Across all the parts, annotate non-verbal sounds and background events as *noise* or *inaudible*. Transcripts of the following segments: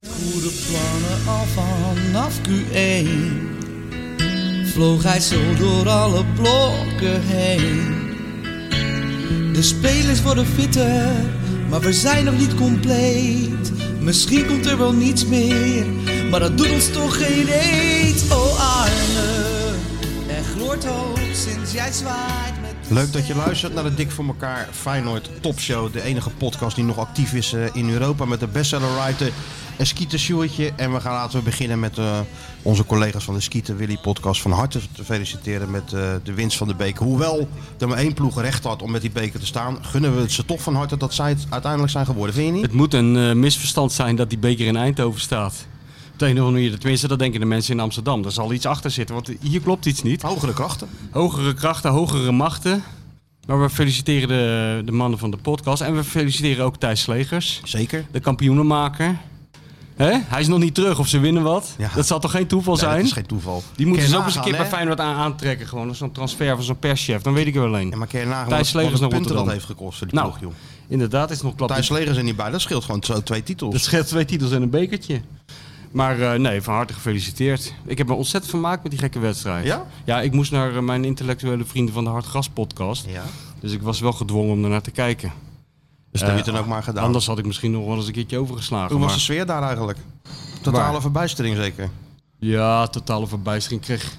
goede plannen al vanaf Q1 Vloog hij zo door alle blokken heen De spelers worden fitter, maar we zijn nog niet compleet Misschien komt er wel niets meer, maar dat doet ons toch geen eet Oh Arne, er gloort hoop sinds jij zwaait met de Leuk dat je luistert naar de Dik voor elkaar Feyenoord Topshow. De enige podcast die nog actief is eh, in Europa met de bestsellerwriter en Skeeter Sjoertje. En we gaan laten we beginnen met eh, onze collega's van de Skeeter Willy podcast. Van harte te feliciteren met eh, de winst van de beker. Hoewel er maar één ploeg recht had om met die beker te staan, gunnen we het ze toch van harte dat zij het uiteindelijk zijn geworden. Vind je niet? Het moet een eh, misverstand zijn dat die beker in Eindhoven staat. Op de een of andere manier, tenminste, dat denken de mensen in Amsterdam. Daar zal iets achter zitten, want hier klopt iets niet. Hogere krachten. Hogere krachten, hogere machten. Maar we feliciteren de, de mannen van de podcast. En we feliciteren ook Thijs Slegers, Zeker. de kampioenenmaker. Hè? Hij is nog niet terug of ze winnen wat. Ja. Dat zal toch geen toeval Nee, zijn? dat is geen toeval. Die moeten Kun ze je ook eens een keer nagaan, bij hè? Feyenoord aan, aantrekken. Gewoon als zo'n transfer van zo'n perschef. Dan weet ik er wel Ja, een. maar kun je nagaan Thijs wat- Slegers wat naar punten dat Rotterdam. heeft gekost voor die Nou, ploeg, joh. Inderdaad, is nog klap. Thijs Slegers er niet bij, dat scheelt gewoon zo twee titels. Dat scheelt twee titels en een bekertje. Maar eh, nee, van harte gefeliciteerd. Ik heb me ontzettend vermaakt met die gekke wedstrijd. Ja? Ja, ik moest naar eh, mijn intellectuele vrienden van de Hartgras podcast. Ja. Dus ik was wel gedwongen om ernaar te kijken. Dus dat Eh, heb je dan ook maar gedaan. Anders had ik misschien nog wel eens een keertje overgeslagen. Hoe was maar- de sfeer daar eigenlijk? Totale Waar? verbijstering zeker. Ja, totale verbijstering kreeg.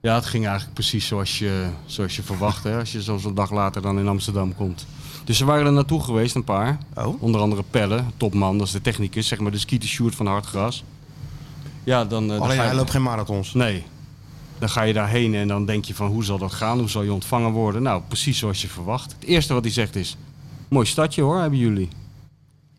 Ja, het ging eigenlijk precies zoals je, zoals je verwacht. Hè, als je zo'n zo'n dag later dan in Amsterdam komt. Dus ze waren er naartoe geweest, een paar. Oh? Onder andere Pelle, topman, dat is de technicus, zeg maar de skieter Sjoerd van Hartgras. Ja, dan, eh, dan Alleen ga je- hij loopt geen marathons. Nee. Dan ga je daarheen en dan denk je van hoe zal dat gaan? Hoe zal je ontvangen worden? Nou, precies zoals je verwacht. Het eerste wat hij zegt is, mooi stadje hoor, hebben jullie.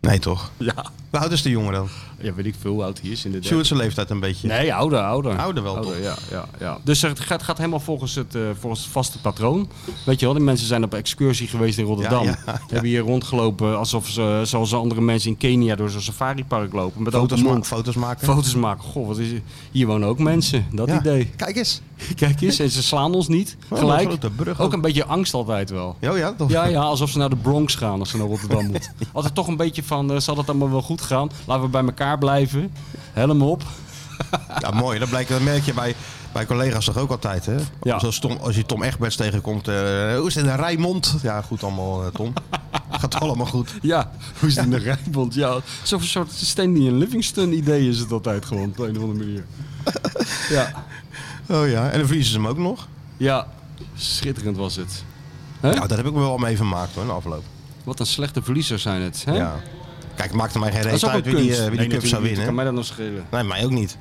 Nee toch? Ja. Hoe oud is de jongen dan? Ja, weet ik veel hoe oud hij is in de Sjoerd zijn leeftijd een beetje. Nee, ouder, ouder. Ouder wel, toch? Ja, ja, ja. Dus het gaat, gaat helemaal volgens het, eh, volgens het vaste patroon. Weet je wel, die mensen zijn op excursie geweest in Rotterdam. Ja, ja, ja. Hebben hier rondgelopen alsof ze, zoals andere mensen in Kenia, door zo'n safaripark lopen. Met Foto's, open ma- mond. foto's maken. Foto's maken. Goh, wat is hier wonen ook mensen. Dat Ja. idee. Kijk eens. *laughs* Kijk eens, en ze slaan ons niet. Oh, Gelijk. een grote brug ook. Ook een beetje angst altijd wel. Oh ja, toch? Ja, ja, alsof ze naar de Bronx gaan als ze naar *laughs* Rotterdam moeten. Altijd toch een beetje van, eh, zal dat allemaal wel goed gaan? Laten we bij elkaar blijven. Helm op. Ja, mooi. Dat, blijkt, dat merk je bij, bij collega's toch ook altijd, hè? Ja. Zoals Tom, als je Tom Egberts tegenkomt. eh, hoe is het in Rijmond? Ja, goed allemaal, eh, *laughs* Tom. Gaat allemaal goed. Ja, *laughs* hoe is het in de Rijnbond? Ja, zo'n soort Stanley en Livingston idee is het altijd gewoon, op de een of andere manier. Ja, Oh ja, en dan verliezen ze hem ook nog. ja schitterend was het. Nou, daar heb ik me wel mee vermaakt hoor, in de afloop. Wat een slechte verliezers zijn het. Hè? Ja. Kijk, het maakte mij geen Dat reet is ook een uit wie kunst. die, eh, wie die Nee, cup zou natuurlijk winnen. niet. Kan mij dat nog schelen? Nee, mij ook niet.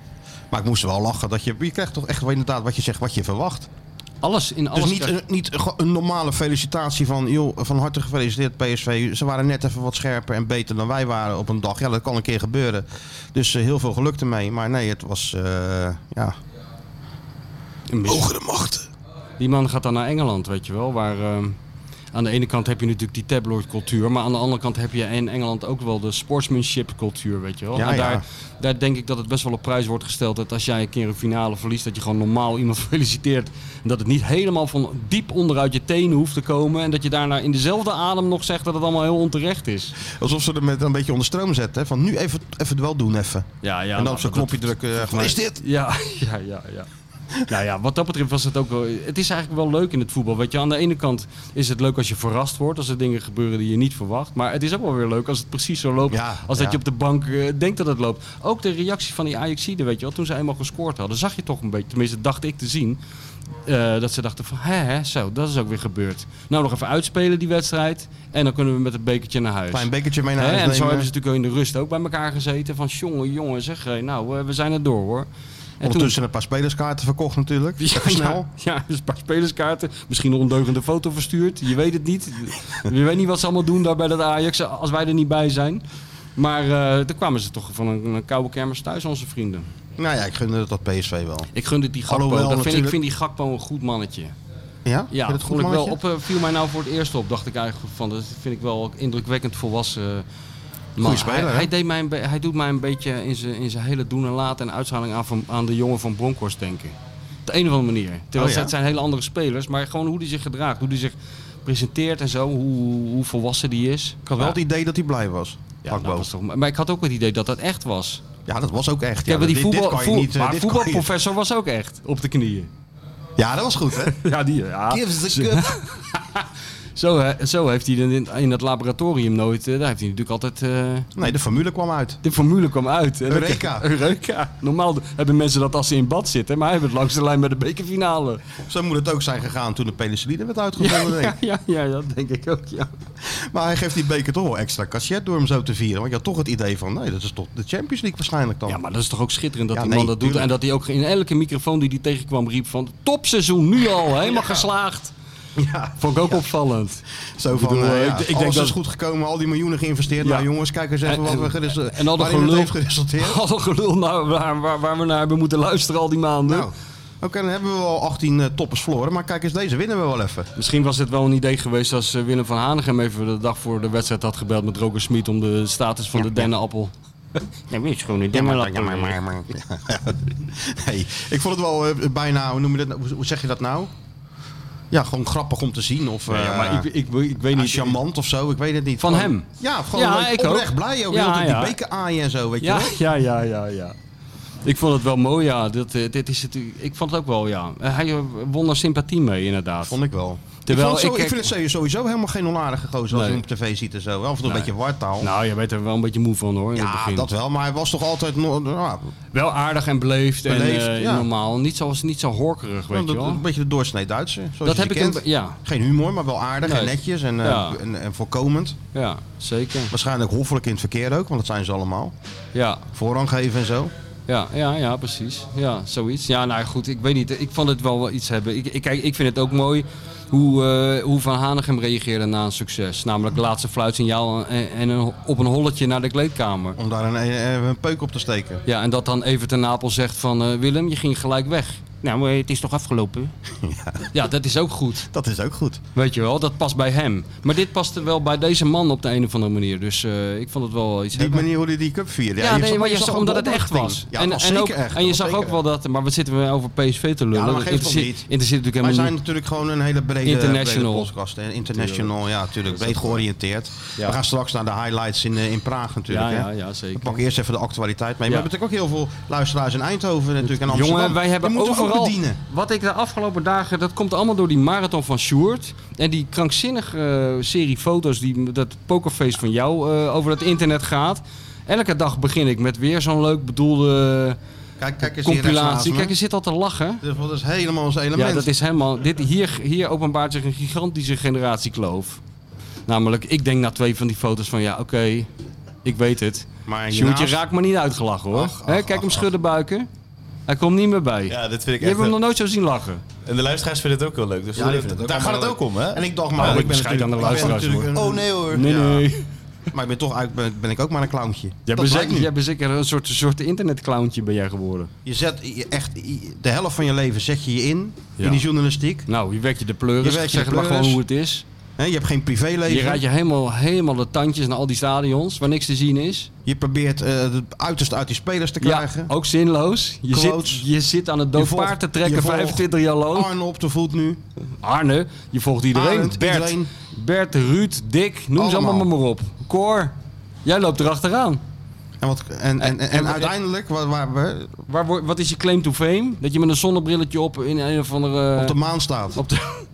Maar ik moest wel lachen. Dat je, je krijgt toch echt wel inderdaad wat je zegt, wat je verwacht. Alles in alles. dus niet, krijg- een, niet gewoon een normale felicitatie van, joh, van harte gefeliciteerd PSV. Ze waren net even wat scherper en beter dan wij waren op een dag. Ja, dat kan een keer gebeuren. Dus eh, heel veel geluk ermee. Maar nee, het was, eh, ja... een mis- Hogere machten. Die man gaat dan naar Engeland, weet je wel. Waar, ehm, aan de ene kant heb je natuurlijk die tabloidcultuur. Maar aan de andere kant heb je in Engeland ook wel de sportsmanship cultuur, weet je wel. Ja, en ja. daar, daar denk ik dat het best wel op prijs wordt gesteld. Dat als jij een keer een finale verliest, dat je gewoon normaal iemand *laughs* feliciteert. En dat het niet helemaal van diep onderuit je tenen hoeft te komen. En dat je daarna in dezelfde adem nog zegt dat het allemaal heel onterecht is. Alsof ze er met een beetje onder stroom zetten. hè, Van nu even, even het wel doen, even. Ja, ja, en dan nou, op zo'n dat- knopje drukken. eh, van, Maar- is dit? Ja, *laughs* ja, ja, ja. Nou ja, wat dat betreft was het ook wel... Het is eigenlijk wel leuk in het voetbal. Weet je, aan de ene kant is het leuk als je verrast wordt. Als er dingen gebeuren die je niet verwacht. Maar het is ook wel weer leuk als het precies zo loopt. Ja, als ja. dat je op de bank eh, denkt dat het loopt. Ook de reactie van die Ajaxiden, weet je wel. Toen ze eenmaal gescoord hadden, zag je toch een beetje... Tenminste, dacht ik te zien. eh, dat ze dachten van, hè, hè, zo, dat is ook weer gebeurd. Nou, nog even uitspelen die wedstrijd. En dan kunnen we met het bekertje naar huis. Klein bekertje mee naar Hè, huis en zo nemen. hebben ze natuurlijk ook in de rust ook bij elkaar gezeten. Van jongen, jongen, zeg, hé, nou, eh, we zijn er door hoor. En toen- Ondertussen een paar spelerskaarten verkocht natuurlijk. *laughs* ja, Even snel. Ja, ja, dus een paar spelerskaarten. Misschien een ondeugende foto verstuurd. Je weet het niet. Je weet niet wat ze allemaal doen daar bij dat Ajax als wij er niet bij zijn. Maar eh toen kwamen ze toch van een, een koude kermis thuis, onze vrienden. Nou ja, ik gunde het dat PSV wel. Ik gunde die Gakpo. Alhoewel, dat vind, ik natuurlijk- vind die Gakpo een goed mannetje. Ja? Ja, Vind je dat het vond goed, ik wel mannetje? op, eh, viel mij nou voor het eerst op, dacht ik eigenlijk van. Dat vind ik wel indrukwekkend volwassen. eh, man. Goeie speler, hij, hè? hij, deed mij een be- hij doet mij een beetje in zijn in zijn hele doen en laten en uitstraling aan, van, aan de jongen van Bronkhorst denken. Op de een of andere manier. Terwijl Oh, ja? het zijn hele andere spelers, maar gewoon hoe hij zich gedraagt, hoe hij zich presenteert en zo, hoe, hoe volwassen die is. Ik had wel het idee dat hij blij was. Ja, Hakbo. nou, dat is toch- maar ik had ook het idee dat dat echt was. Ja, dat was ook echt. Ja, Ja, maar die dit, dit voetbal, kan je voet- niet, eh, maar dit kan je- voetbalprofessor was ook echt op de knieën. Ja, dat was goed, hè? Ja, die, ja. Give *laughs* us the cup. Zo, hè, zo heeft hij in, in het laboratorium nooit... eh, Daar heeft hij natuurlijk altijd... eh, Nee, de formule kwam uit. de formule kwam uit. En dan- Eureka. *laughs* Eureka. Normaal d- hebben mensen dat als ze in bad zitten. Maar hij heeft het langs de lijn bij de *laughs* bekerfinale. Zo moet het ook zijn gegaan toen de penicilline werd Ja, uitgevonden. denk ja, ik. ja, ja, dat denk ik ook, ja. Maar hij geeft die beker toch wel extra cachet door hem zo te vieren. Want je had toch het idee van, nee, dat is toch de Champions League waarschijnlijk dan. Ja, maar dat is toch ook schitterend dat Ja, die nee, man dat doet. tuurlijk. En dat hij ook in elke microfoon die hij tegenkwam riep van... Topseizoen, nu al, helemaal geslaagd. Ja. Vond ik ook opvallend. Zo van, Ik bedoel, eh, ik- ja, ik denk alles dat- is goed gekomen, al die miljoenen geïnvesteerd. Ja. Nou jongens, kijk eens even En- wat we geresu- En al dat waarin het gelul, heeft *laughs* geresulteerd. al dat gelul nou, waar, waar, waar we naar hebben moeten luisteren al die maanden. Nou, oké, dan hebben we al 18 eh, toppers verloren. Maar kijk eens, deze winnen we wel even. Misschien was het wel een idee geweest als eh, Willem van Hanegem even de dag voor de wedstrijd had gebeld met Roger Smit om de status van de dennenappel. Ja, weer gewoon een Nee, ik vond het wel eh, bijna, hoe, noem je dat, nou? Hoe- hoe zeg je dat nou? Ja, gewoon grappig om te zien. Of, Ja, eh, maar ik, ik, ik weet Ah, niet. charmant of zo, ik weet het niet. Van Gewoon- hem? Ja, gewoon Ja, leuk, ik ook. oprecht blij ook. Ja, heel de tijd ja. die beker aaien en zo, weet Ja, je wel. ja, ja, ja, ja. Ik vond het wel mooi, ja. Dit, eh, dit is het, ik vond het ook wel, ja. Eh, Hij eh, won er sympathie mee, inderdaad. Vond ik wel. Terwijl ik, vond het zo- ik- ik vind het sowieso helemaal geen onaardige gozer als Nee. je hem op tv ziet en zo. Wel, of een beetje wartaal. Nou, je werd er wel een beetje moe van, hoor, in het ja, begin. dat wel. Maar hij was toch altijd... no- nou, Wel aardig en beleefd, Beleefd, en eh, ja. normaal. Niet, zoals, niet zo horkerig, weet een, je wel. een beetje de doorsnee Duitse, zoals Dat je heb ze ik een kent. be- ja. Geen humor, maar wel aardig en Nee. netjes en, eh, Ja. en, en voorkomend. Ja, zeker. Waarschijnlijk hoffelijk in het verkeer ook, want dat zijn ze allemaal. Ja, Voorrang geven en zo. ja, ja, ja, precies. Ja, zoiets. Ja, nou goed, ik weet niet. Ik vond het wel wel iets hebben. Ik, ik, kijk, ik vind het ook mooi hoe, eh, hoe Van Hanegem reageerde na een succes. Namelijk laatste fluitsignaal en, en een, op een holletje naar de kleedkamer. Om daar een, een, een peuk op te steken. Ja, en dat dan even ten Napel zegt van eh, Willem, je ging gelijk weg. Nou, maar het is toch afgelopen? Ja. dat is ook goed. Dat is ook goed. Weet je wel, dat past bij hem. Maar dit paste wel bij deze man op de een of andere manier. Dus eh, ik vond het wel iets Die hebben. manier hoe hij die cup vierde. Ja, nee, zag- maar je zag zag ook omdat de het echt opwachting. Ja, was. het was en, ook, zeker echt. en je Dat zag was ook zeker wel dat, maar wat zitten we over PSV te lullen? Ja, maar geeft toch interesseert, niet. interesseert Wij natuurlijk helemaal zijn niet. natuurlijk gewoon een hele brede, International. brede podcast. hè. International, ja, natuurlijk. Breed georiënteerd. Ja. We gaan straks naar de highlights in, eh, in Praag natuurlijk. Ja, hè. ja, ja, zeker. We pakken eerst even de actualiteit mee. Ja. We hebben natuurlijk ook heel veel luisteraars in Eindhoven natuurlijk en Amsterdam. Jongen, wij hebben Die moeten we ook overal. bedienen. Wat ik de afgelopen dagen. Dat komt allemaal door die marathon van Sjoerd. En die krankzinnige eh, serie foto's. Die, dat pokerface van jou eh, over het internet gaat. Elke dag begin ik met weer zo'n leuk bedoelde Kijk, kijk eens hier rechts naast compilatie. me. Kijk, je zit al te lachen. Dus Dat is helemaal ons element. Ja, dat is helemaal. Dit, hier, hier openbaart zich een gigantische generatiekloof. Namelijk, ik denk na twee van die foto's van ja, oké, ik weet het. Maar Sjoerd, je hiernaast- raakt maar niet uitgelachen hoor. Ach, ach, Hè, kijk hem schudden buiken. Hij komt niet meer bij. Ja, dit vind ik je hebt echt... hem nog eh, nooit zo zien lachen. En de luisteraars vinden het ook wel leuk. Dus Ja, die vinden het daar gaat het allemaal ook om, hè? En ik dacht, Ja, maar ik ben scheid natuurlijk, aan de ik ben luisteraars, natuurlijk een- Oh nee hoor. Nee, Ja. nee. Maar ik ben toch eigenlijk ben, ben ik ook maar een clowntje. Jij dat bent, blijkt zeker, nu. jij bent zeker een soort, soort internetclowntje ben jij geworden. Je zet je echt je- de helft van je leven zet je je in Ja. in die journalistiek. Nou, je werkt je de pleuris. Je Je werkt je de zeg maar gewoon pleuris. hoe het is. Hè, je hebt geen privéleven. Je rijdt je helemaal, helemaal de tandjes naar al die stadions waar niks te zien is. Je probeert eh, het uiterste uit die spelers te Ja, krijgen. ook zinloos. Je Quotes. zit, je zit aan het Je dood volgt- paard te je trekken, volgt 25 jaar lang. Arne op de voet nu. Arne, je volgt iedereen. Arend, Bert, iedereen. Bert, Ruud, Dick, noem ze Allemaal. allemaal maar op. Cor, jij loopt erachteraan. En, wat, en, en, en, En- en- uiteindelijk, waar, waar we Waar, wo- wat is je claim to fame? Dat je met een zonnebrilletje op in een of andere... op de maan staat. op de-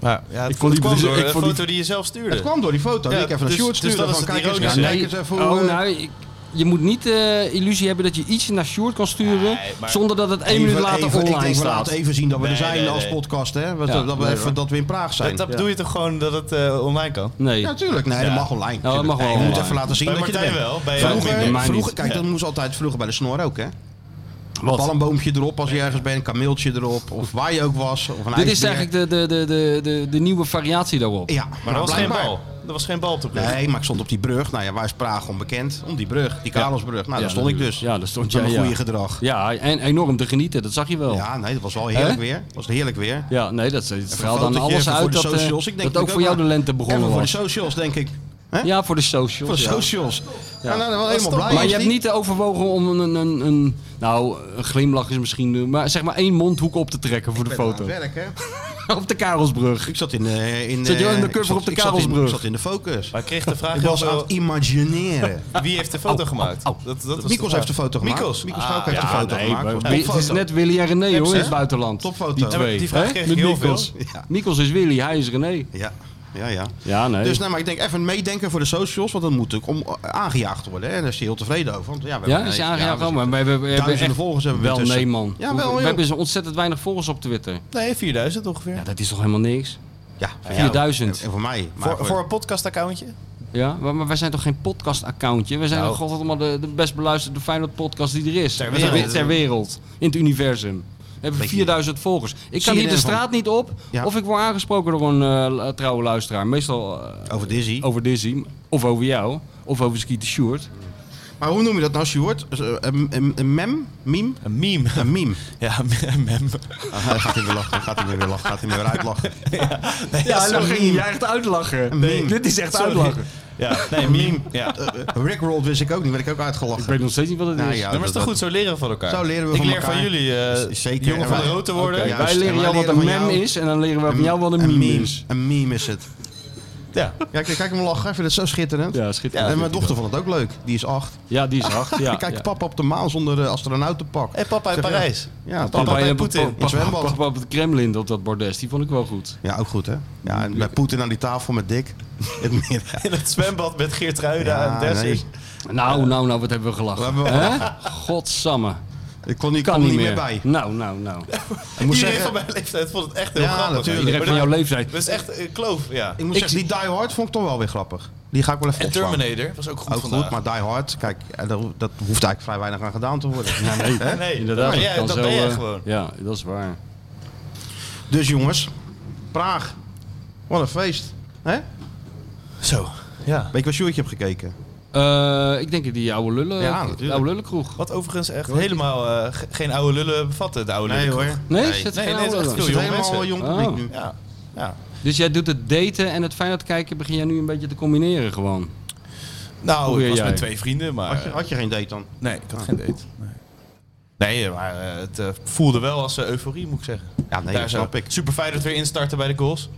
Ja, ja, Ik ik vond vond die- kwam door ik Dus een eh, vond die- foto die je zelf stuurde. Het kwam door die foto die ik Ja, even naar dus- Sjoerd dus stuurde. dat van, is het kijk eens, ironische. ja, kijk eens even oh, hoe, eh, nou, ik- je moet niet de illusie hebben dat je iets naar Sjoerd kan sturen... Nee, maar- zonder dat het één even- minuut later even- ik denk, online we staat. laten even zien dat we er Nee, zijn nee, als nee. podcast. Hè? Dat, Ja, dat we nee, even, hoor. dat we in Praag zijn. Dat, dat bedoel je toch gewoon dat het eh, online kan? Nee. Ja, natuurlijk. Nee, dat Ja. mag online. dat mag wel Je moet online. even laten zien Bij dat je er Martijn bent. wel, bij jou Vroeger, minder. Mij vroeger, niet. kijk, dat moest altijd vroeger bij de snor ook, hè? Wat? Palmboomje erop als je ergens bent, een kameeltje erop, of waar je ook was. Of een Dit is ijsbeer. eigenlijk de, de, de, de, de, de nieuwe variatie daarop. Ja, Maar er was geen blijkbaar- bal. Er was geen bal op de plek. Nee, maar ik stond op die brug. Nou ja, waar is Praag onbekend? Om die brug, die Karelsbrug. Nou, Ja, daar stond ik natuurlijk. dus. Ja, daar stond Met jij, mijn ja. goede gedrag. Ja, en enorm te genieten, dat zag je wel. Ja, Ja, nee, dat was wel heerlijk Hè? weer. Dat was heerlijk weer. nee, dat het Even straalt een aan fotootje, alles even voor uit de dat, eh, socials. Ik denk dat ook voor jou de wel- lente Even begonnen voor de was. socials, denk ik. Hè? ja, voor de socials. Voor de ja. socials. Ja, nou, wel helemaal toch- blij. Maar was je hebt die. niet overwogen om een, een, een, een- nou, een glimlach is misschien, eh, maar zeg maar één mondhoek op te trekken voor de Ik ben aan foto. het werk, hè? *laughs* op de Karelsbrug. Ik zat in, eh, in, Zat je wel in de eh, cover ik zat- op de ik zat in- Karelsbrug? Ik zat in de focus. Maar ik kreeg de vraag Ik was aan heel het imagineren. veel, wie heeft de foto gemaakt? Dat, eh, *laughs* dat was Mikos de heeft de foto gemaakt. Mikos. Mikos Ah, Gauck heeft de foto Nee, gemaakt. maar Was Wi- het is topfoto. net Willy en René hoor, in het buitenland. Topfoto. Die Ja, maar twee. die vraag hè? kreeg ik Met heel veel. Mikos. Ja. Mikos is Willy, hij is René. Ja, ja, ja. Ja, nee. Dus nee, maar ik denk even meedenken voor de socials, want dat moet natuurlijk om, eh, aangejaagd worden. Hè? En daar is hij heel tevreden over. Want, ja, we ja, hebben is je ineens- aangejaagd ja, we maar we hebben, we hebben duizenden echt volgers hebben we wel intussen. nee man. Ja, wel, we joh. hebben zo ontzettend weinig volgers op Twitter. Nee, 4000 ongeveer. Ja, dat is toch helemaal niks. Ja, voor jou. 4000. En voor mij. Maar voor, voor een podcast-accountje? Ja, maar, maar wij zijn toch geen podcast-accountje? Wij zijn Nou. toch altijd allemaal de, de best beluisterde Feyenoord-podcast die er is. Ter Ter, wereld. ter wereld. In het universum. We hebben Beetje- 4000 volgers. Ik kan CNN hier de van- straat niet op. Ja. Of ik word aangesproken door een eh, trouwe luisteraar. Meestal eh, over Dizzy. over Dizzy. Of over jou. Of over Skeet de Sjoerd. Maar hoe noem je dat nou, Sjoerd? Dus, eh, Een, een, een mem? Meme? Een meme. Een meme. *laughs* Ja, een meme. Ah, hij gaat hij weer lachen, gaat hij weer lachen, gaat hij weer uitlachen. Nee, dat is dan een ging meme. je echt uitlachen. Nee, Dit is echt Sorry. uitlachen. Ja, nee, meme. Ja. Eh, eh, Rickrolled wist ik ook niet, werd ik ook Ik uitgelachen. weet nog steeds niet wat het Nou is. ja, maar het is toch goed, zo leren we van elkaar. Zo leren we ik van leer elkaar. van jullie, eh Z- zeker. jongen van En de wij- rood te worden. Oké, wij juist. Wij leren En wij jou wat leren een van mem jou- is en dan leren we van jou wat een meme is. Een meme is het. ja. Ja, kijk, kijk hem lachen, ik vind het zo schitterend. Ja, schitterend. en mijn dochter vond het ook leuk, die is acht. Ja, die is *laughs* acht. Ja, Ik kijk ja. papa op de maan zonder eh, astronautenpak. Hey, papa uit Zeg, Parijs. Ja, papa, Papa, bij en Poetin in Poetin. het Papa, zwembad. papa op het Kremlin op dat bordes, die vond ik wel goed. Ja, ook goed hè. Ja, en bij Poetin aan die tafel met Dick. *laughs* Het midden. In het zwembad met Geert Ja, en Dessers. nee. Nou, nou, nou, wat hebben we gelachen. We hebben wel Hè? Godsamme. Ik kon, ik Kan kon niet er meer. meer bij. Nou, nou, nou. Ik moet Iedereen zeggen, van mijn leeftijd vond het echt heel Ja, grappig. natuurlijk. Iedereen Maar van jouw dat- leeftijd. Dat is echt een kloof, ja. ik moet Ik zeggen, die Die Hard vond ik toch wel weer grappig. Die ga ik wel even En opslaan. Terminator was ook goed Ook vandaag. goed, maar Die Hard, kijk, eh, dat, dat hoeft eigenlijk vrij weinig aan gedaan te worden. *laughs* Hè? Nee, Inderdaad. maar het jij- kan dat zo, ben jij eh, gewoon. Ja, dat is waar. Dus jongens, Praag. Wat een feest. Hè? Zo, ja. Weet je wat Sjoerdje heb gekeken? Eh, ik denk in die oude lullen, Ja, natuurlijk. oude lullenkroeg. Wat overigens echt helemaal eh, ge- geen oude lullen bevatten, de oude Nee lullen. hoor. Nee, Het zit geen Nee, nee, oude het is lullen. echt is Jong helemaal mensen. jong publiek Oh. nu. Ja, ja. Dus jij doet het daten en het Feyenoord kijken begin jij nu een beetje te combineren gewoon. Nou, Hoe ik was jij? met twee vrienden, maar... Had je, had je geen date dan? Nee, ik had geen date. Nee, Ah. nee eh, maar eh, het eh, voelde wel als eh, euforie, moet ik zeggen. Ja, nee, dat zo. snap ik. Super fijn dat we weer instarten bij de goals.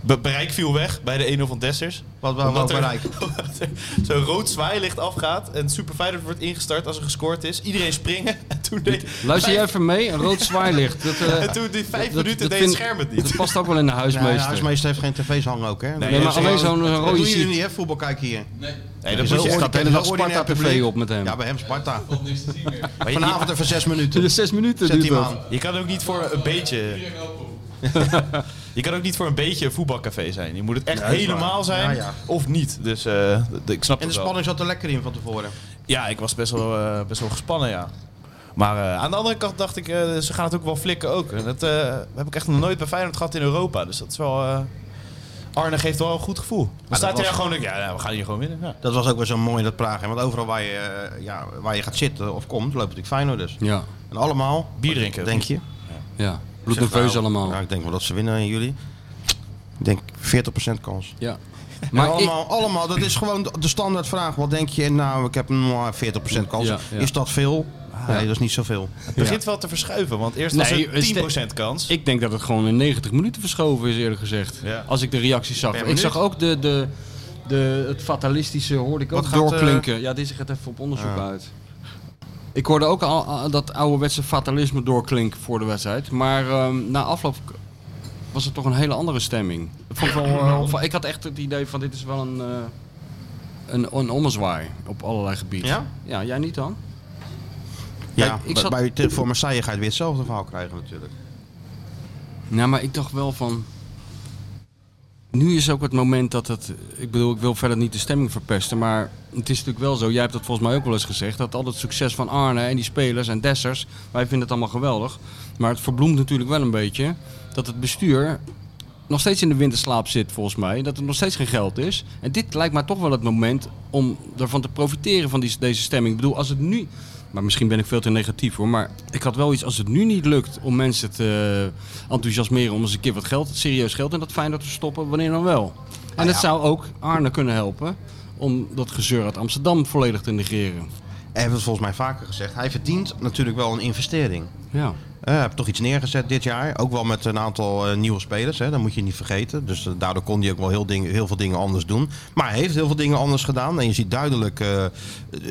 Be- bereik viel weg bij de 1-0 van Dessers. Wat wel wel Omdat er- bereikt. *laughs* omdat er Zo'n rood zwaailicht afgaat en super fijn dat wordt ingestart als er gescoord is. Iedereen springen. *laughs* En toen deed, Luister jij vijf- even mee, een rood zwaailicht. Dat, eh, en toen die vijf dat- minuten dat deed vind- het scherm het Dat niet. past ook wel in de Nou, de huismeester. huismeester heeft geen tv's hangen ook, hè? Nee, Nee, maar dat is alleen gewoon- zo'n zo'n Dat doen rode jullie sheet. niet, hè? Voetbal kijken hier. Nee, Er dat moet Dus je echt- staat de hele dat dag Sparta ordinair TV publiek. op met hem. Ja, bij hem Sparta. maar je- Vanavond even zes minuten. Dus *laughs* zes minuten Zet duurt die dat. aan. Je kan ook niet voor een beetje. *laughs* je kan ook niet voor een beetje een voetbalcafé zijn. Je moet het echt Ja, dat is helemaal waar. zijn Ja, ja. of niet. Dus eh, d- ik snap En de het wel. spanning zat er lekker in van tevoren. Ja, ik was best wel, eh, best wel gespannen, ja. Maar eh, aan de andere kant dacht ik, eh, ze gaan het ook wel flikken ook. En dat eh, heb ik echt nog nooit bij Feyenoord gehad in Europa. Dus dat is wel... eh, Arne geeft wel een goed gevoel. Dan dat staat hij was- daar gewoon... Ja, nou, we gaan hier gewoon winnen. Ja. Dat was ook wel zo mooi in dat Praag. hè, Want overal waar je, eh, ja, waar je gaat zitten of komt, loopt natuurlijk Feyenoord dus. Ja, En allemaal... Bier drinken. Denk je? ja. Bloednerveus allemaal. nou, Ja, ik denk wel dat ze winnen in jullie. Ik denk 40% kans. Ja. Maar Maar ik, allemaal, allemaal, dat is gewoon de- de standaardvraag. Wat denk je? Nou, ik heb maar 40% kans. Ja, ja. Is dat veel? Nee, dat is niet zoveel. Het begint wel te verschuiven. Want eerst Nee, was is de- het 10% kans. ik denk dat het gewoon in 90 minuten verschoven is, eerlijk gezegd. Ja. Als ik de reacties zag. Per Ik minuut? zag ook de, de, de, het fatalistische, hoorde ik Wat ook gaat, eh, doorklinken. Ja, deze gaat even op onderzoek uit. Ik hoorde ook al al dat ouderwetse fatalisme doorklinken voor de wedstrijd. Maar ehm, na afloop k- was het toch een hele andere stemming. Dat vond ik, wel, eh, opval- ik had echt het idee van dit is wel een, eh, een, een ommezwaai op allerlei gebieden. Ja? Ja, jij niet dan? Ja, ik bij- zat- bij, te- voor Marseille ga je weer hetzelfde verhaal krijgen natuurlijk. Nou, maar ik dacht wel van. Nu is ook het moment dat het. Ik bedoel, ik wil verder niet de stemming verpesten. Maar het is natuurlijk wel zo. Jij hebt dat volgens mij ook wel eens gezegd. Dat al het succes van Arne en die spelers en Dessers. Wij vinden het allemaal geweldig. Maar het verbloemt natuurlijk wel een beetje. Dat het bestuur nog steeds in de winterslaap zit, volgens mij. Dat er nog steeds geen geld is. En dit lijkt mij toch wel het moment om ervan te profiteren van die, deze stemming. Ik bedoel, als het nu. Maar misschien ben ik veel te negatief hoor. Maar ik had wel iets als het nu niet lukt om mensen te eh, enthousiasmeren om eens een keer wat geld, serieus geld in dat Feyenoord te stoppen, wanneer dan wel. En Nou dat zou ook Arne kunnen helpen om dat gezeur uit Amsterdam volledig te negeren. Hij heeft het volgens mij vaker gezegd. Hij verdient natuurlijk wel een investering. Ja. Eh, Eh, heb toch iets neergezet dit jaar. Ook wel met een aantal eh, nieuwe spelers. Hè. Dat moet je niet vergeten. Dus eh, daardoor kon hij ook wel heel, ding, heel veel dingen anders doen. Maar hij heeft heel veel dingen anders gedaan. En je ziet duidelijk eh,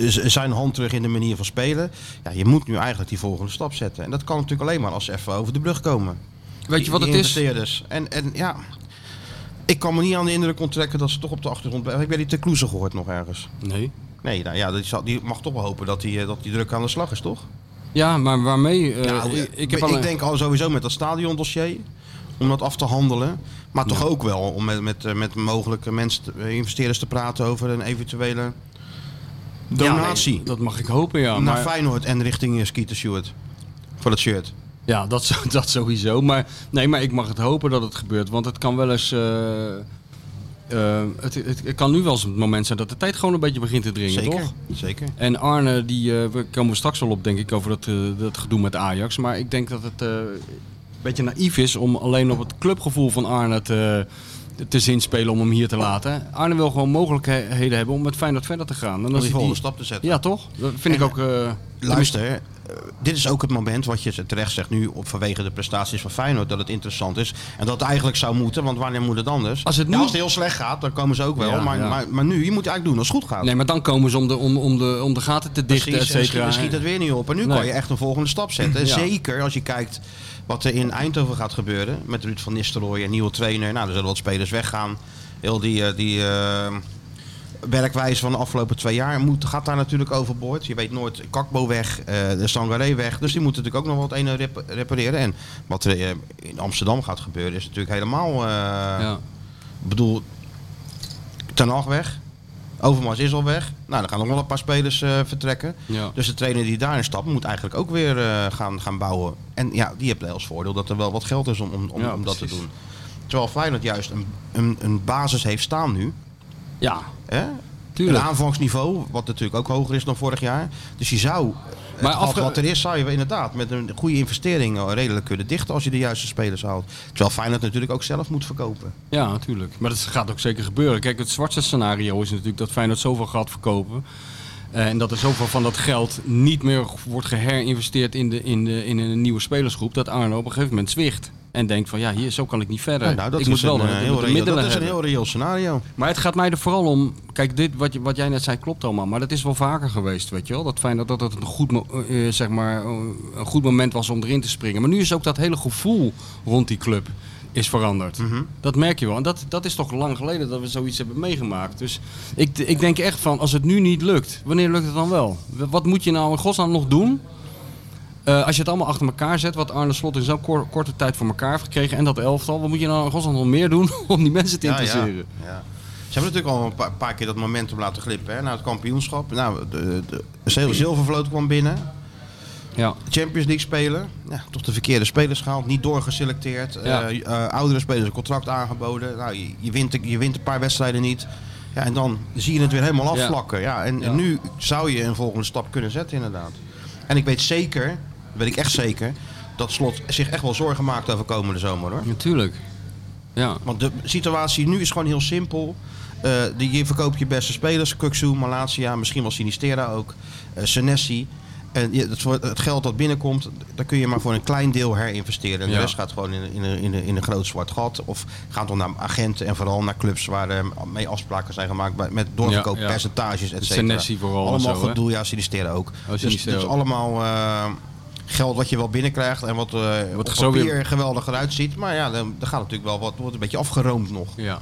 z- zijn hand terug in de manier van spelen. Ja, je moet nu eigenlijk die volgende stap zetten. En dat kan natuurlijk alleen maar als ze even over de brug komen. Weet je wat Die het is? investeerders. En, en ja, ik kan me niet aan de indruk onttrekken dat ze toch op de achtergrond blijven. Heb jij die Tecloeze gehoord nog ergens? Nee. Nee, nou ja, die, zal- die mag toch wel hopen dat die, eh, dat die druk aan de slag is, toch? Ja, maar waarmee? eh, Nou, ik, ik heb ik alleen- denk al sowieso met dat stadiondossier. Om dat af te handelen. Maar toch ook wel om met, met, eh, met mogelijke mensen, te- eh, investeerders te praten over een eventuele donatie. dat mag ik hopen, ja. Naar maar- Feyenoord en richting eh, Skeeter Stewart. Voor dat shirt. Ja, dat, zo- *laughs* dat sowieso. Maar, nee, maar ik mag het hopen dat het gebeurt. Want het kan wel eens. eh, eh, het, het, het kan nu wel eens het moment zijn dat de tijd gewoon een beetje begint te dringen, Zeker. toch? Zeker. En Arne, die eh, we komen we straks wel op, denk ik, over dat, eh, dat gedoe met Ajax. Maar ik denk dat het eh, een beetje naïef is om alleen op het clubgevoel van Arne te, te zinspelen om hem hier te laten. Arne wil gewoon mogelijkheden hebben om met Feyenoord verder te gaan. En Om als die hij volgende stap te zetten. Ja, toch? Dat vind ik ook... eh, Luister, eh, dit is ook het moment wat je terecht zegt nu op, vanwege de prestaties van Feyenoord dat het interessant is. En dat het eigenlijk zou moeten, want wanneer moet het anders? Als het nu- Ja, als het heel slecht gaat, dan komen ze ook wel. Ja, maar, ja. Maar, maar nu, je moet eigenlijk doen als het goed gaat. Nee, maar dan komen ze om de, om, om de, om de gaten te dichten, et Precies, en schiet, cetera. en schiet het weer niet op. En nu Nee. kan je echt een volgende stap zetten. En Ja. Zeker als je kijkt wat er in Eindhoven gaat gebeuren. Met Ruud van Nistelrooy, een nieuwe trainer. Nou, er zullen wat spelers weggaan. Heel die, eh, die eh, werkwijze van de afgelopen twee jaar moet, gaat daar natuurlijk overboord. Je weet nooit, Kakbo weg, eh, de Sangaré weg. Dus die moeten natuurlijk ook nog wat ene rep- repareren. En wat er eh, in Amsterdam gaat gebeuren is natuurlijk helemaal... eh, Ja. ik bedoel, Ten Hag weg. Overmars is al weg. Nou, dan gaan nog wel een paar spelers eh, vertrekken. Ja. Dus de trainer die daarin stapt, moet eigenlijk ook weer eh, gaan, gaan bouwen. En ja, die heeft wel als voordeel dat er wel wat geld is om, om, om, Ja, om dat te precies. doen. Terwijl Feyenoord juist een, een, een basis heeft staan nu. ja, Hè? Een tuurlijk. aanvangsniveau, wat natuurlijk ook hoger is dan vorig jaar. Dus je zou, Maar maar afge- wat er is, zou je inderdaad met een goede investering eh, redelijk kunnen dichten als je de juiste spelers haalt. Terwijl Feyenoord natuurlijk ook zelf moet verkopen. Ja, tuurlijk. Maar dat gaat ook zeker gebeuren. Kijk, het zwartste scenario is natuurlijk dat Feyenoord zoveel gaat verkopen. eh, En dat er zoveel van dat geld niet meer wordt geherinvesteerd in, de, in, de, in een nieuwe spelersgroep. Dat Arno op een gegeven moment zwicht. En denkt van ja, hier, zo kan ik niet verder. Nou, dat ik is moet wel een, de- eh, de- heel de reëel- middelen dat is een hebben. heel reëel scenario. Maar het gaat mij er vooral om. Kijk, dit, wat, je- wat jij net zei klopt allemaal. Maar dat is wel vaker geweest, weet je wel. Dat fijn dat dat het een goed, mo- eh, eh, zeg maar, eh, een goed moment was om erin te springen. Maar nu is ook dat hele gevoel rond die club is veranderd. Mhm. Dat merk je wel. En dat, dat is toch lang geleden dat we zoiets hebben meegemaakt. Dus ik, ik denk echt van, als het nu niet lukt, wanneer lukt het dan wel? Wat moet je nou in godsnaam nog doen eh, als je het allemaal achter elkaar zet, wat Arne Slot in zo'n kor- korte tijd voor elkaar heeft gekregen en dat elftal, wat moet je nou in godsnaam nog meer doen *laughs* om die mensen te Ja, interesseren? Ja, ja. Ze hebben natuurlijk al een paar, paar keer dat momentum laten glippen. Hè? Na het kampioenschap. Nou, de, de, de Zilvervloot kwam binnen. Ja. Champions League spelen. Ja, toch de verkeerde spelers gehaald. Niet doorgeselecteerd. Ja. Eh, eh, oudere spelers een contract aangeboden. Nou, je, je wint, je wint een paar wedstrijden niet. Ja, en dan zie je het weer helemaal Ja. afvlakken. Ja. en, en Ja. nu zou je een volgende stap kunnen zetten inderdaad. En ik weet zeker, dat weet ik echt zeker... dat Slot zich echt wel zorgen maakt over komende zomer hoor. Natuurlijk. Ja. Want de situatie nu is gewoon heel simpel. Eh, die, je verkoopt je beste spelers. Kuksu, Malasia, misschien wel Sinistera ook. eh Senesi. En je- het, wordt- het geld dat binnenkomt, daar kun je maar voor een klein deel herinvesteren. En Ja. de rest gaat gewoon in, een- in, een- in, een- in een groot zwart gat. Of gaat dan naar agenten en vooral naar clubs waar eh, mee afspraken zijn gemaakt. bij- Met doorverkooppercentages, et cetera. Senesi vooral en Allemaal zo, hè? Oh, goed doel, ja, Sinistera ook. dus het Sinistera is ook. allemaal eh, geld wat je wel binnenkrijgt. En wat, eh op er zo papier weer- geweldig eruit ziet. Maar ja, dan, dan gaat natuurlijk wel wat, wordt een beetje afgeroomd nog. ja.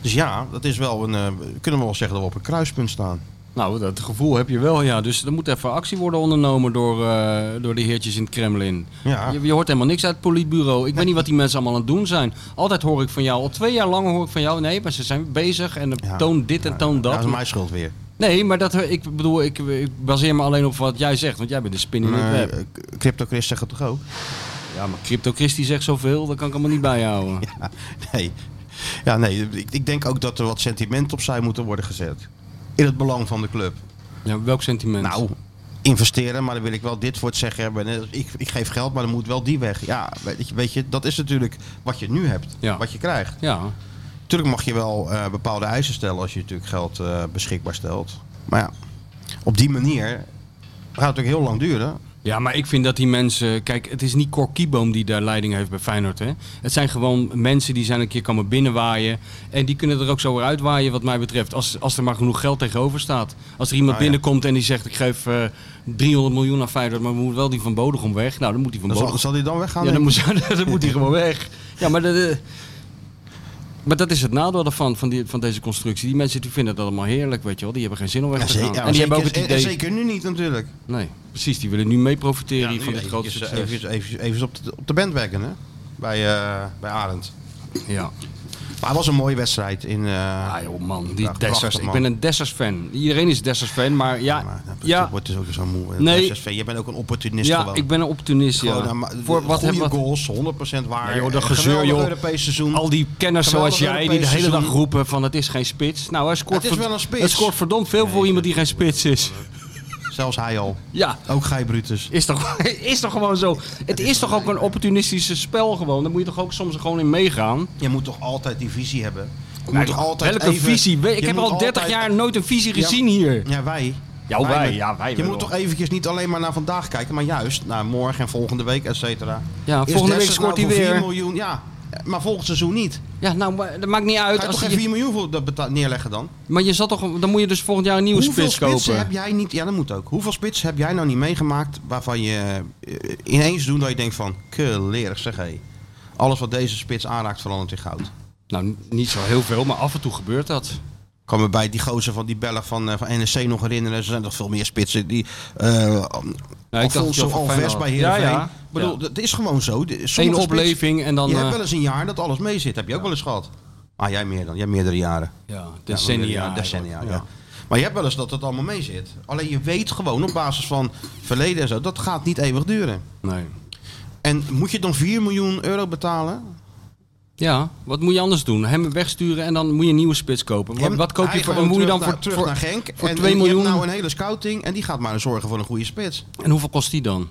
Dus ja, dat is wel een, eh, kunnen we wel zeggen dat we op een kruispunt staan. Nou, dat gevoel heb je wel, ja. Dus er moet even actie worden ondernomen door, eh, door de heertjes in het Kremlin. Ja. Je, je hoort helemaal niks uit het politbureau. Ik weet niet wat die mensen allemaal aan het doen zijn. Altijd hoor ik van jou, al twee jaar lang hoor ik van jou... nee, maar ze zijn bezig en Ja. toon dit en toon dat. Dat is mijn schuld weer. Nee, maar dat, ik bedoel, ik, ik baseer me alleen op wat jij zegt. Want jij bent de spin in het Maar, web. eh, Crypto Chris zegt het toch ook? *laughs* Ja, maar Crypto Christie zegt zoveel, dat kan ik allemaal niet bijhouden. *laughs* Ja, nee. Ja, nee. Ik, ik denk ook dat er wat sentiment opzij moeten worden gezet. In het belang van de club. Ja, welk sentiment? Nou, investeren, maar dan wil ik wel dit voor het zeggen hebben. En, eh, Ik, ik geef geld, maar dan moet wel die weg. Ja, weet je, weet je dat is natuurlijk wat je nu hebt. Ja. Wat je krijgt. Ja, Natuurlijk mag je wel eh, bepaalde eisen stellen als je natuurlijk geld eh, beschikbaar stelt. Maar ja, op die manier gaat het natuurlijk heel lang duren Ja, maar ik vind dat die mensen... Kijk, het is niet Cor Kieboom die daar leiding heeft bij Feyenoord. Hè? Het zijn gewoon mensen die zijn een keer komen binnenwaaien. En die kunnen er ook zo weer uitwaaien wat mij betreft. Als, als er maar genoeg geld tegenover staat. Als er iemand Nou ja. binnenkomt en die zegt... Ik geef eh 300 miljoen aan Feyenoord, maar we moeten wel die van Bodegom weg. Nou, dan moet die van Dan zal, Bodegom... zal die dan weggaan? Ja, dan denk moet, *laughs* dan moet die gewoon weg. Ja, maar dat, eh, maar dat is het nadeel ervan, van, die, van deze constructie. Die mensen die vinden dat allemaal heerlijk, weet je wel. Die hebben geen zin om weg ik? te Ja, gaan. zeker, ja, en die hebben ook zeker- het en- en idee... zeker nu niet natuurlijk. Nee, precies. Die willen nu mee profiteren Ja, hier van nu dit grote eventjes, succes. Even, even, even op, de, op de band werken, hè? Bij, eh bij Arend. Ja. Maar het was een mooie wedstrijd. In, eh, Ah joh, man. Die Ja, Dessers. prachtig, Ik man. ben een Dessers-fan. Iedereen is Dessers-fan, maar ja... maar dat ja, wordt dus ook zo moe. Nee. SSV, Jij bent ook een opportunist ja, gewoon. ik ben een opportunist, ja. Gewoon, nou, maar- Voor wat goede hebben we... goals, 100% waar. Ja, joh, dat Een gezeur, geweldig joh. Europees seizoen. Al die kenners zoals Geweldig jij, die de Europees hele dag seizoen. roepen van het is geen spits. Nou, hij scoort, Het is verd- wel een spits. hij scoort verdomd veel voor iemand die geen spits is. Zelfs hij al. Ja, Ook Gij Brutus. Is toch, *laughs* is toch gewoon zo. Het is toch ook een opportunistische spel gewoon. Daar moet je toch ook soms gewoon in meegaan. Je moet toch altijd die visie hebben. Je moet toch altijd Welke even- visie? We- Ik je heb moet al 30 altijd- jaar nooit een visie gezien hier. Ja, wij. Ja, wij. maar- Ja, wij Je wel. moet toch eventjes niet alleen maar naar vandaag kijken, maar juist naar morgen en volgende week, et cetera. Is Ja, volgende week Dessers scoort nou hij voor 4 weer. miljoen, ja, maar volgend seizoen niet. Ja, nou, maar dat maakt niet Ga uit. je Als toch je- geen 4 miljoen voor dat beta- neerleggen dan? maar je zat toch, dan moet je dus volgend jaar een nieuwe Hoeveel spits spitsen kopen. heb jij niet... Ja, dat moet ook. Hoeveel spitsen heb jij nou niet meegemaakt waarvan je eh, ineens doet dat je denkt van... Kelerig zeg hé. Alles wat deze spits aanraakt verandert in goud. Nou, n- niet zo heel veel, maar af en toe gebeurt dat. Ik kan me bij die gozer van die Belg van, eh, van NEC nog herinneren. Er zijn nog veel meer spitsen. Die, eh dacht Alfonso dat je al van Alves Feyenoord- bij Heerenveen. Ja, ja. Ik bedoel, Ja. dat is gewoon zo. De- sommige Eén spitsen- opleving en dan... Je eh, hebt wel eens een jaar dat alles mee zit. Heb je ook wel eens gehad? Ah, jij meer dan. Jij hebt meerdere jaren. ja, Ja, decennia. ja, decennia, ja. eigenlijk. Maar je hebt wel eens dat het allemaal mee zit. Alleen je weet gewoon op basis van verleden en zo, dat gaat niet eeuwig duren. Nee. En moet je dan 4 miljoen euro betalen? Ja, wat moet je anders doen? Hem wegsturen en dan moet je een nieuwe spits kopen. Wat, Hem- wat koop hij je voor? gewoon En moet je terug dan naar, voor, terug voor, naar Genk? voor en, 2 en Je miljoen? hebt nou een hele scouting en die gaat maar zorgen voor een goede spits. En hoeveel kost die dan?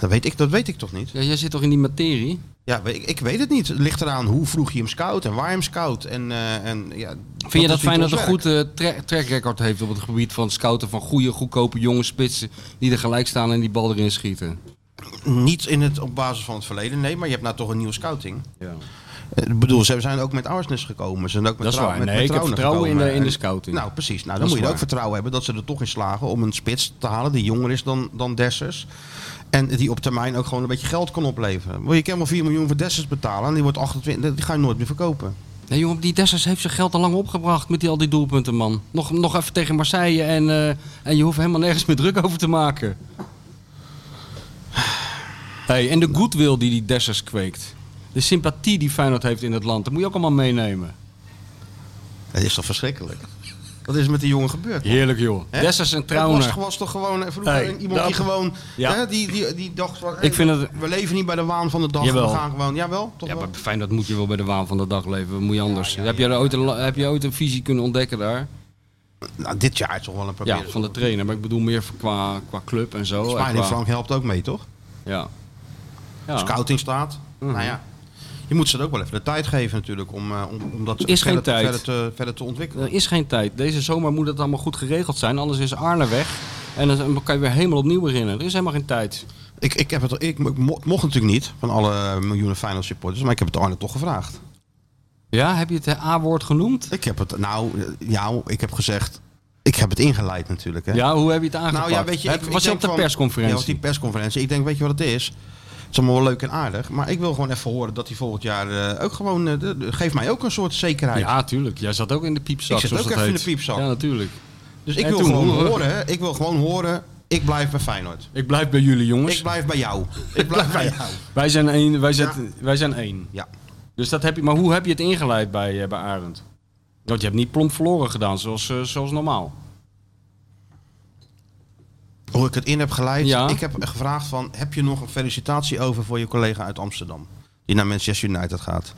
Dat weet ik, dat weet ik toch niet? Ja, jij zit toch in die materie? Ja, we- ik, ik weet het niet. Het ligt eraan hoe vroeg je hem scout en waar je hem scout. En, eh, en, ja, Vind je dat is niet fijn dat ons een werk. goed eh, tra- track record heeft op het gebied van scouten van goede, goedkope jonge spitsen die er gelijk staan en die bal erin schieten? Niet in het, op basis van het verleden, nee. Maar je hebt nou toch een nieuwe scouting. Ja. Eh, Ik bedoel, ze zijn ook met Arsnes gekomen. Ze zijn ook met Dat is Trau- waar. met- Nee, met ik heb Trauner vertrouwen in de, gekomen. in de En- scouting. Nou, precies. Nou, Dat dan is moet je er ook waar. vertrouwen hebben dat ze er toch in slagen om een spits te halen die jonger is dan, dan Dessers. En die op termijn ook gewoon een beetje geld kan opleveren. Wil je kan wel 4 miljoen voor Dessers betalen en die wordt 28, die ga je nooit meer verkopen. Nee, jongen, die Dessers heeft zijn geld al lang opgebracht met die, al die doelpunten, man. Nog, nog even tegen Marseille en, eh, en je hoeft helemaal nergens meer druk over te maken. Hey, en de goodwill die die Dessers kweekt. De sympathie die Feyenoord heeft in het land, dat moet je ook allemaal meenemen. Dat is toch verschrikkelijk? Wat is er met die jongen gebeurd? Heerlijk, joh. Hè? Dessers en Het was, Trauner. was toch gewoon eh, vroeger Hey, iemand dat- die gewoon Ja. hè, die, die, die dacht van, Ik vind dat- we leven niet bij de waan van de dag. Jawel. We gaan gewoon, jawel, toch Ja, wel? maar fijn, dat moet je wel bij de waan van de dag leven. Wat moet je anders? Heb, je er ooit een, la- heb je ooit een visie kunnen ontdekken daar? Nou, dit jaar is toch wel een probleem. Ja, van de trainer. Maar ik bedoel meer qua, qua club en zo. en Spanje qua- en Frank helpt ook mee, toch? Ja. Ja. Mhm. Scouting staat. Nou ja, je moet ze er ook wel even de tijd geven natuurlijk om, eh, om, om dat Is geen verder, tijd. Verder, te, verder te ontwikkelen. Er is geen tijd. Deze zomer moet het allemaal goed geregeld zijn. Anders is Arne weg. En dan- dan kan je weer helemaal opnieuw beginnen. Er is helemaal geen tijd. Ik, ik, heb het, ik mo- mocht natuurlijk niet van alle miljoenen final supporters, maar ik heb het Arne toch gevraagd. Ja, heb je het eh, A-woord genoemd? Ik heb het, nou, eh, jou, ik heb gezegd, ik heb het ingeleid natuurlijk. Hè. Ja, hoe heb je het aangepakt? Nou ja, weet je, Heb- ik, was ik je denk op de van- persconferentie? Ja, op die persconferentie. Ik denk, weet je wat het is? Het is allemaal wel leuk en aardig, maar ik wil gewoon even horen dat hij volgend jaar eh, ook gewoon, eh, de- de- geef mij ook een soort zekerheid. Ja, tuurlijk. Jij zat ook in de piepzak. Ik zit zoals ook dat even in heet. de piepzak. Ja, natuurlijk. Dus ik En wil toen? gewoon horen, ik wil gewoon horen, ik blijf bij Feyenoord. Ik blijf bij jullie, jongens. Ik blijf bij *laughs* jou. Ik blijf bij jou. Wij zijn één. Wij zijn, Ja. wij zijn één. Ja. Dus dat heb je, maar hoe heb je het ingeleid bij, eh, bij Arend? Want je hebt niet plomp verloren gedaan, zoals, eh, zoals normaal. Hoe ik het in heb geleid. Ja. Ik heb gevraagd van, heb je nog een felicitatie over voor je collega uit Amsterdam? Die naar Manchester United gaat.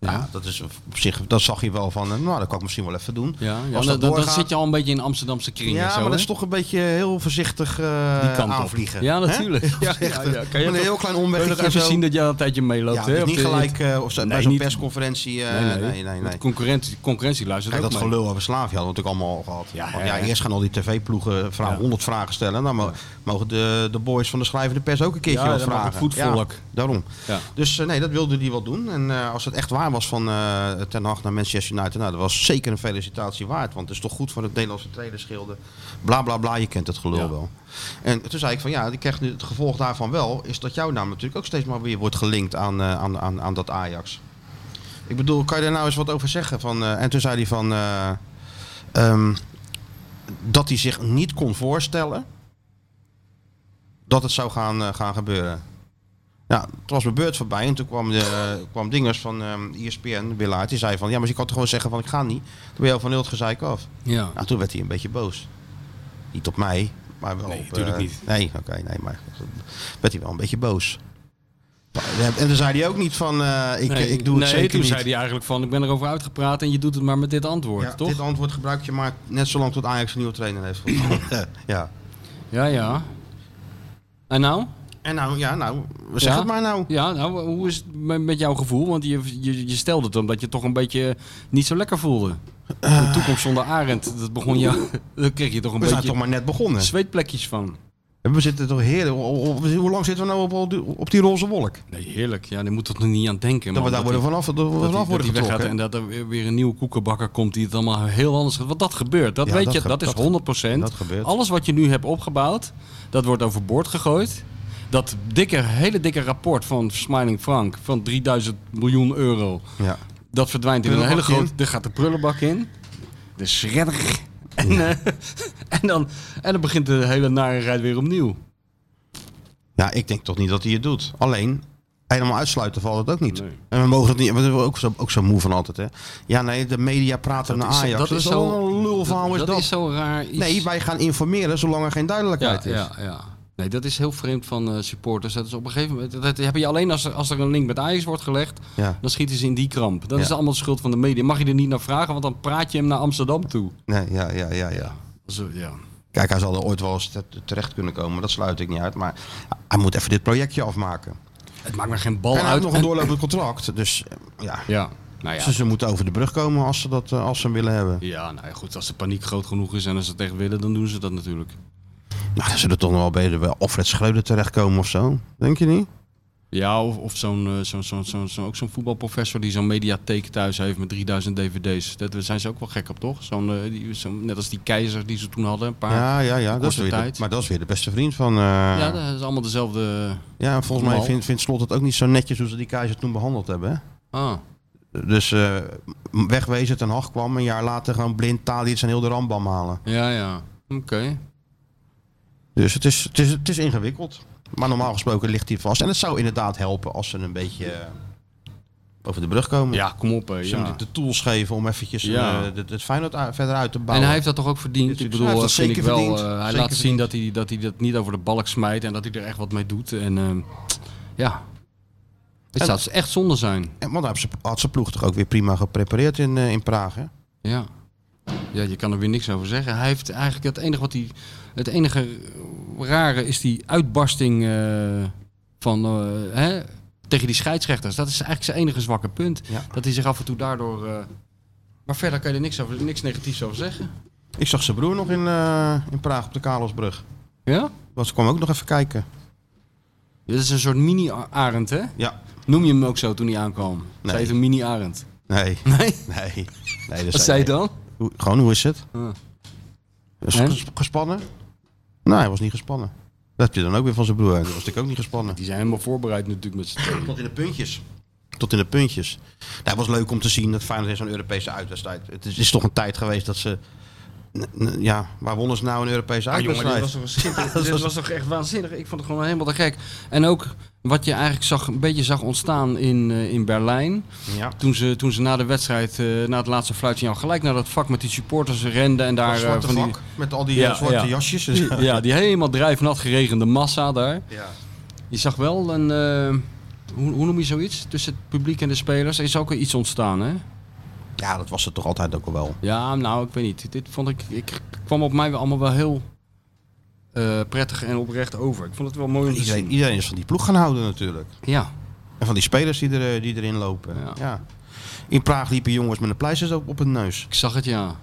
Ja, dat is op zich, dat zag je wel van, eh, nou, dat kan ik misschien wel even doen. Ja, ja Als dan, dat dan- dan doorgaat- zit je al een beetje in Amsterdamse kringen. Ja, zo, maar hè? dat is toch een beetje heel voorzichtig eh, Die kant op. aanvliegen. Ja, hè? *laughs* natuurlijk. Ja, ja, Voorzichtig. ja. Kan Met je een toch- eh, heel klein Wil je nog omwegje even zo. zien dat je al een tijdje meeloopt? ja, hè, dus op niet de- gelijk eh, of zo, Nee, bij zo'n niet. persconferentie. eh, Nee, nee, nee. nee, nee. Want Concurrentie, concurrentie luistert Kijk, ook dat mee. gelul over Slavia hadden we natuurlijk allemaal al gehad. Ja, hè. ja, eerst gaan al die tv-ploegen vragen, Ja. 100 vragen stellen. Dan mo- mogen de, de boys van de schrijvende pers ook een keertje Ja, wat dan mag vragen. het voetvolk. Ja, daarom. Ja. Dus eh, nee, dat wilde hij wel doen. En eh, als het echt waar was van eh, Ten Hag naar Manchester United, nou, dat was zeker een felicitatie waard. Want het is toch goed voor het Nederlandse trainerschilde. Bla bla bla, je kent het gelul Ja. wel. En toen zei ik van ja, ik krijg nu het gevolg daarvan wel, is dat jouw naam natuurlijk ook steeds maar weer wordt gelinkt aan, eh, aan, aan, aan dat Ajax. Ik bedoel, kan je daar nou eens wat over zeggen? Van, eh, en toen zei hij van eh, ehm, dat hij zich niet kon voorstellen dat het zou gaan, eh, gaan gebeuren. Ja, het was mijn beurt voorbij en toen kwam, de, kwam Dingers van ehm ESPN, Willaert, die zei van... Ja, maar je kan toch gewoon zeggen van ik ga niet. Toen ben je al van heel het gezeik af. Ja. Nou, toen werd hij een beetje boos. Niet op mij, maar wel op... tuurlijk eh, niet. Nee, oké, nee, maar toen werd hij wel een beetje boos. En toen zei hij ook niet van eh, ik, Nee, ik doe het nee, zeker toen niet. zei hij eigenlijk van, ik ben erover uitgepraat en je doet het maar met dit antwoord, Ja, toch? Dit antwoord gebruik je maar net zolang tot Ajax een nieuwe trainer heeft *laughs* gevonden. ja. Ja, ja. En nou? En nou, ja, nou, zeg Ja? het maar nou. Ja, nou, hoe is het me- met jouw gevoel? Want je, je, je stelde het omdat je het toch een beetje niet zo lekker voelde. De toekomst zonder Arend, dat *laughs* begon jou... *laughs* Daar kreeg je toch een We zijn beetje toch maar net begonnen. zweetplekjes van. We zitten toch heerlijk. o- o- o- Hoe lang zitten we nou op- op, die- op die roze wolk? Nee, heerlijk. Ja, daar moet toch nog niet aan denken. Dat we man. daar worden die- vanaf, dat we Nou, dat die- vanaf worden dat die weggaat getrokken. En dat er weer- weer een nieuwe koekenbakker komt die het allemaal heel anders gaat. Want dat gebeurt. Dat Ja, weet dat je, ge- dat is dat ge- 100%. dat gebeurt. Alles wat je nu hebt opgebouwd, dat wordt overboord gegooid. Dat dikke, hele dikke rapport van Smiling Frank van 3000 miljoen euro. Ja. Dat verdwijnt in een hele Prullenbak grote... Er gaat de prullenbak in. De shredder. En, eh, *laughs* en, dan, en dan begint de hele narigheid weer opnieuw. ja, ik denk toch niet dat hij het doet. Alleen, helemaal uitsluiten valt het ook niet. Nee. En we mogen het niet, we zijn ook zo, ook zo moe van altijd. Hè. Ja, nee, de media praten naar is- Ajax. Dat, is zo'n lulverhaal is dat dat. is zo raar iets. Nee, wij gaan informeren zolang er geen Ja, duidelijkheid is. ja, ja. Nee, dat is heel vreemd van eh, supporters. Dat is op een gegeven moment. Dat heb je alleen als er, als er een link met Ajax wordt gelegd. Ja. Dan schieten ze in die kramp. Dat Ja. is allemaal de schuld van de media. Mag je er niet naar vragen, want dan praat je hem naar Amsterdam toe. Nee, ja, ja, ja, ja. Zo, ja. Kijk, hij zal er ooit wel eens te- terecht kunnen komen. Dat sluit ik niet uit. Maar hij moet even dit projectje afmaken. Het maakt maar geen bal en hij uit. heeft nog een En- doorlopend contract. Dus eh, ja. Ja, nou ja. Ze, ze moeten over de brug komen als ze, dat, eh, als ze hem willen hebben. Ja, nou ja, goed. Als de paniek groot genoeg is en als ze het echt willen, dan doen ze dat natuurlijk. Nou, dan zullen toch nog wel bij de Alfred Schreuder terechtkomen of zo. Denk je niet? Ja, of, of zo'n, eh, zo'n, zo'n, zo'n, zo'n- ook zo'n voetbalprofessor die zo'n mediatheek thuis heeft met 3000 dvd's. Dat, daar zijn ze ook wel gek op, toch? Zo'n, eh, die, zo'n, net als die keizer die ze toen hadden, een paar. ja, ja, ja. Dat is Ah, korte weer de, tijd. maar dat is weer de beste vriend van... eh, Ja, ja, dat is allemaal dezelfde. volgens mij Mal. vindt, vindt Slot het ook niet zo netjes hoe ze die keizer toen behandeld hebben. hè? Ah, Dus eh, wegwezen, Ten Hag kwam een jaar later gewoon blind Tadic en heel de rambam halen. ja, ja. Oké. Dus het is, het, is, het is ingewikkeld. Maar normaal gesproken ligt hij vast. En het zou inderdaad helpen als ze een beetje eh, over de brug komen. Ja, kom op. Hè, Ze hem ja. de tools geven om eventjes Ja. eh, het, het Feyenoord uit- verder uit te En bouwen. hij heeft dat toch ook verdiend? Dit Ik is- bedoel, hij heeft dat dat vind ik zeker wel. verdiend. eh, hij Zeker laat zien verdiend. dat hij, dat hij dat niet over de balk smijt en dat hij er echt wat mee doet. En ehm, ja. Het En- zou echt zonde zijn. En, want hij had zijn- had zijn ploeg toch ook weer prima geprepareerd in, eh, in Praag. Hè? Ja. Ja, je kan er weer niks over zeggen. Hij heeft eigenlijk het enige wat hij. Het enige rare is die uitbarsting eh, van. eh, hè, tegen die scheidsrechters. Dat is eigenlijk zijn enige zwakke punt. Ja. Dat hij zich af en toe daardoor. eh, maar verder kan je er niks, over, niks negatiefs over zeggen. Ik zag zijn broer nog in, eh, in Praag op de Karlsbrug. Ja? Want ze kwam ook nog even kijken. Dit is een soort mini-arend, hè? Ja. Noem je hem ook zo toen hij aankwam? Nee. Zij heet een mini-arend. Nee. Nee? Nee. nee dat Wat zei je dan? Hoe- gewoon, hoe is het? Ah. Is Hè? ges- gespannen? Nou, hij was niet gespannen. Dat heb je dan ook weer van zijn broer. Dat was natuurlijk ook niet gespannen. Die zijn helemaal voorbereid natuurlijk met z'n tweeën. Tot in de puntjes. Tot in de puntjes. Nou, het was leuk om te zien dat Feyenoord in zo'n Europese uitwedstrijd... Het is, is toch een tijd geweest dat ze... n- n- Ja, waar wonnen ze nou een Europese Ah, jongen, dit uitwedstrijd? was, toch een *laughs* schitterend- dit Dus was toch echt waanzinnig. Ik vond het gewoon helemaal te gek. En ook wat je eigenlijk zag, een beetje zag ontstaan in, eh, in Berlijn. Ja. Toen ze, toen ze na de wedstrijd, eh, na het laatste fluitje, gelijk naar dat vak met die supporters renden. En daar Dat eh, zwarte van vak met al die Ja, eh, zwarte *laughs* ja. jasjes. die, *laughs* ja, die helemaal drijfnat geregende massa daar. Ja. Je zag wel een, eh, hoe, hoe noem je zoiets? Tussen het publiek en de spelers. Er is ook wel iets ontstaan, hè? Ja, dat was het toch altijd ook al wel. Ja, nou, ik weet niet. Dit vond ik, ik kwam op mij wel allemaal wel heel eh, prettig en oprecht over. Ik vond het wel mooi om te Iedereen, zien. iedereen is van die ploeg gaan houden natuurlijk. Ja, En van die spelers die, er, eh, die erin lopen. Ja. Ja. In Praag liepen jongens met een pleisters op, op hun neus. ik zag het, ja.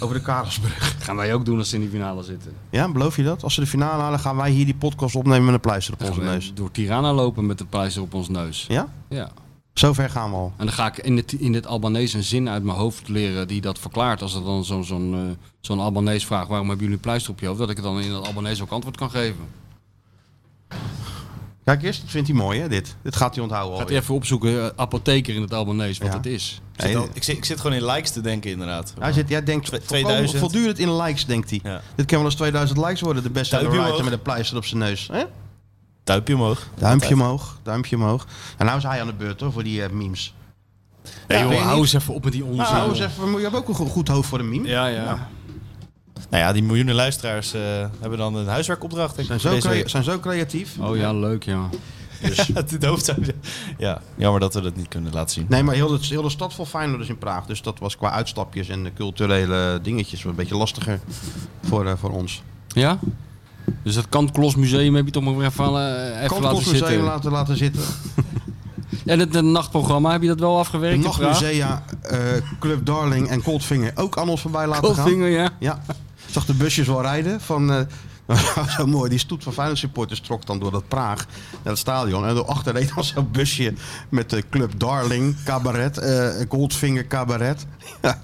Over de Karelsbrug. Dat *laughs* gaan wij ook doen als ze in die finale zitten. Ja, beloof je dat? Als ze de finale halen, gaan wij hier die podcast opnemen met een pleister op Dan onze gaan we neus. Door Tirana lopen met de pleister op ons neus. Ja? Ja. Zover gaan we al. En dan ga ik in het, in het Albanese een zin uit mijn hoofd leren die dat verklaart. Als er dan zo'n zo'n eh, zo'n Albanees vraagt, waarom hebben jullie een pleister op je hoofd? Dat ik het dan in het Albanese ook antwoord kan geven. Kijk eens, dat vindt hij mooi hè, dit. Dit gaat hij onthouden al. Gaat even opzoeken, eh, apotheker in het Albanese, wat Ja. het is. Ik zit, al- ik, zit, ik zit gewoon in likes te denken, inderdaad. Hij zit, jij denkt Twe- volkomen- 2000. voortdurend in likes, denkt hij. Ja. Dit kan wel eens 2000 likes worden, de beste Duimpje writer omhoog. met een pleister op zijn neus. Hè? Duimpje omhoog. Duimpje omhoog, duimpje omhoog. En nou is hij aan de beurt hoor, voor die eh, memes. Hey, joh, weet je hou niet. eens even op met die onzin. Nou, hou eens even, je hebt ook een go- goed hoofd voor een meme. Oh. Ja, ja. Nou ja, die miljoenen luisteraars eh, hebben dan een huiswerkopdracht. denk Zijn ik, voor zo, deze crea- week. *laughs* zijn zo creatief. Oh ja, leuk ja. Het hoofd uit- Ja, jammer dat we dat niet kunnen laten zien. Nee, maar heel de, heel de stad vol Feyenoorders in Praag. Dus dat was qua uitstapjes en de culturele dingetjes wel een beetje lastiger voor, eh, voor ons. Ja? Dus dat Kant Klos Museum heb je toch maar weer even, eh, even Kan laten het museum zitten. laten, laten zitten. En het, het nachtprogramma, heb je dat wel De afgewerkt? in Praag? Nachtmusea, eh, Club Darling en Coldfinger ook aan ons voorbij laten gaan. Goldvinger, ja. Ja, ik zag de busjes wel rijden. Van, eh, *laughs* zo mooi, die stoet van Feyenoord supporters trok dan door dat Praag naar het stadion. En daarachter reed dan zo'n busje met de club Darling, cabaret, eh, Goldfinger cabaret. *laughs* Ja.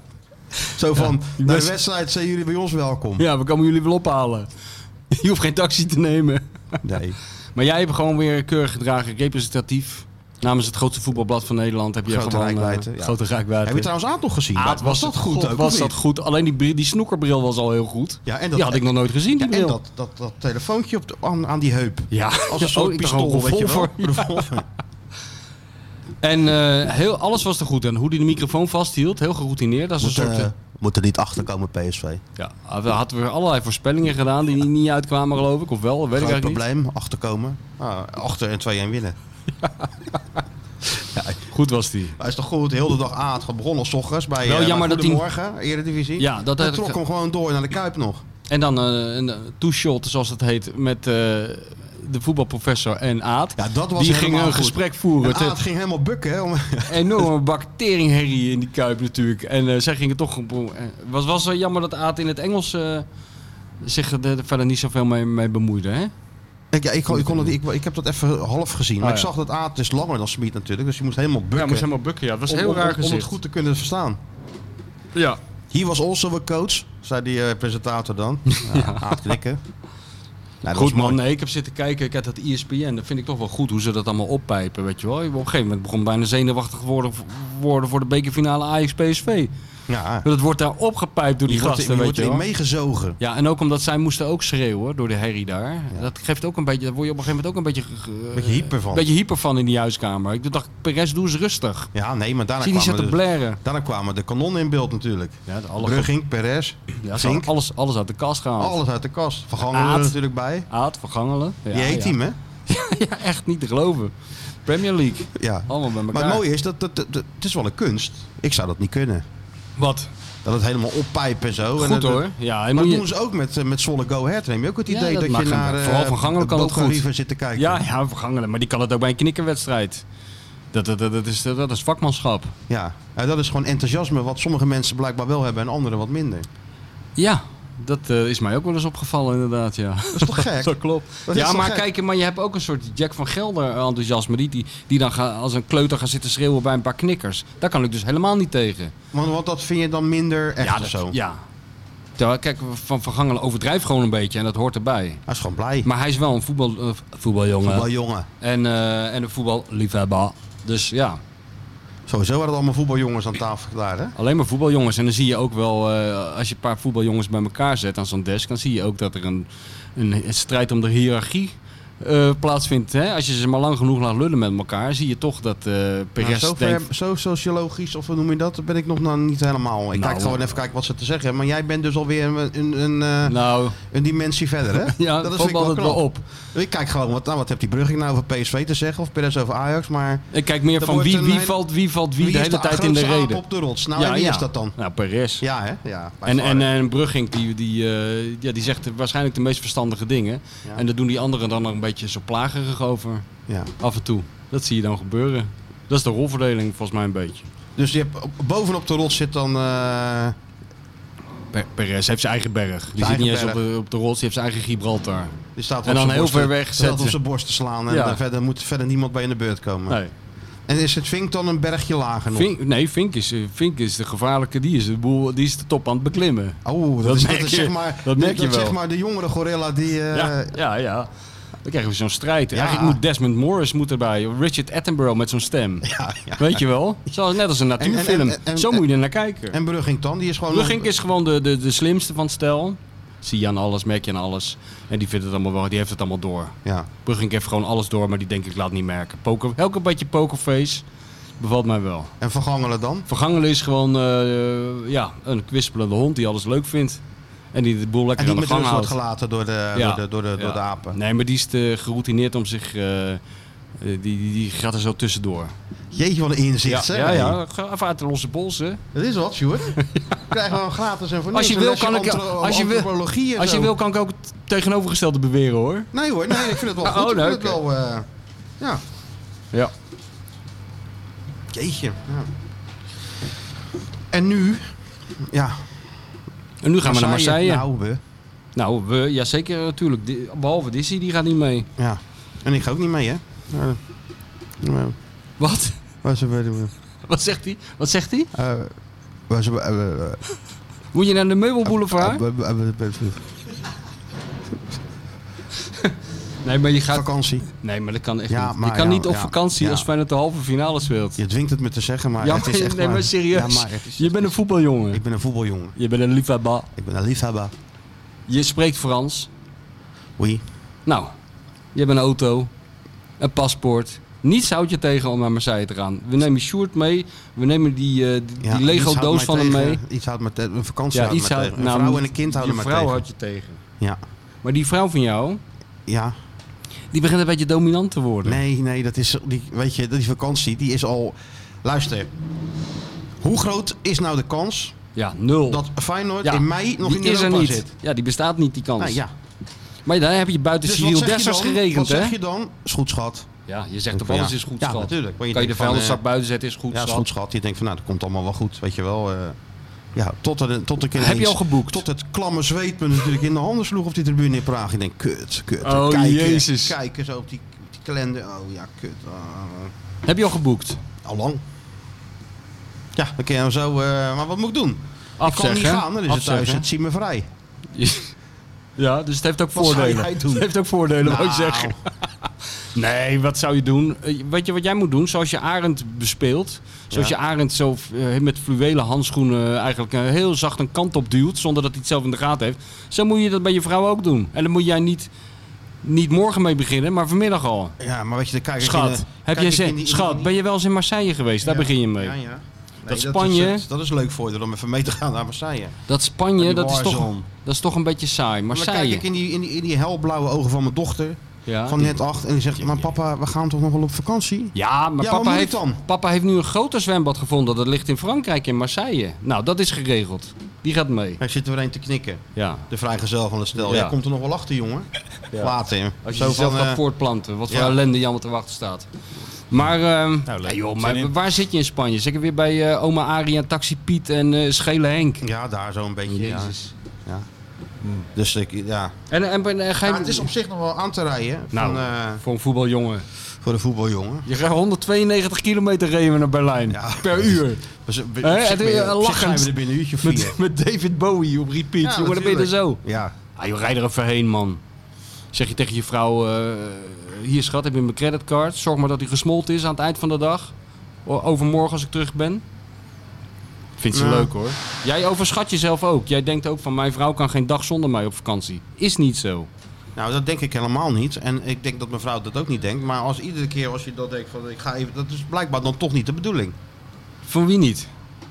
Zo van, naar de best- wedstrijd zijn jullie bij ons welkom. Ja, we komen jullie wel ophalen. Je hoeft geen taxi te nemen. Nee. Maar jij hebt gewoon weer keurig gedragen, representatief. Namens het grootste voetbalblad van Nederland heb je Grote gewoon... eh, rijkwijde, ja. Grote rijkwijde. Heb je trouwens Aad nog gezien? Aad, was dat goed? ook, of was niet? dat goed? Alleen die, bril- die snoekerbril was al heel goed. Ja, en dat, Die had ik nog nooit gezien, die en bril. dat, dat, dat telefoontje op de, aan, aan die heup. Ja, oh, Als een soort ik dacht pistool, gewoon weet je wel. revolver. Revolver. En eh, heel, alles was er goed. En hoe hij de microfoon vasthield, heel geroutineerd. Dat is Moet, een *laughs* soort... eh, eh, moet er niet achter komen, PSV. Ja, we hadden weer allerlei voorspellingen gedaan die niet uitkwamen, geloof ik. Of wel, dat weet ik Geen eigenlijk probleem, achterkomen. Ah, achter en 2-1 winnen. niet. Goed was die. Hij is toch goed, heel de dag aan het begonnen, s ochtends bij, Wel eh, jammer bij dat hij- Goedemorgen, Eredivisie. Ja, dat Hij had ik trok ge- hem gewoon door naar de Kuip nog. En dan eh, een two-shot, zoals dat heet, met eh, de voetbalprofessor en Aad. Ja, dat was die helemaal gingen een goed. gesprek voeren. En Het Aad ging helemaal bukken. Hè, om, *laughs* een enorme bak teringherrie in die kuip natuurlijk. En eh, zij gingen toch... Het was, was wel jammer dat Aad in het Engels eh, zich er er verder niet zoveel mee, mee bemoeide. Hè? ik, ja, ik, kon- ik, kon het, ik, ik heb dat even half gezien. Maar Ah, ik ja. zag dat Aad is langer dan Smit natuurlijk. Dus hij moest helemaal bukken. Ja, moest helemaal bukken. Ja, het was om, heel om- raar om, om gezicht. het goed te kunnen verstaan. Ja. He was also a coach, zei die eh, presentator *laughs* dan. Ja, Aad knikken. Nou, dat was Goed mooi. man, nee, ik heb zitten kijken, ik had E dat ESPN, dat vind ik toch wel goed hoe ze dat allemaal oppijpen, weet je wel. Op een gegeven moment begon ik bijna zenuwachtig te worden, worden voor de bekerfinale Ajax-PSV. Ja, Dat wordt daar opgepijpt door die die wordt, gasten, die weet wordt je wel. erin meegezogen. Ja, en ook omdat zij moesten ook schreeuwen door de herrie daar. Dat geeft ook een beetje, daar word je op een gegeven moment ook een beetje, ge- Beetje hyper van. Eh, beetje hyper van in die huiskamer. Ik dacht, Perez, doe eens rustig. Ja, nee, maar daarna Zie die kwamen, dus. zit te de, blaren. daarna kwamen de kanonnen in beeld natuurlijk. Ja, de alle- Brugging, Perez, Ja, ze Vink. hadden alles, alles uit de kast gehaald. Alles uit de kast. Vergangen Aad. er natuurlijk bij. Aad, vergangelen. Ja, Die heet Ah, ja. team, hè? *laughs* Ja, echt niet te geloven. Premier League. Ja. Allemaal bij elkaar. Maar het mooie is, dat, dat, dat- dat- het is wel een kunst. Ik zou dat niet kunnen. Wat? Dat het helemaal oppijpen en zo. en Goed dat- hoor. Ja, Maar en moet dat je- doen ze ook met, eh, met Zwolle Go Ahead. Dan heb je ook het Ja, idee dat dat, mag je hem. naar eh, Vooral Van Gangelen de kan dat Boca goed. River zit te kijken. Ja, ja, vergangelen. Maar die kan het ook bij een knikkerwedstrijd. Dat, dat, dat, dat is, dat is vakmanschap. Ja. Ja, dat is gewoon enthousiasme wat sommige mensen blijkbaar wel hebben en anderen wat minder. Ja, dat eh, is mij ook wel eens opgevallen inderdaad, ja. Dat is toch gek? *laughs* Dat klopt. Dat is ja, toch maar gek? kijk, maar je hebt ook een soort Jack van Gelder enthousiasme. Die, die, die dan gaat- als een kleuter gaat zitten schreeuwen bij een paar knikkers. Daar kan ik dus helemaal niet tegen. Want, want dat vind je dan minder echt ja, of dat- zo. Ja. Terwijl, kijk, Van Vergangelen overdrijft gewoon een beetje en dat hoort erbij. Hij is gewoon blij. Maar hij is wel een voetbal, eh, voetbaljongen Voetbaljongen. jongen. En, eh, en een voetballiefhebber. Dus ja, Sowieso waren het allemaal voetbaljongens aan tafel daar, hè? Alleen maar voetbaljongens. En dan zie je ook wel, eh, als je een paar voetbaljongens bij elkaar zet aan zo'n desk, dan zie je ook dat er een, een, strijd om de hiërarchie eh, plaatsvindt. Hè? Als je ze maar lang genoeg laat lullen met elkaar, zie je toch dat eh Perez Nou, zo, ver, denkt... zo sociologisch, of hoe noem je dat, ben ik nog nou niet helemaal. Ik Nou, kijk gewoon even kijken wat ze te zeggen hebben. Maar jij bent dus alweer een, een, een, eh, Nou, een dimensie verder, hè? *laughs* ja, dat dat is valt me altijd wel op. Ik kijk gewoon, wat, nou, wat heeft die Brugging nou over PSV te zeggen? Of Perez over Ajax? Maar Ik kijk meer Dat van wordt wie, een wie hele- valt wie, valt wie, de is hele tijd in de grootste aap reden. op de rots? Nou, Ja, en wie ja. is dat dan? Nou, Perez. Ja, hè? Ja, bij En, Varre. en, en Brugging, die, die, eh, ja, die zegt waarschijnlijk de meest verstandige dingen. Ja. En daar doen die anderen dan nog een beetje zo plagerig over. ja. Af en toe. Dat zie je dan gebeuren. Dat is de rolverdeling volgens mij een beetje. Dus je hebt, op- bovenop de rots zit dan... eh, Per Perez heeft zijn eigen berg. Die zit eigen niet eens op berg. de, op de rots, die heeft zijn eigen Gibraltar. die staat En dan heel ver weg Zet op zetten. zijn borst te slaan. En Ja. daar verder moet verder niemand bij in de beurt komen. Nee, En is het Vink dan een bergje lager nog? Vink, nee Vink, is, eh, Vink is de gevaarlijke. Die is de, boel, die is de top aan het beklimmen. Oh, dat, Dat is, dat merk is je- zeg maar, dat merk je is zeg wel. maar de jongere gorilla die... eh, ja, ja, ja. Dan krijgen we zo'n strijd. Ja. Eigenlijk moet Desmond Morris moet erbij. Richard Attenborough met zo'n stem. ja, ja. Weet je wel? Zoals, net als een natuurfilm. en- en- en- Zo moet je er naar kijken. En Brugging dan, die is gewoon... Brugink is gewoon de, de, de slimste van het stel. Zie je aan alles, merk je aan alles. En die vindt het allemaal wel, die heeft het allemaal door. Ja. Brugink heeft gewoon alles door, maar die denk ik laat niet merken. Poker, elke beetje pokerface bevalt mij wel. En Vergangelen dan? Vergangelen is gewoon eh, ja, een kwispelende hond die alles leuk vindt. En die de boel En lekker die aan de met gang rust wordt houdt. gelaten door de, Ja. door de, door de, door de Ja. apen. Nee, maar die is te geroutineerd om zich... eh, eh, die, die, die gaat er zo tussendoor. Jeetje, wat een inzicht, ja, zeg. ja, ja, ga even uit de losse bols, hè. Dat is wat, Sjoerd. *laughs* Krijgen we hem gratis en voor Als niks. je wil, Een lesje kan ik- antro- als je wil- antropologie en Als je zo. wil, kan ik ook het tegenovergestelde beweren, hoor. Nee hoor, nee, ik vind het wel *laughs* Oh, goed. ik vind leuk. het wel... eh, ja. Ja. Jeetje. Ja. En nu... Ja, En nu gaan we naar Marseille. Nou, we. Nou, we, ja zeker natuurlijk. Di- Behalve Dizzy, die gaat niet mee. Ja. En ik ga ook niet mee, hè? Ja. Ja. Wat? *laughs* Waar ze bij- Wat zegt hij? Wat zegt hij? eh, waar ze bij- eh, eh, Moet je naar de meubelboulevard? eh, eh, eh, eh, eh, Nee, maar je gaat... Vakantie. Nee, maar dat kan echt Ja, niet. maar je kan ja, niet op ja, vakantie ja. als Feyenoord de halve finale speelt. Je dwingt het me te zeggen, maar Ja, het is maar- echt nee, maar serieus. Ja, maar het is- Je bent een voetbaljongen. Ik ben een voetbaljongen. Je bent een liefhebber. Ik ben een liefhebber. Je spreekt Frans. Oui. Nou, je hebt een auto. Een paspoort. Niets houdt je tegen om naar Marseille te gaan. We nemen Sjoerd mee. We nemen die, Ja, eh, die, die iets houdt Lego-doos mij van hem tegen. mee. Iets houdt me te- Een vakantie Ja, houdt iets me houdt... tegen. Een nou, vrouw en een kind houden je me vrouw tegen. houdt je tegen. Ja. Maar die vrouw van jou, Ja. die begint een beetje dominant te worden. Nee, nee, dat is... Die, weet je, die vakantie, die is al... Luister. Hoe groot is nou de kans Ja, nul. dat Feyenoord Oh. ja, in mei nog die in is er Europa niet. zit? Ja, die bestaat niet, die kans. Nou, ja. Maar daar heb je buiten Dus wat Cyril zeg je Dessers dan? Wat geregend, hè? zeg je dan? Is goed, schat. Ja, je zegt toch Ja. alles is goed, Ja, schat. natuurlijk. Want je Kan je denkt de van, vuilniszak eh, buiten zetten, is goed, Ja, is schat. goed, schat. Je denkt van, nou, dat komt allemaal wel goed. Weet je wel. eh, ja, tot, er, tot ik Heb je ineens- al geboekt? Tot het klamme zweet me natuurlijk in de handen sloeg op die tribune in Praag. Ik denk, kut, kut. Oh, jezus. Kijken zo op die, op die kalender. Oh ja, kut. Ah, Heb je al geboekt? allang. Ja, dan kun je hem zo... eh, maar wat moet ik doen? Ik kan Afzeggen. niet gaan, dan is het thuis. Afzeggen. Het ziet me vrij. *laughs* Ja, dus het heeft ook Wat zou voordelen. jij doen? Het heeft ook voordelen, wou ik Nou, zeggen. Nee, wat zou je doen? Eh, Weet je wat jij moet doen? Zoals je Arend bespeelt. Zoals Ja. je Arend zo eh, met fluwelen handschoenen eigenlijk eh, heel zacht een kant op duwt. Zonder dat hij het zelf in de gaten heeft. Zo moet je dat bij je vrouw ook doen. En dan moet jij niet, niet morgen mee beginnen, maar vanmiddag al. Ja, maar weet je, dan kijk ik in de- Schat, heb kijk jij ik in zin? die- in Schat, die- ben je wel eens in Marseille geweest? Daar Ja. begin je mee. Ja, ja. Nee, Dat Spanje- Is, dat is leuk voor je, om even mee te gaan naar Marseille. Dat Spanje, Die dat is, toch, warzone. dat is toch een beetje saai. Maar dan kijk Marseille. ik in die, in, die, in die helblauwe ogen van mijn dochter. Ja, van net acht. En die zegt, maar papa, we gaan toch nog wel op vakantie? Ja, maar Ja, wat papa, moet ik heeft, dan? papa heeft nu een groter zwembad gevonden. Dat ligt in Frankrijk, in Marseille. Nou, dat is geregeld. Die gaat mee. Hij zit er weer een te knikken. Ja. De vrijgezel van het stel. Ja. Jij komt er nog wel achter, jongen. Later. hè. Als je Zo jezelf van, gaat eh, voortplanten. Wat voor ja. ellende jammer te wachten staat. Maar, ehm, Nou, leuk. ja, joh, Zin maar in. waar zit je in Spanje? Zeker weer bij eh, oma Aria, Taxi Piet en eh, Schele Henk. Ja, daar zo een beetje. Ja. Jezus. Ja. Dus ik, ja. En, en, en, eh, ga je- Maar het is op zich nog wel aan te rijden. hè, Nou. Van, eh, Voor een voetbaljongen. voor de voetbaljongen. Je gaat 192 kilometer rijden naar Berlijn. Ja. Per uur. Dus, op zich Hè, het ben is, je- eh, op zich lachend. zijn we er binnen een uurtje of vier. Met, met David Bowie op repeat. Ja, Jongen, dan ben je er natuurlijk. zo. Ja. Ah, joh, rij er even heen, man. Zeg je tegen je vrouw, eh, hier schat, heb je mijn creditcard. Zorg maar dat die gesmolten is aan het eind van de dag. O- Overmorgen als ik terug ben. Vindt ze Ja. leuk hoor. Jij overschat jezelf ook. Jij denkt ook van mijn vrouw kan geen dag zonder mij op vakantie. Is niet zo. Nou, dat denk ik helemaal niet. En ik denk dat mevrouw dat ook niet denkt. Maar als iedere keer als je dat denkt van ik ga even, dat is blijkbaar dan toch niet de bedoeling. Voor wie niet?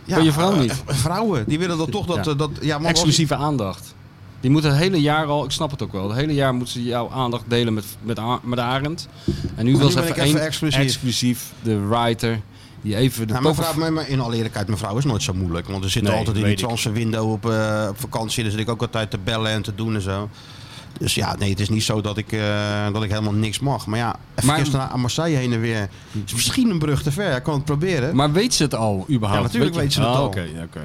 Van je vrouw eh, niet? eh, Vrouwen, die willen dan toch dat. Ja. eh, dat ja, maar als- Exclusieve aandacht. Die moeten het hele jaar al, ik snap het ook wel, het hele jaar moeten ze jouw aandacht delen met, met, A- met Arend. En nu nu wil ze ben even, ik even één exclusief. exclusief, de writer, die even de Nou, koffer- mevrouw, maar, maar in alle eerlijkheid, mevrouw is nooit zo moeilijk. Want er zitten Nee, altijd in die weet ik. transferwindow op, eh, op vakantie. Dan zit ik ook altijd te bellen en te doen en zo. Dus ja, nee, het is niet zo dat ik, eh, dat ik helemaal niks mag. Maar ja, even Maar- gisteren naar Marseille heen en weer. Is misschien een brug te ver. Ik kan het proberen. Maar weet ze het al, überhaupt? Ja, natuurlijk weet ze het Oh, al. Oké, oké.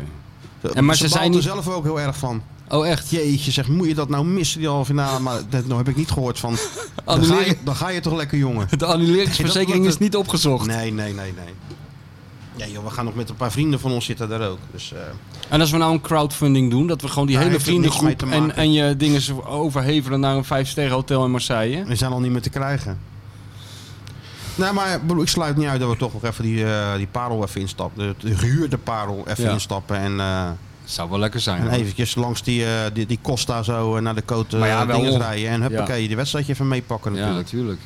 en maar ze baalt zijn er niet- Eh, zelf ook heel erg van. Oh, echt? Jeetje, zeg, moet je dat nou missen, die halve finale? Maar dat nou heb ik niet gehoord *laughs* van. Dan ga je, Annuleren. dan ga je toch lekker, jongen. De annuleringsverzekering dat- is niet opgezocht. Nee, nee, nee, nee. Ja, joh, we gaan nog met een paar vrienden van ons zitten daar ook. Dus, eh, En als we nou een crowdfunding doen, dat we gewoon die Daar hele heeft het niks vriendengroep mee te en, maken. en je dingen zo overhevelen naar een vijfsterren hotel in Marseille. We zijn al niet meer te krijgen. Nou, maar ik bedoel, ik sluit niet uit dat we toch nog even die, eh, die parel even instappen. De, de gehuurde parel even Ja. instappen. En, eh, Zou wel lekker zijn. en hoor. eventjes langs die, eh, die, die Costa zo eh, naar de cote Maar ja, eh, wel dingen om. rijden. En huppakee, die wedstrijdje even meepakken ja, natuurlijk. natuurlijk.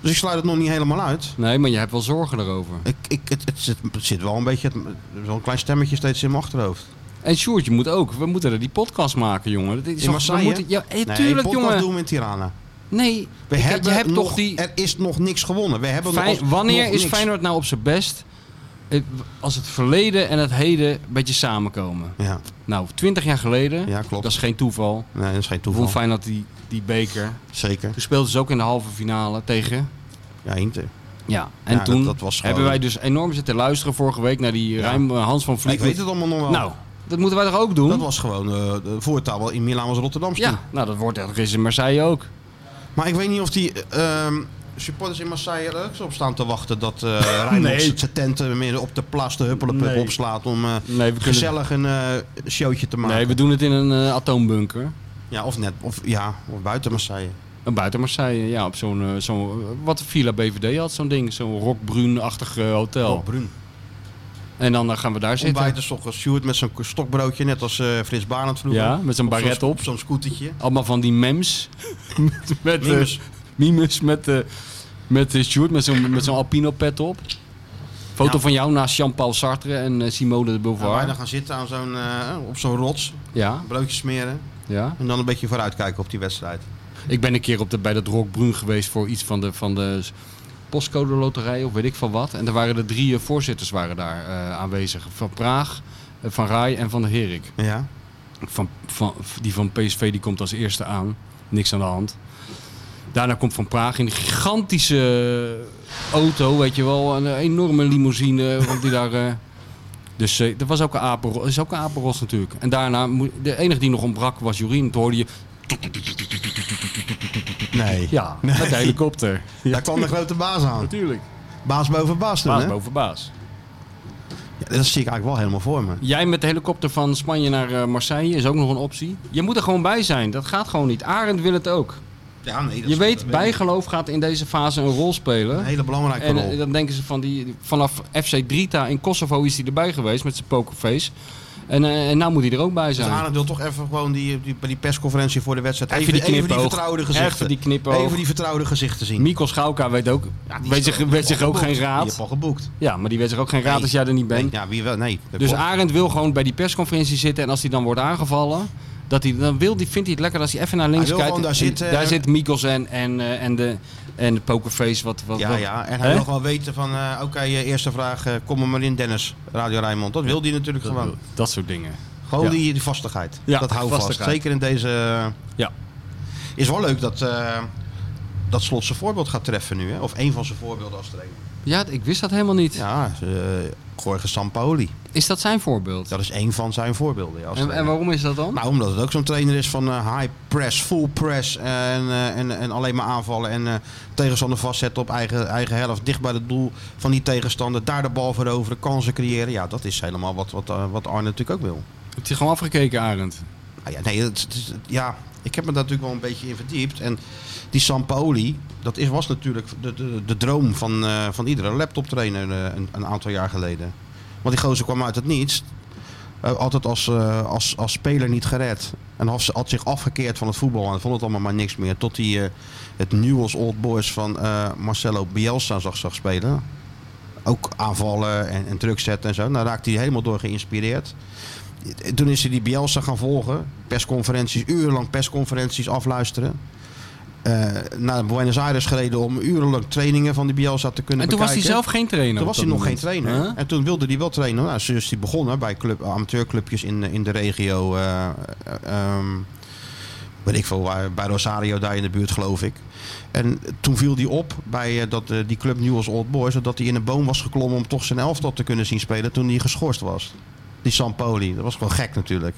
Dus ik sluit het nog niet helemaal uit. Nee, maar je hebt wel zorgen erover. Ik, ik, het, het, zit, het zit wel een beetje, het- er is wel een klein stemmetje steeds in mijn achterhoofd. En Sjoerd, je moet ook. We moeten er die podcast maken, jongen. Dat is In toch- Marseille? we moeten, ja, eh, Nee, tuurlijk, podcast jongen. doen we in Tirana. Nee, We ik- hebben je hebt nog, toch die... Er is nog niks gewonnen. We hebben Fijn- nog, wanneer nog is niks. Feyenoord nou op zijn best? Eh, Als het verleden en het heden een beetje samenkomen. Ja, Nou, twintig jaar geleden, ja klopt. dat is geen toeval, nee, dat is geen won toeval. Feyenoord die, die beker. Zeker. Toen speelden ze dus ook in de halve finale tegen. Ja, Inter. Ja, en Ja, toen dat- dat was gewoon- hebben wij dus enorm zitten luisteren vorige week naar die Ja. Rijm- Hans van Ik Vliet. weet het allemaal nog wel. Nou, dat moeten wij toch ook doen? dat was gewoon eh, de voortaal wel in Milaan was Rotterdam. ja, nou dat wordt echt is in Marseille ook. Maar ik weet niet of die eh, ehm, supporters in Marseille er ook zo op staan te wachten dat *laughs* eh Rijnmond Nee. z'n- zijn tenten midden op de plas de huppelenpup Nee. opslaat om eh, Nee, we kunnen, gezellig een eh, showtje te maken. nee, we doen het in een eh, atoombunker. Ja, of net, of ja, of buiten Marseille. En buiten Marseille, ja, op zo'n, eh, zo'n- wat Villa BVD had, zo'n ding, zo'n rockbruin-achtig eh, hotel. Oh, Brun. En dan eh, gaan we daar zitten. Ontbijten s ochtends Stuart met zo'n stokbroodje, net als eh Frits Barend vroeger. Ja, met zo'n Op zo'n baret sc- op. Zo'n scootertje. Allemaal van die mems. *laughs* met, met, eh, Mimus. mimes met, eh met eh, Sjoerd, met zo'n, met zo'n alpino pet op. Foto Ja. van jou naast Jean-Paul Sartre en eh, Simone de Ja, wij Beauvoir. dan Ja, gaan zitten aan zo'n, eh, op zo'n rots, ja, broodjes smeren en dan een beetje vooruitkijken op die wedstrijd. Ik ben een keer op de, bij dat rockbruin geweest voor iets van de, van de s- postcode loterij of weet ik van wat. En er waren de drie eh, voorzitters waren daar eh, aanwezig. Van Praag, eh, Van Rai en Van de Herik. Ja. van, van, die van PSV die komt als eerste aan. Niks aan de hand. Daarna komt Van Praag in een gigantische auto, weet je wel. Een enorme limousine *laughs* want die daar... eh, dus eh, er was ook een apenros, is ook een apenros natuurlijk. En daarna, moe- de enige die nog ontbrak was Jorien. Toen hoorde je, *laughs* Nee. ja, met de helikopter. Daar kwam de grote baas aan. Natuurlijk. Baas boven baas toen, Baas hè? boven baas. Ja, dat zie ik eigenlijk wel helemaal voor me. Jij met de helikopter van Spanje naar eh, Marseille is ook nog een optie. Je moet er gewoon bij zijn. Dat gaat gewoon niet. Arend wil het ook. Ja, nee, dat Je is- weet, dat bijgeloof gaat in deze fase een rol spelen. Een hele belangrijke En rol. eh, dan denken ze van die, vanaf FC Drita in Kosovo is hij erbij geweest met zijn pokerface. En, eh, en nou moet hij er ook bij dus zijn. Arend wil toch even gewoon die, die, bij die persconferentie voor de wedstrijd Even even, die even, die, knipoog. vertrouwde gezichten. Even die knipoog. Even die vertrouwde gezichten zien. Mikkel Schauka weet, ook, Ja, die weet, is zich, toch- weet zich die ook heeft al geen geboekt. Die raad. heeft al geboekt. Ja, maar die weet zich ook geen raad Nee. als jij er niet Nee, bent. ja, wie wel? Nee. dat Dus klopt. Arend wil gewoon bij die persconferentie zitten. En als hij dan wordt aangevallen, dat hij, dan wil, die, vindt hij het lekker als hij even naar links wil kijkt. gewoon daar En zitten. Daar zit Mikkels en, en, eh, en, de, en de pokerface. Wat, wat, Ja, wat- ja. En hij Hè? wil wel weten van, eh, oké, eh, eerste vraag, eh, kom er maar in Dennis, Radio Rijnmond. Dat wil hij natuurlijk Dat, gewoon. Oh, dat soort dingen. Gewoon Ja. die, die vastigheid. Ja, dat hou vast. vastigheid. Zeker in deze... eh, Ja. Is wel leuk dat, eh, dat Slot zijn voorbeeld gaat treffen nu. Hè? Of één van zijn voorbeelden als trainer. Ja, ik wist dat helemaal niet. Ja, eh Jorge Sampaoli. Is dat zijn voorbeeld? Dat is één van zijn voorbeelden. Ja, als en, en trainer. waarom is dat dan? Nou, omdat het ook zo'n trainer is van eh, high press, full press eh, en, eh, en, en alleen maar aanvallen. En eh, tegenstander vastzetten op eigen, eigen helft, dicht bij het doel van die tegenstander. Daar de bal veroveren, kansen creëren. Ja, dat is helemaal wat, wat, eh, wat Arne natuurlijk ook wil. Heb je gewoon afgekeken, Arend? Nou ja, nee, het, het is- het- ja, ik heb me daar natuurlijk wel een beetje in verdiept. En die Sampaoli, dat is, was natuurlijk de, de, de droom van, eh, van iedere laptoptrainer eh, een, een aantal jaar geleden. Want die gozer kwam uit het niets. eh, altijd als, eh, als, als speler niet gered. En had, ze- had zich afgekeerd van het voetbal en vond het allemaal maar niks meer. Tot hij eh, het Newell's Old Boys van eh, Marcelo Bielsa zag, zag spelen. Ook aanvallen en, en druk zetten en zo. Nou raakte hij helemaal door geïnspireerd. Eh, Toen is hij die Bielsa gaan volgen. Persconferenties, urenlang persconferenties afluisteren. Eh, naar Buenos Aires gereden om urenlang trainingen van die Bielsa te kunnen En toen was hij bekijken. zelf geen trainer. Toen op was hij dat nog geen moment. trainer. Huh? En toen wilde hij wel trainen. Nou, dus is hij begonnen bij club, amateurclubjes in, eh, in de regio. eh, eh, ehm, weet ik veel, waar, bij Rosario daar in de buurt geloof ik. En toen viel hij op bij eh, dat, eh, die club Newell's Old Boys. Dat hij in een boom was geklommen om toch zijn elftal te kunnen zien spelen toen hij geschorst was. Die Sampoli, dat was gewoon gek *laughs* natuurlijk.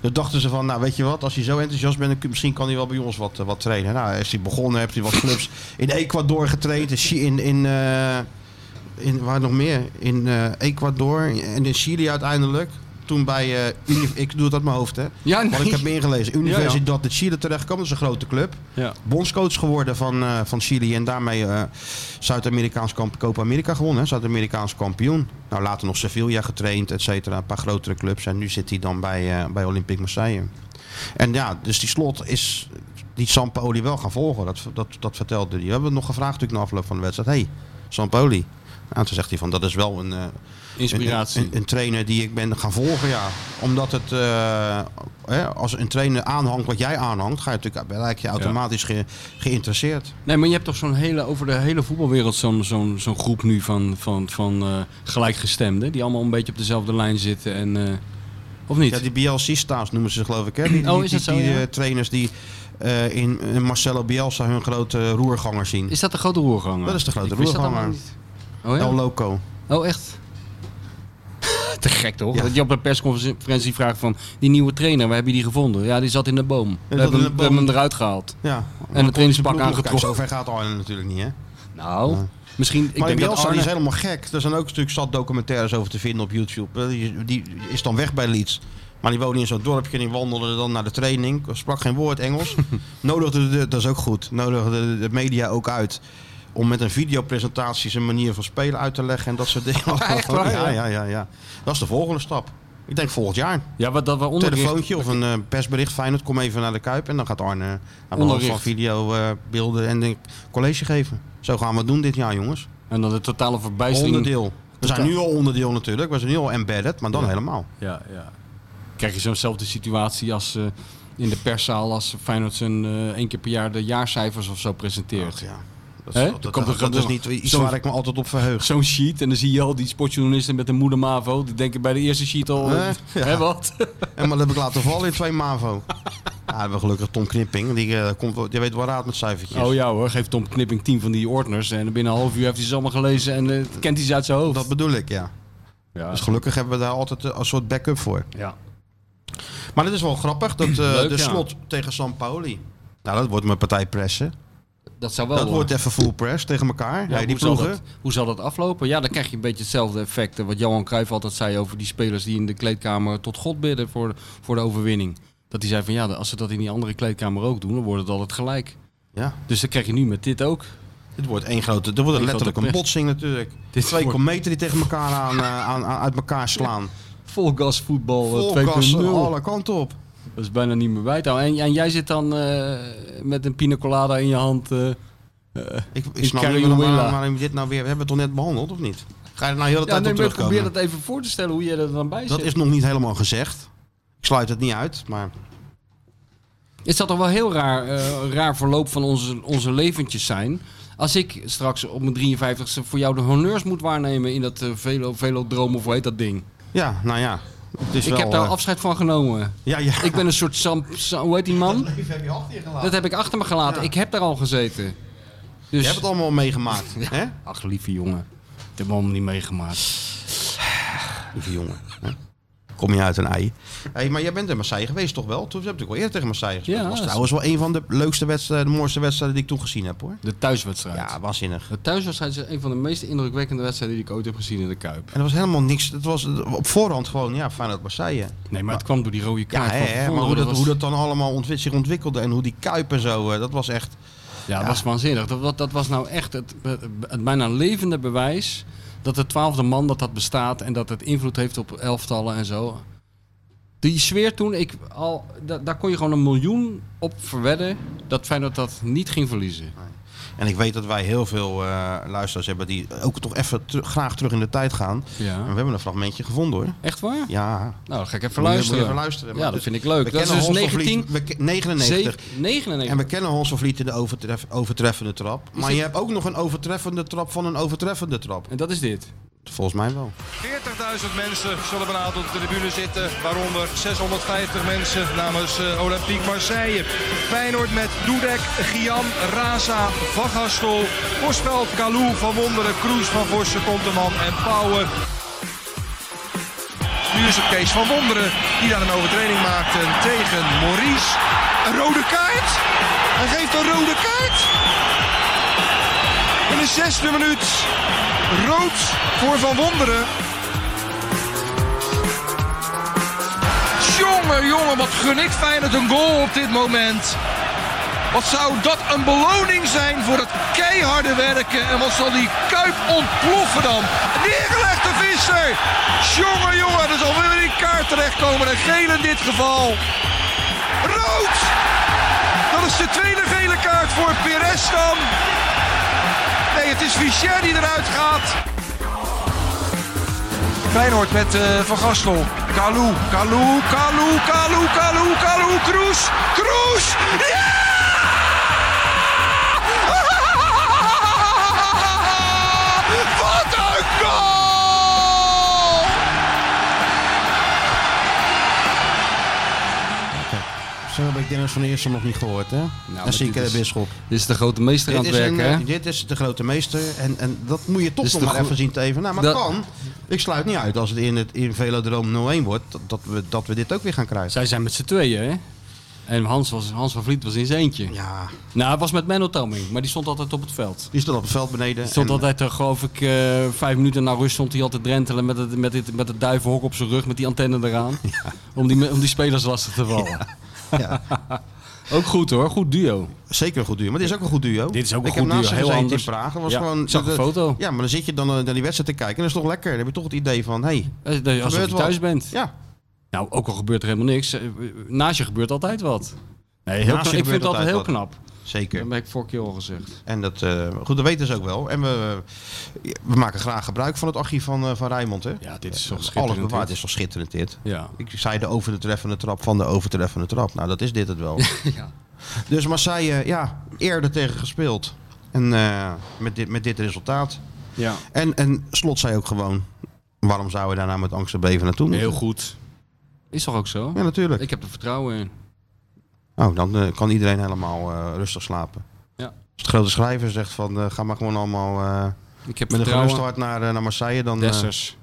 Toen dachten ze van, nou weet je wat, als hij zo enthousiast bent, dan kun- misschien kan hij wel bij ons wat, eh, wat trainen. Nou, is hij begonnen, heeft hij *laughs* wat clubs in Ecuador getraind, in, Chi- in, in, eh, in waar nog meer? In eh, Ecuador en in Chili uiteindelijk. Toen bij, eh, Uni- ik doe het uit mijn hoofd hè, Ja, want ik heb me ingelezen. Universidad de Chile terechtkwam, dat is een grote club. Ja. Bondscoach geworden van, eh, van Chili en daarmee eh, Zuid-Amerikaans kamp Copa America gewonnen. hè. Zuid-Amerikaans kampioen. Nou, later nog Sevilla getraind, et cetera. Een paar grotere clubs. En nu zit hij dan bij, eh, bij Olympique Marseille. En ja, dus die slot is die Sampoli wel gaan volgen. Dat, dat, dat vertelde hij. We hebben hem nog gevraagd natuurlijk na afloop van de wedstrijd. hey, Sampoli. Nou, toen zegt hij van dat is wel een, eh, Inspiratie. een, een, een trainer die ik ben gaan volgen, ja. Omdat het, eh, hè, als een trainer aanhangt wat jij aanhangt, ga je natuurlijk blijk je automatisch ge- geïnteresseerd. Nee, maar je hebt toch zo'n hele, over de hele voetbalwereld zo'n zo'n zo'n groep nu van, van, van eh, gelijkgestemden. Die allemaal een beetje op dezelfde lijn zitten. En, eh, of niet? Ja, die Bielsista's noemen ze geloof ik, hè? Die, die, Oh, is die- dat zo, die, ja? eh, trainers die eh, in, in Marcelo Bielsa hun grote roerganger zien. Is dat de grote roerganger? Dat is de grote Ik wist dat roerganger. allemaal niet. Oh, ja? El Loco. Oh, echt? *laughs* Te gek toch? Ja. Dat je op een persconferentie vraagt van die nieuwe trainer, waar heb je die gevonden? Ja, die zat in de boom. We, zat hebben, in hem- de boom. we hebben hem eruit gehaald. Ja. En het trainingspak Ploeg- Kijk, aangetrokken. Zover gaat Arne natuurlijk niet, hè? Nou, misschien. Ik maar denk die dat Bielsa die Arne... is helemaal gek. Er zijn ook natuurlijk zat documentaires over te vinden op YouTube. Eh, Die, die is dan weg bij Leeds. Maar die woonde in zo'n dorpje en die wandelde dan naar de training. Sprak geen woord *laughs* Engels. nodigde de, dat is ook goed, nodigde de media ook uit om met een videopresentatie zijn manier van spelen uit te leggen en dat soort dingen. *laughs* Echt waar, ja, ja? ja, ja, ja. Dat is de volgende stap. Ik denk volgend jaar. Ja, wat dat we Een onderricht... telefoontje of een eh, persbericht. Feyenoord, kom even naar de Kuip. En dan gaat Arne aan de hand Onderricht. van video, eh, beelden en een college geven. Zo gaan we het doen dit jaar, jongens. En dan de totale verbijstering. Onderdeel. We zijn nu al onderdeel natuurlijk. We zijn nu al embedded, maar dan helemaal. Ja, ja. Krijg je zo'nzelfde situatie als eh, in de perszaal als Feyenoord zijn eh, één keer per jaar de jaarcijfers of zo presenteert. Ach, ja. Dat, Hè? is, Dan dat, komt dat, er dat is gewoon niet iets zo'n- waar ik me altijd op verheug. Zo'n sheet en dan zie je al die sportjournalisten met een moeder Mavo. Die denken bij de eerste sheet al, Eh, hè *laughs* wat? En maar dat heb ik laten vallen in twee *laughs* MAVO. Ja, hebben we gelukkig Tom Knipping. Die, eh, komt, wel- die weet wel raad met cijfertjes. Oh ja hoor, geeft Tom Knipping 10 van die ordners en binnen een half uur heeft hij ze allemaal gelezen en eh, kent hij ze uit zijn hoofd. Dat bedoel ik, ja. ja. Dus gelukkig hebben we daar altijd eh, een soort backup voor. ja. Maar dat is wel grappig. Dat eh, Leuk, de ja. slot tegen San Pauli. Nou, dat wordt mijn partij pressen. Dat zou wel dat hoor. wordt even full press tegen elkaar. Ja, Ja, die hoe, zal ploegen. dat, hoe zal dat aflopen? Ja, dan krijg je een beetje hetzelfde effect. eh, Wat Johan Cruijff altijd zei over die spelers die in de kleedkamer tot God bidden voor, voor de overwinning. Dat hij zei van ja, als ze dat in die andere kleedkamer ook doen, dan wordt het altijd gelijk. Ja. Dus dat krijg je nu met dit ook. Dit wordt één grote. Er wordt Eén letterlijk grote een pers. botsing natuurlijk. Dit twee wordt- kometen die tegen elkaar aan, eh, aan, aan- uit elkaar slaan. Vol gas voetbal Vol eh, gas 2.0. eh, alle kanten op. Dat is bijna niet meer bij te houden. En, en jij zit dan eh, met een pina colada in je hand. eh, Ik, ik In snap niet Cariola. waarom, waarom we dit nou weer... We hebben het toch net behandeld, of niet? Ga je er nou heel de ja, tijd nee, op maar ik probeer terugkomen? dat even voor te stellen hoe jij er dan bij zit. dat is nog niet helemaal gezegd. Ik sluit het niet uit, maar... Het zal toch wel heel raar, eh, raar verloop van onze, onze leventjes zijn. Als ik straks op mijn 53ste voor jou de honneurs moet waarnemen in dat eh, velo, velodroom of hoe heet dat ding. Ja, nou ja. Het is ik wel, heb daar eh, afscheid van genomen. Ja, ja. Ik ben een soort Sam, Sam- hoe heet die *laughs* man? heb je achter je gelaten. Dat heb ik achter me gelaten. Ja. Ik heb daar al gezeten. Dus, Je hebt het allemaal meegemaakt, hè? Ach, lieve jongen. Ik heb hem allemaal niet meegemaakt. Lieve jongen. hè? Kom je uit een ei. Hey, maar jij bent in Marseille geweest toch wel? Toen heb ik al eerder tegen Marseille gespeeld. Ja, dat was dat is- trouwens wel een van de leukste wedstrijden, de mooiste wedstrijden die ik toen gezien heb hoor. De thuiswedstrijd. Ja, waanzinnig. De thuiswedstrijd is een van de meest indrukwekkende wedstrijden die ik ooit heb gezien in de Kuip. En er was helemaal niks. Het was op voorhand gewoon, ja, Feyenoord Marseille. Nee, maar het kwam door die rode Ja, kaart. hè, van hè, Vervoorde. maar hoe dat, was- hoe dat dan allemaal ontwik- zich ontwikkelde en hoe die Kuip en zo, eh, dat was echt... Ja, dat was waanzinnig. Dat, dat, dat was nou echt het, het bijna levende bewijs dat de twaalfde man dat dat bestaat en dat het invloed heeft op elftallen en zo. Die sfeer toen, ik, al, da- daar kon je gewoon een miljoen op verwedden dat Feyenoord dat niet ging verliezen. En ik weet dat wij heel veel eh, luisteraars hebben die ook toch even teru- graag terug in de tijd gaan. En we Ja. hebben een fragmentje gevonden hoor. Echt waar? Ja, Nou, dan ga ik even Moet je- moet je luisteren. even luisteren, maar ja, dat dus- vind ik leuk. we Dat is kennen dus Hans van 19... Vliet, we ke- 99. 99. En we kennen Hans van Vliet in de overtref- overtreffende trap. Maar je hebt ook nog een overtreffende trap van een overtreffende trap. En dat is dit. Volgens mij wel. 40.000 mensen zullen vanavond op de tribune zitten, waaronder 650 mensen namens eh, Olympique Marseille. Feyenoord met Dudek, Gian, Raza, Van Gastel, Voorspeld, Kalou, Van Wonderen, Kroes, Van Vossen, Konteman en Pauwen. Nu is het Kees van Wonderen die daar een overtreding maakt eh, tegen Maurice. Een rode kaart! Hij geeft een rode kaart! In de zesde minuut rood voor Van Wonderen. Jongen, jongen, wat gun ik Feyenoord een goal op dit moment. Wat zou dat een beloning zijn voor het keiharde werken. En wat zal die Kuip ontploffen dan. Neergelegd de Visser. Jongen, jongen, er zal weer een kaart terechtkomen. Een gele in dit geval. Rood! Dat is de tweede gele kaart voor Perez dan. Nee, het is Fischer die eruit gaat. Feyenoord met eh, Van Gastel. Kalou, Kalou, Kalou, Kalou, Kalou, Kalou, Kroes, Kroes! Ja! *laughs* Wat een goal! Zo heb ik Dennis van Eersel nog niet gehoord, hè? maar en zeker dit de is- eh, bisschop. Dit is de grote meester aan Dit het is, een, werken, hè? eh, dit is de grote meester. En, en dat moet je toch Dit is nog de maar gro- even zien te even. Nou, maar Dat- kan. Ik sluit niet uit als het in, het, in Velodroom 0-1 wordt, dat, dat we, dat we dit ook weer gaan krijgen. Zij zijn met z'n tweeën, hè? En Hans, was, Hans van Vliet was in zijn eentje. Ja, Nou, hij was met Menno Tomming, maar die stond altijd op het veld. die stond op het veld beneden. Hij stond en- altijd, eh, geloof ik, eh, vijf minuten na rust stond hij altijd drentelen met het, met, het, met het duivenhok op zijn rug, met die antenne eraan. Om, die, om die spelers lastig te vallen. *laughs* ja, Ook goed hoor, goed duo. zeker een goed duo. Maar dit is ook een goed duo. Dit is ook een ik goed heb naast duo, ze heel gezeten anders. in Praag. Dat was Ja, gewoon, ik zag een dat- foto. Ja, maar dan zit je dan eh, naar die wedstrijd te kijken. En dat is toch lekker. Dan heb je toch het idee van, hé, hey, Eh, dat je- Alsof gebeurt je wat. thuis bent. Ja, Nou, ook al gebeurt er helemaal niks. eh, Naast je gebeurt altijd wat. Nee, heel Naast knap. je ik vind gebeurt dat heel altijd knap. zeker. Dat heb ik vorige keer al gezegd. En dat, eh, goed, dat weten ze ook wel. En we, we maken graag gebruik van het archief van, eh, van Rijmond. Hè? Ja, dit is toch Alles schitterend. bewaard. Het is toch schitterend dit. Ja. Ik zei de overtreffende trap van de overtreffende trap. Nou, dat is dit het wel. *laughs* ja. dus Marseille, ja, eerder tegen gespeeld. En eh, met, dit, met dit resultaat. ja. En, en Slot zei ook gewoon, waarom zouden we daarna nou met angst en beven naartoe moeten? Heel goed. Is toch ook zo? Ja, natuurlijk. Ik heb er vertrouwen in. Oh, dan eh, kan iedereen helemaal eh, rustig slapen. Ja. Als de grote schrijver zegt van, eh, ga maar gewoon allemaal eh, Ik heb met een gerust vertrouwen. hart naar, eh, naar Marseille. Dan, eh, Dessers.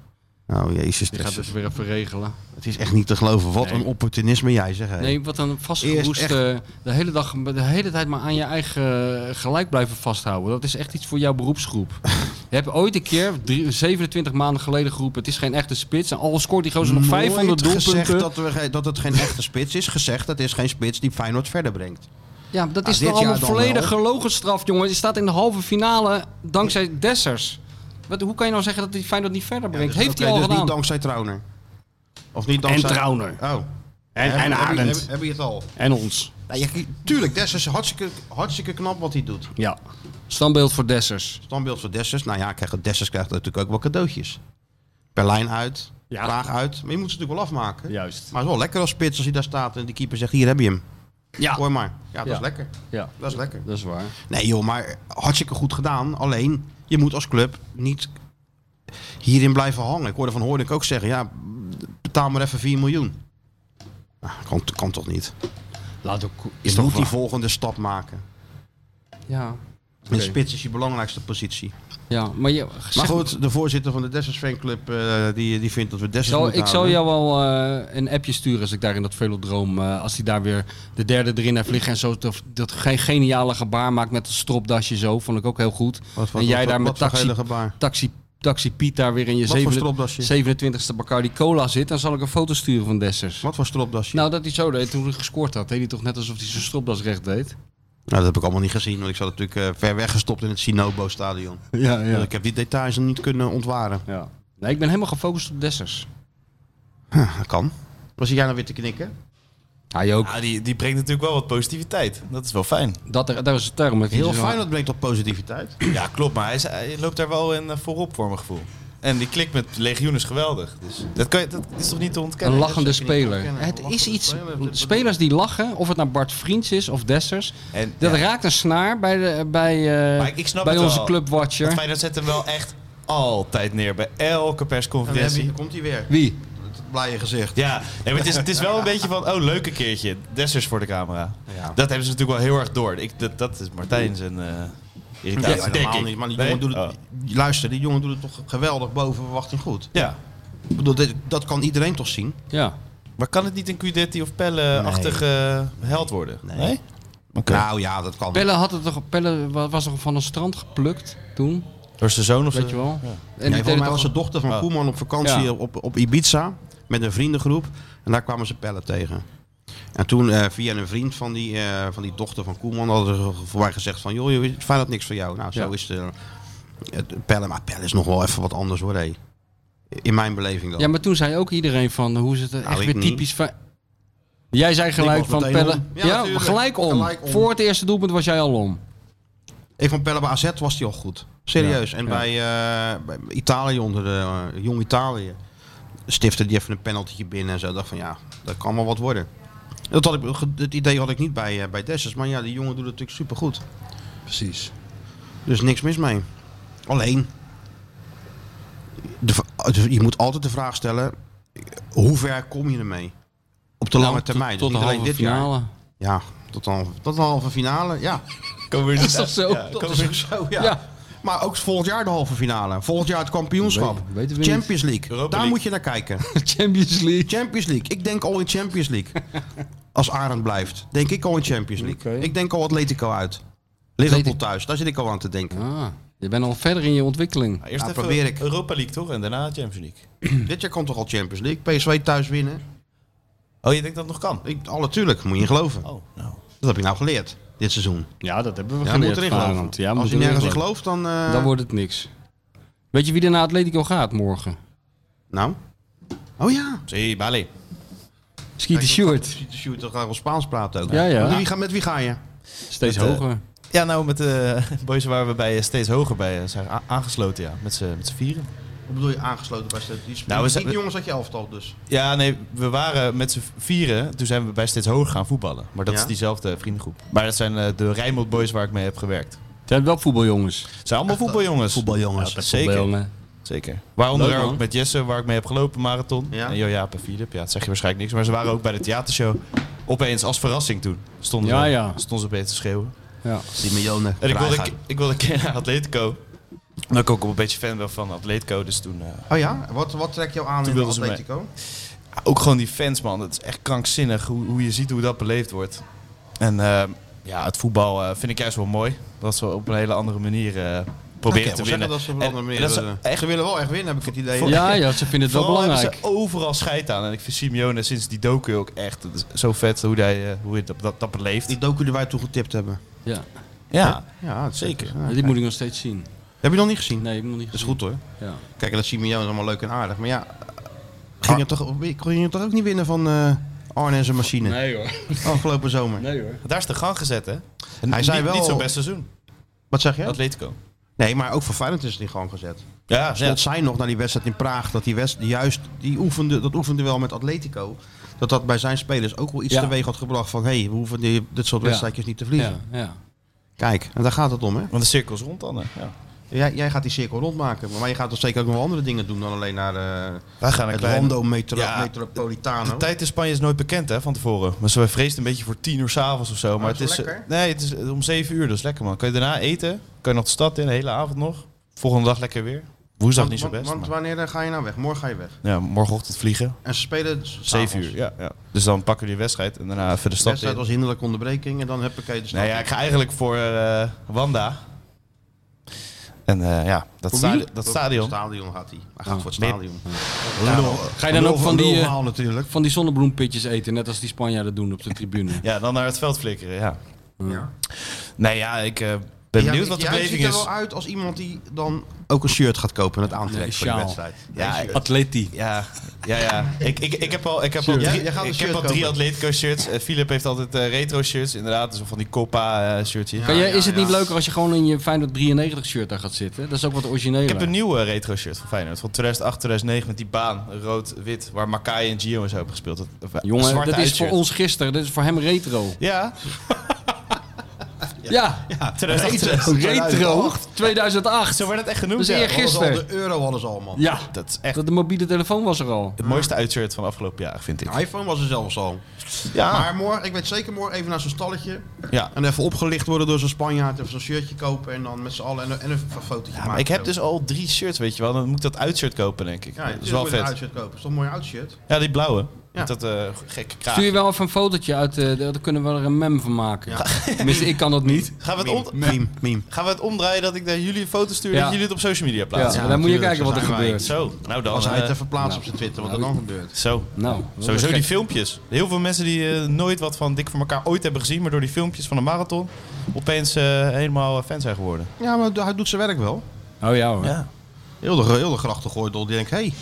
oh, jezus. Die gaat Dessers. het weer even regelen. Het is echt niet te geloven. Wat Nee. een opportunisme jij zegt. hè. Nee, wat een vastgeroest. Eerst eh, de, hele dag, de hele tijd maar aan je eigen eh, gelijk blijven vasthouden. Dat is echt iets voor jouw beroepsgroep. *laughs* je hebt ooit een keer, drie- 27 maanden geleden geroepen... het is geen echte spits. En al scoort die gozer nog Nooit 500 doelpunten. gezegd dat, we, ge- dat het geen echte spits is. Gezegd dat het is geen spits die Feyenoord verder brengt. Ja, maar dat Ah, is dit toch allemaal jaar dan volledig wel. gelogen straf, jongen. Je staat in de halve finale dankzij Dessers. Wat, hoe kan je nou zeggen dat hij Feyenoord niet verder brengt? Dus- Heeft oké, hij al dus gedaan. niet dankzij Trauner. Of niet En dankzij... Trauner. Oh. En, en Arend. Hebben je het al? En ons. Nou, je- tuurlijk, Dessers is hartstikke, hartstikke knap wat hij doet. Ja. Standbeeld voor Dessers. Standbeeld voor Dessers. Nou ja, krijgt, Dessers krijgt natuurlijk ook wel cadeautjes. Berlijn uit, Ja. Praag uit. Maar je moet ze natuurlijk wel afmaken. Juist. Maar het is wel lekker als spits als hij daar staat en die keeper zegt, hier heb je hem. Gooi Ja. maar. Ja, dat Ja. is lekker. ja, Dat is lekker. dat is waar. Nee joh, maar hartstikke goed gedaan. Alleen, je moet als club niet hierin blijven hangen. Ik hoorde van Hoornik ook zeggen, ja, betaal maar even 4 miljoen. Nou, kan, kan toch niet? Laat ook, Je moet die volgende stap maken. Ja. En Oké. spits is je belangrijkste positie. ja, maar, je, Maar zeg- goed, de voorzitter van de Dessers fanclub, eh, die, die vindt dat we Dessers Zal, moeten ik zal houden. jou wel eh, een appje sturen als ik daar in dat velodroom, eh, als hij daar weer de derde erin heeft liggen en zo dat, dat ge- geniale gebaar maakt met een stropdasje zo, vond ik ook heel goed. Wat, en jij daar met voor taxi, gele gebaar. taxi, taxi Piet daar weer in je Wat voor zeven- stropdasje? 27e Bacardi Cola zit, dan zal ik een foto sturen van Dessers. Wat voor stropdasje? Nou, Nou, dat hij zo deed toen hij gescoord had. Deed hij toch net alsof hij zijn stropdas recht deed? Nou, dat heb ik allemaal niet gezien, want ik zat natuurlijk eh, ver weggestopt in het Sinobo-stadion. Ja, Dus ik heb die details niet kunnen ontwaren. ja. Nee, ik ben helemaal gefocust op Dessers. Dat kan. Was jij nou weer te knikken? Hij ook. Ja, die, die brengt natuurlijk wel wat positiviteit. Dat is wel fijn. Dat, dat is de term. Heel fijn, dat brengt op positiviteit. Ja, klopt. Maar hij, is- hij loopt daar wel in eh, voorop voor mijn gevoel. En die klik met Legioen is geweldig. Dus dat, kan je, dat is toch niet te Een ontkennen? lachende zeker niet speler. ontkennen. Het Een is lachende iets. speler, dat- dat- Spelers die lachen, of het nou Bart Vriends is of Dessers. En, Dat ja, raakt een snaar bij, de, bij, eh, Maar ik snap bij het onze wel. clubwatcher. dat Feyenoord zet hem wel echt altijd neer bij elke En dan Oh, heb je- persconferentie. dan komt hij weer. Wie? Het blije gezicht. Ja, nee, maar het, is, het is wel een beetje van, oh, leuke keertje. Dessers voor de camera. Ja. Dat hebben ze natuurlijk wel heel erg door. Ik, dat, dat is Martijn zijn eh Ja, irritatie, maar denk normaal ik. niet. Maar die Nee? jongen doet het, Oh. Luister, die jongen doet het toch geweldig boven verwachting goed. Ja, Ik bedoel, dit- dat kan iedereen toch zien? Ja. maar kan het niet een Cudetti of Pelle-achtige eh, held worden? Nee. Oké. Nou ja, dat kan. Pelle, had het toch, Pelle wa- was toch van een strand geplukt toen? Door zijn zoon of zo? Weet je wel? En En die voor deden mij toch was de dochter van Oh. Koeman op vakantie Ja. op, op Ibiza met een vriendengroep. En daar kwamen ze pellen tegen. En toen eh, via een vriend van die, eh, van die dochter van Koeman hadden ze ge- voor mij gezegd van... joh, joh, is Feyenoord niks voor jou. Nou, zo Ja. is de, het pellen. Maar pellen is nog wel even wat anders hoor, hé. In mijn beleving dan. Ja, maar toen zei ook iedereen van hoe is het echt Nou, ik weer niet. typisch van. Jij zei gelijk was van meteen Pelle. om. Ja, Ja, natuurlijk. gelijk, om. Gelijk om. Voor het eerste doelpunt was jij al om. Ik vond Pelle bij AZ was hij al goed. Serieus. En Ja. bij, eh, bij Italië onder de... eh, Jong Italië stifte die even een penaltytje binnen en zo. Ik dacht van ja, dat kan wel wat worden. Dat, had ik, dat idee had ik niet bij, eh bij Dessers. Maar ja, die jongen doet het natuurlijk supergoed. Precies. Dus niks mis mee. Alleen, de v- je moet altijd de vraag stellen, hoe ver kom je ermee? Op de lange termijn. Nou, Tot, dus de niet halve alleen dit finale. jaar. Ja, tot de, halve, tot de halve finale. Ja, Komen we *laughs* Is dat zo? *laughs* Ja, dat komen is we- ook zo. Ja. Nou, Ja. Maar ook volgend jaar de halve finale. Volgend jaar het kampioenschap. Weet- weten we niet. Champions League. Europa Daar League. moet je naar kijken. Champions League. Champions League. Ik denk al in Champions League. Als Arend blijft, denk ik al in Champions League. Oké. Ik denk al Atletico uit. Liverpool Atletico. thuis, daar zit ik al aan te denken. Ah, je bent al verder in je ontwikkeling. Eerst Ja, even probeer ik. Europa League toch en daarna Champions League. Hm. Dit jaar komt toch al Champions League? PSV thuis winnen? Oh, je denkt dat het nog kan? Ik, alle tuurlijk, moet je in geloven. Oh, nou. Dat heb ik nou geleerd, dit seizoen. Ja, dat hebben we Ja, je moet erin geloven. Ja, Als je nergens in gelooft, dan... eh, dan wordt het niks. Weet je wie er naar Atletico gaat morgen? Nou? Oh ja. Zie, Bali. Skeeter Stewart. De shoot dan gaan we Spaans praten ook. Ja, ja. Met wie, ga, met wie ga je? Steeds Met, eh, hoger. Ja, nou met de boys waar we bij eh, *laughs* steeds hoger bij eh, zijn a- aangesloten, ja. Met z'n met z'n vieren. Wat bedoel je, aangesloten bij Stad? Die, Nou, we zijn- die jongens had je elftal dus. Ja, nee, we waren met z'n vieren. Toen zijn we bij steeds hoger gaan voetballen. Maar dat Ja? is diezelfde vriendengroep. Maar dat zijn eh, de Rijnmond boys waar ik mee heb gewerkt. Het zijn wel voetbaljongens. Het zijn allemaal voetbaljongens. eh, Voetbaljongens. Ja, dat zeker. Voetbaljongen. Zeker. Waaronder Leuk, man. ook met Jesse, waar ik mee heb gelopen, marathon. Ja. En Jojaap en Filip. Ja, dat zeg je waarschijnlijk niks. Maar ze waren ook bij de theatershow. Opeens, als verrassing toen, stonden, Ja, ze, ja. stonden ze opeens te schreeuwen. Ja. Die miljoenen. En ik wilde, een ke- ik wilde een keer naar Atletico. Omdat ik ook een beetje fan ben van Atletico. Dus toen... eh, Oh ja? Wat, wat trekt jou aan Toen in wilden ze mee. Atletico? ook gewoon die fans, man. Het is echt krankzinnig hoe, hoe je ziet hoe dat beleefd wordt. En eh, ja, het voetbal eh, vind ik juist wel mooi. Dat ze op een hele andere manier eh, proberen Oké, te we zeggen winnen. Dat ze, op een En- andere manier en dat ze willen. echt ze willen wel echt winnen, heb ik het idee. Voor- Ja, ja, ze vinden het wel Vooral hebben belangrijk. ze overal scheid aan. En ik vind Simeone sinds die docu ook echt het is zo vet hoe hij eh, hoe hij dat, dat, dat beleeft. Die docu die wij toen getipt hebben. Ja. Ja, Ja, dat- zeker. Ja, dit moet ik nog steeds zien. Heb je nog niet gezien? Nee, ik moet niet. Ah, Dat is goed hoor. Ja. Kijk, dat Simeone is allemaal leuk en aardig. Maar ja, Ah. ging je toch, kon je toch ook niet winnen van eh, Arne en zijn machine Nee hoor. afgelopen zomer? Nee hoor. Daar is de gang gezet, hè? En Hij zei niet, wel- niet zo'n best seizoen. Wat zeg je? Atletico. Nee, maar ook voor Feyenoord is het in gang gezet. Ja, ja. Dat zijn nog naar die wedstrijd in Praag, dat die wedst, juist, die oefende, dat oefende wel met Atletico. Dat dat bij zijn spelers ook wel iets Ja. teweeg had gebracht van, hé, hey, we hoeven die, dit soort Ja. wedstrijdjes niet te verliezen. Ja, ja. Kijk, en daar gaat het om hè. Want de cirkel is rond dan. hè? Ja. Jij, jij gaat die cirkel rondmaken, maar je gaat toch zeker ook nog wel andere dingen doen dan alleen naar eh, Wij gaan een het klein... Rondo metro, Ja, Metropolitano. De tijd in Spanje is nooit bekend hè, van tevoren. Maar ze vreesden een beetje voor tien uur s'avonds of zo. Maar, Oh, is het is, wel lekker. nee, het is eh, om zeven uur, dat is lekker man. Kan je daarna eten? Kan je nog de stad in, de hele avond nog? Volgende dag lekker weer. Woensdag Want- niet zo want- best. Want maar- wanneer eh, ga je nou weg? Morgen ga je weg. Ja, morgenochtend vliegen. En ze spelen... s- 7 s'avonds. uur, ja, ja. Dus dan pakken we die wedstrijd en daarna even de De stad in. wedstrijd was hinderlijke onderbreking en dan heb ik de stad Nou ja, in. ik ga eigenlijk voor eh, Wanda. En eh, ja, dat, Voor sta- wie? Voor- dat stadion. stadion Ah, gaat hij. Hij gaat voor het Nee. stadion. Ga je dan ook van die, eh, natuurlijk. van die zonnebloempitjes eten, net als die Spanjaarden doen op de tribune? Ja, dan naar het veld flikkeren, ja. Ja. Nee, ja, ik, eh, ben Ja, benieuwd wat de jij beleving ziet er is. wel uit als iemand die dan ook een shirt gaat kopen en het aantrekt Een voor de sjaal. wedstrijd. Ja, Een shirt. Atleti. Ja, ja, ja. Ik, ik, ik heb al, ik heb al Shirt. drie, Jij- jij gaat een ik shirt heb al kopen. drie Atletico shirts. Eh, Philip heeft altijd eh, retro shirts, inderdaad. Dus van die Copa eh, shirtjes. Kan Ja, je, ja, is het niet ja. leuker als je gewoon in je Feyenoord 93 shirt daar gaat zitten? Dat is ook wat origineel. Ik heb een nieuwe retro shirt van Feyenoord. Van 2008, 2009 met die baan. Rood-wit. Waar Makai en Gio en zo hebben gespeeld. Dat, of, eh, Jongen, zwarte dat is uitshirt. voor ons gisteren. Dat is voor hem retro. Ja, Ja, 2008, retro 2008. Zo werd het echt genoemd. Dus ja. eergisteren. Hadden ze al de euro hadden ze allemaal. Ja, Dat is echt dat de mobiele telefoon was er al. het mooiste uitshirt van afgelopen jaar, vind ik. De iPhone was er zelfs al. Ja. Maar morgen, ik weet zeker morgen even naar zo'n stalletje. Ja. En even opgelicht worden door zo'n Spanjaard. Even zo'n shirtje kopen en dan met z'n allen en, een- en een fotootje Ja, maar maken. ik heb dus al drie shirts, weet je wel. Dan moet ik dat uitshirt kopen, denk ik. Ja, dat is wel een vet. uitshirt kopen. Dat is toch een mooi uitshirt? Ja, die blauwe. Ja. Met dat eh, gekke kraag. Stuur je wel even een fotootje uit, eh daar kunnen we er een mem van maken. Tenminste, ik kan dat niet. Gaan we, het om- Meme, meme. gaan we het omdraaien dat ik naar jullie een foto stuur Ja. dat jullie het op social media Ja, plaatsen? Ja, Oh, dan moet je natuurlijk, kijken wat er zo zijn wij. gebeurt. Zo, nou dan. Als hij het eh, even plaatst nou. op zijn Twitter, wat er Nou, dan gebeurt. Zo. Nou, dat Sowieso is die gek. filmpjes. Heel veel mensen die eh, nooit wat van Dik voor elkaar ooit hebben gezien, maar door die filmpjes van de marathon opeens eh, helemaal eh, fan zijn geworden. Ja, maar hij doet zijn werk wel. Oh ja hoor. Heel de, heel de grachten gooit door. Die denkt, hé,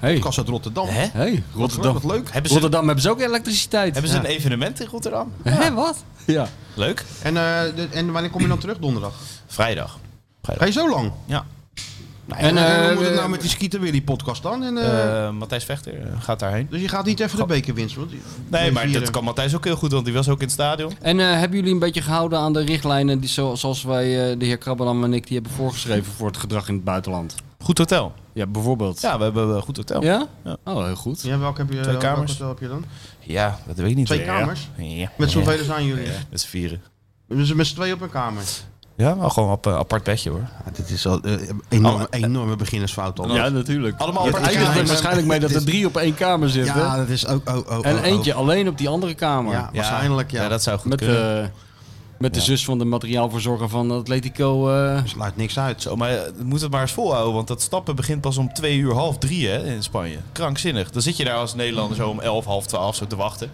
Hey. podcast uit Rotterdam. Hè? Hey, Rotterdam. Wat leuk. Hebben ze, Rotterdam hebben ze ook elektriciteit. hebben ze een evenement in Rotterdam? Hé, wat? Ja. Leuk. En, eh, de- en wanneer kom je dan terug donderdag? Vrijdag. Ga je zo lang? Ja. En, En, eh, hoe moet het eh, nou met die Skeeter Willy podcast dan? En, eh, Eh, Matthijs Vechter eh, gaat daarheen. dus je gaat niet even de beker winsten? want- Nee, maar vieren. dat kan Matthijs ook heel goed, want die was ook in het stadion. En eh, hebben jullie een beetje gehouden aan de richtlijnen die zo, zoals wij, eh, de heer Krabbelam en ik, die hebben voorgeschreven voor het gedrag in het buitenland? Goed hotel. Ja, bijvoorbeeld. Ja? Ja, we hebben een goed hotel. Ja, Ja. Oh, heel goed. Ja, welke heb je, Twee kamers. welk hotel heb je dan? dat weet ik niet Twee meer, kamers? Ja. ja. Met Ja. zoveel zijn jullie. Ja, met z'n vieren. Dus met z'n tweeën op een kamer. Ja, maar gewoon op een apart bedje hoor. dit is al eh, een enorme, enorme beginnersfout al. natuurlijk. Allemaal Het apart- Ja, eindigt apart ja, er ja. waarschijnlijk mee dat er drie op één kamer zitten. Ja, dat is ook... Oh, oh, oh, en oh. eentje alleen op die andere kamer. Ja, waarschijnlijk, ja. dat zou goed Met, kunnen. eh, met de zus van de materiaalverzorger van Atletico. eh, sluit niks uit. Zo, maar eh, moet het maar eens volhouden, want dat stappen begint pas om twee uur half drie hè, in Spanje. Krankzinnig. Dan zit je daar als Nederlander zo om elf, half twaalf zo te wachten.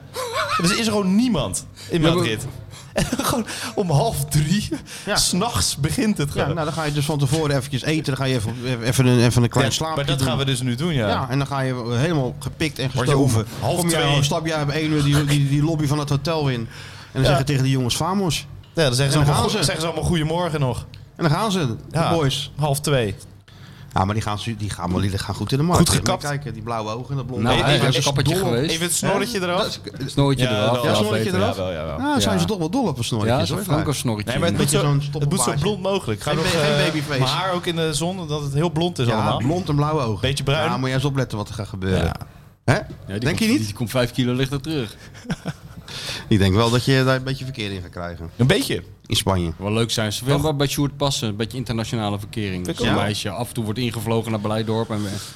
En dus is er gewoon niemand in Ja, Madrid. En *laughs* dan gewoon om half drie, Ja. s'nachts begint het Ja, gewoon. nou, dan ga je dus van tevoren eventjes eten. Dan ga je even, even, een, even een klein Ja, slaapje maar dat doen. gaan we dus nu doen, ja. Ja, en dan ga je helemaal gepikt en Word je gestoven. om half Kom jij, twee. stap jij op één uur die, die, die lobby van het hotel in. En dan zeggen tegen die jongens, vamos. Ja, dan zeggen ze, En dan allemaal, gaan goe- ze. zeggen ze allemaal goedemorgen nog. En dan gaan ze, de Ja, boys. Half twee. Nou, Ja, maar die gaan, ze- die gaan, wel- die gaan goed in de markt. Goed gekapt. Kijken, die blauwe ogen en dat blonde nou, Nee, hij nee, is een is kappertje dol op- geweest. Even het snorretje eraf. Snorretje Ja, eraf. wel. Ja, snorretje beter. eraf. Jawel, jawel. Nou, zijn Ja. ze toch wel dol op een snorretjes, Ja, zo'n hoor. Franco vaak. snorretje. Nee, maar het moet, zo, zo'n het moet zo stoppelbaardje. blond mogelijk. Ga Geen nog, ba- geen eh, babyface. Mijn haar ook in de zon, omdat het heel blond dus is Ja, allemaal. blond en blauwe ogen. Beetje bruin. Ja, moet jij eens opletten wat er gaat gebeuren. Ja. Hè? Ja, die denk je komt- niet? Die komt vijf kilo lichter terug. Ik denk wel dat je daar een beetje verkeer in gaat krijgen. Een beetje. In Spanje. Wel leuk zijn ze. Wel bij Sjoerd passen. Een beetje internationale verkering. Dat ook een wel. meisje af en toe wordt ingevlogen naar Blijdorp en weg.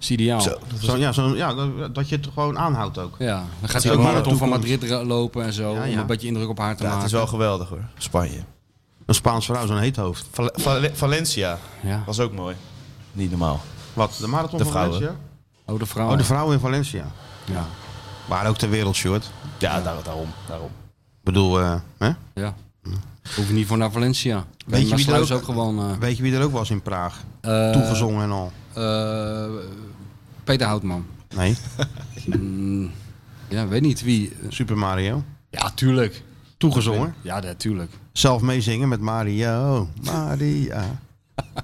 Is ideaal. Zo, ja, zo, ja, dat- dat je het gewoon aanhoudt ook. Ja, dan gaat is hij ook ook marathon maar van de Madrid ra- lopen en zo. Ja, Om ja. een beetje indruk op haar te Ja, het maken. is wel geweldig hoor. Spanje. Een Spaans vrouw, zo'n heet hoofd. Val- Val- Valencia Ja. was ook mooi. Niet normaal. Wat? De marathon De van vrouwen. Valencia? Oh, de vrouw. Oh, de vrouwen in Valencia. ja. Maar ook ter wereld, Sjoerd. Ik Ja, daar- daarom. daarom. bedoel, eh, hè? ja. Hoef je niet voor naar Valencia. Weet je wie er Sluis ook- ook gewoon... eh, weet je wie er ook was in Praag? eh, Toegezongen en al. eh, Peter Houtman. Nee, *laughs* Mm, ja, weet niet wie. eh, Super Mario. Ja, tuurlijk. Toegezongen. Ja, natuurlijk. Zelf meezingen met Mario. Maria.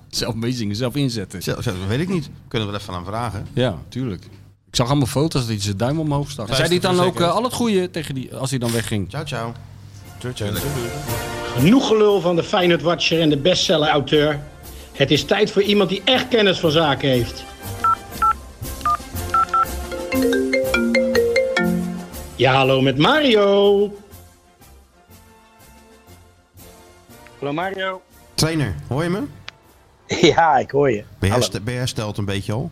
Zelf meezingen, zelf inzetten. Zelf, zelf- dat weet ik niet. Kunnen we er even aan vragen. Ja, tuurlijk. Ik zag allemaal foto's dat hij zijn duim omhoog stak. Zei hij dan ook verzekerd. eh, al het goede tegen die, als hij dan wegging? Ciao, ciao. Genoeg gelul van de Feyenoord Watcher en de bestseller auteur. Het is tijd voor iemand die echt kennis van zaken heeft. Ja, hallo met Mario. Hallo Mario. Trainer, hoor je me? *laughs* Ja, ik hoor je. Ben je, Hallo. herste- ben je hersteld een beetje al?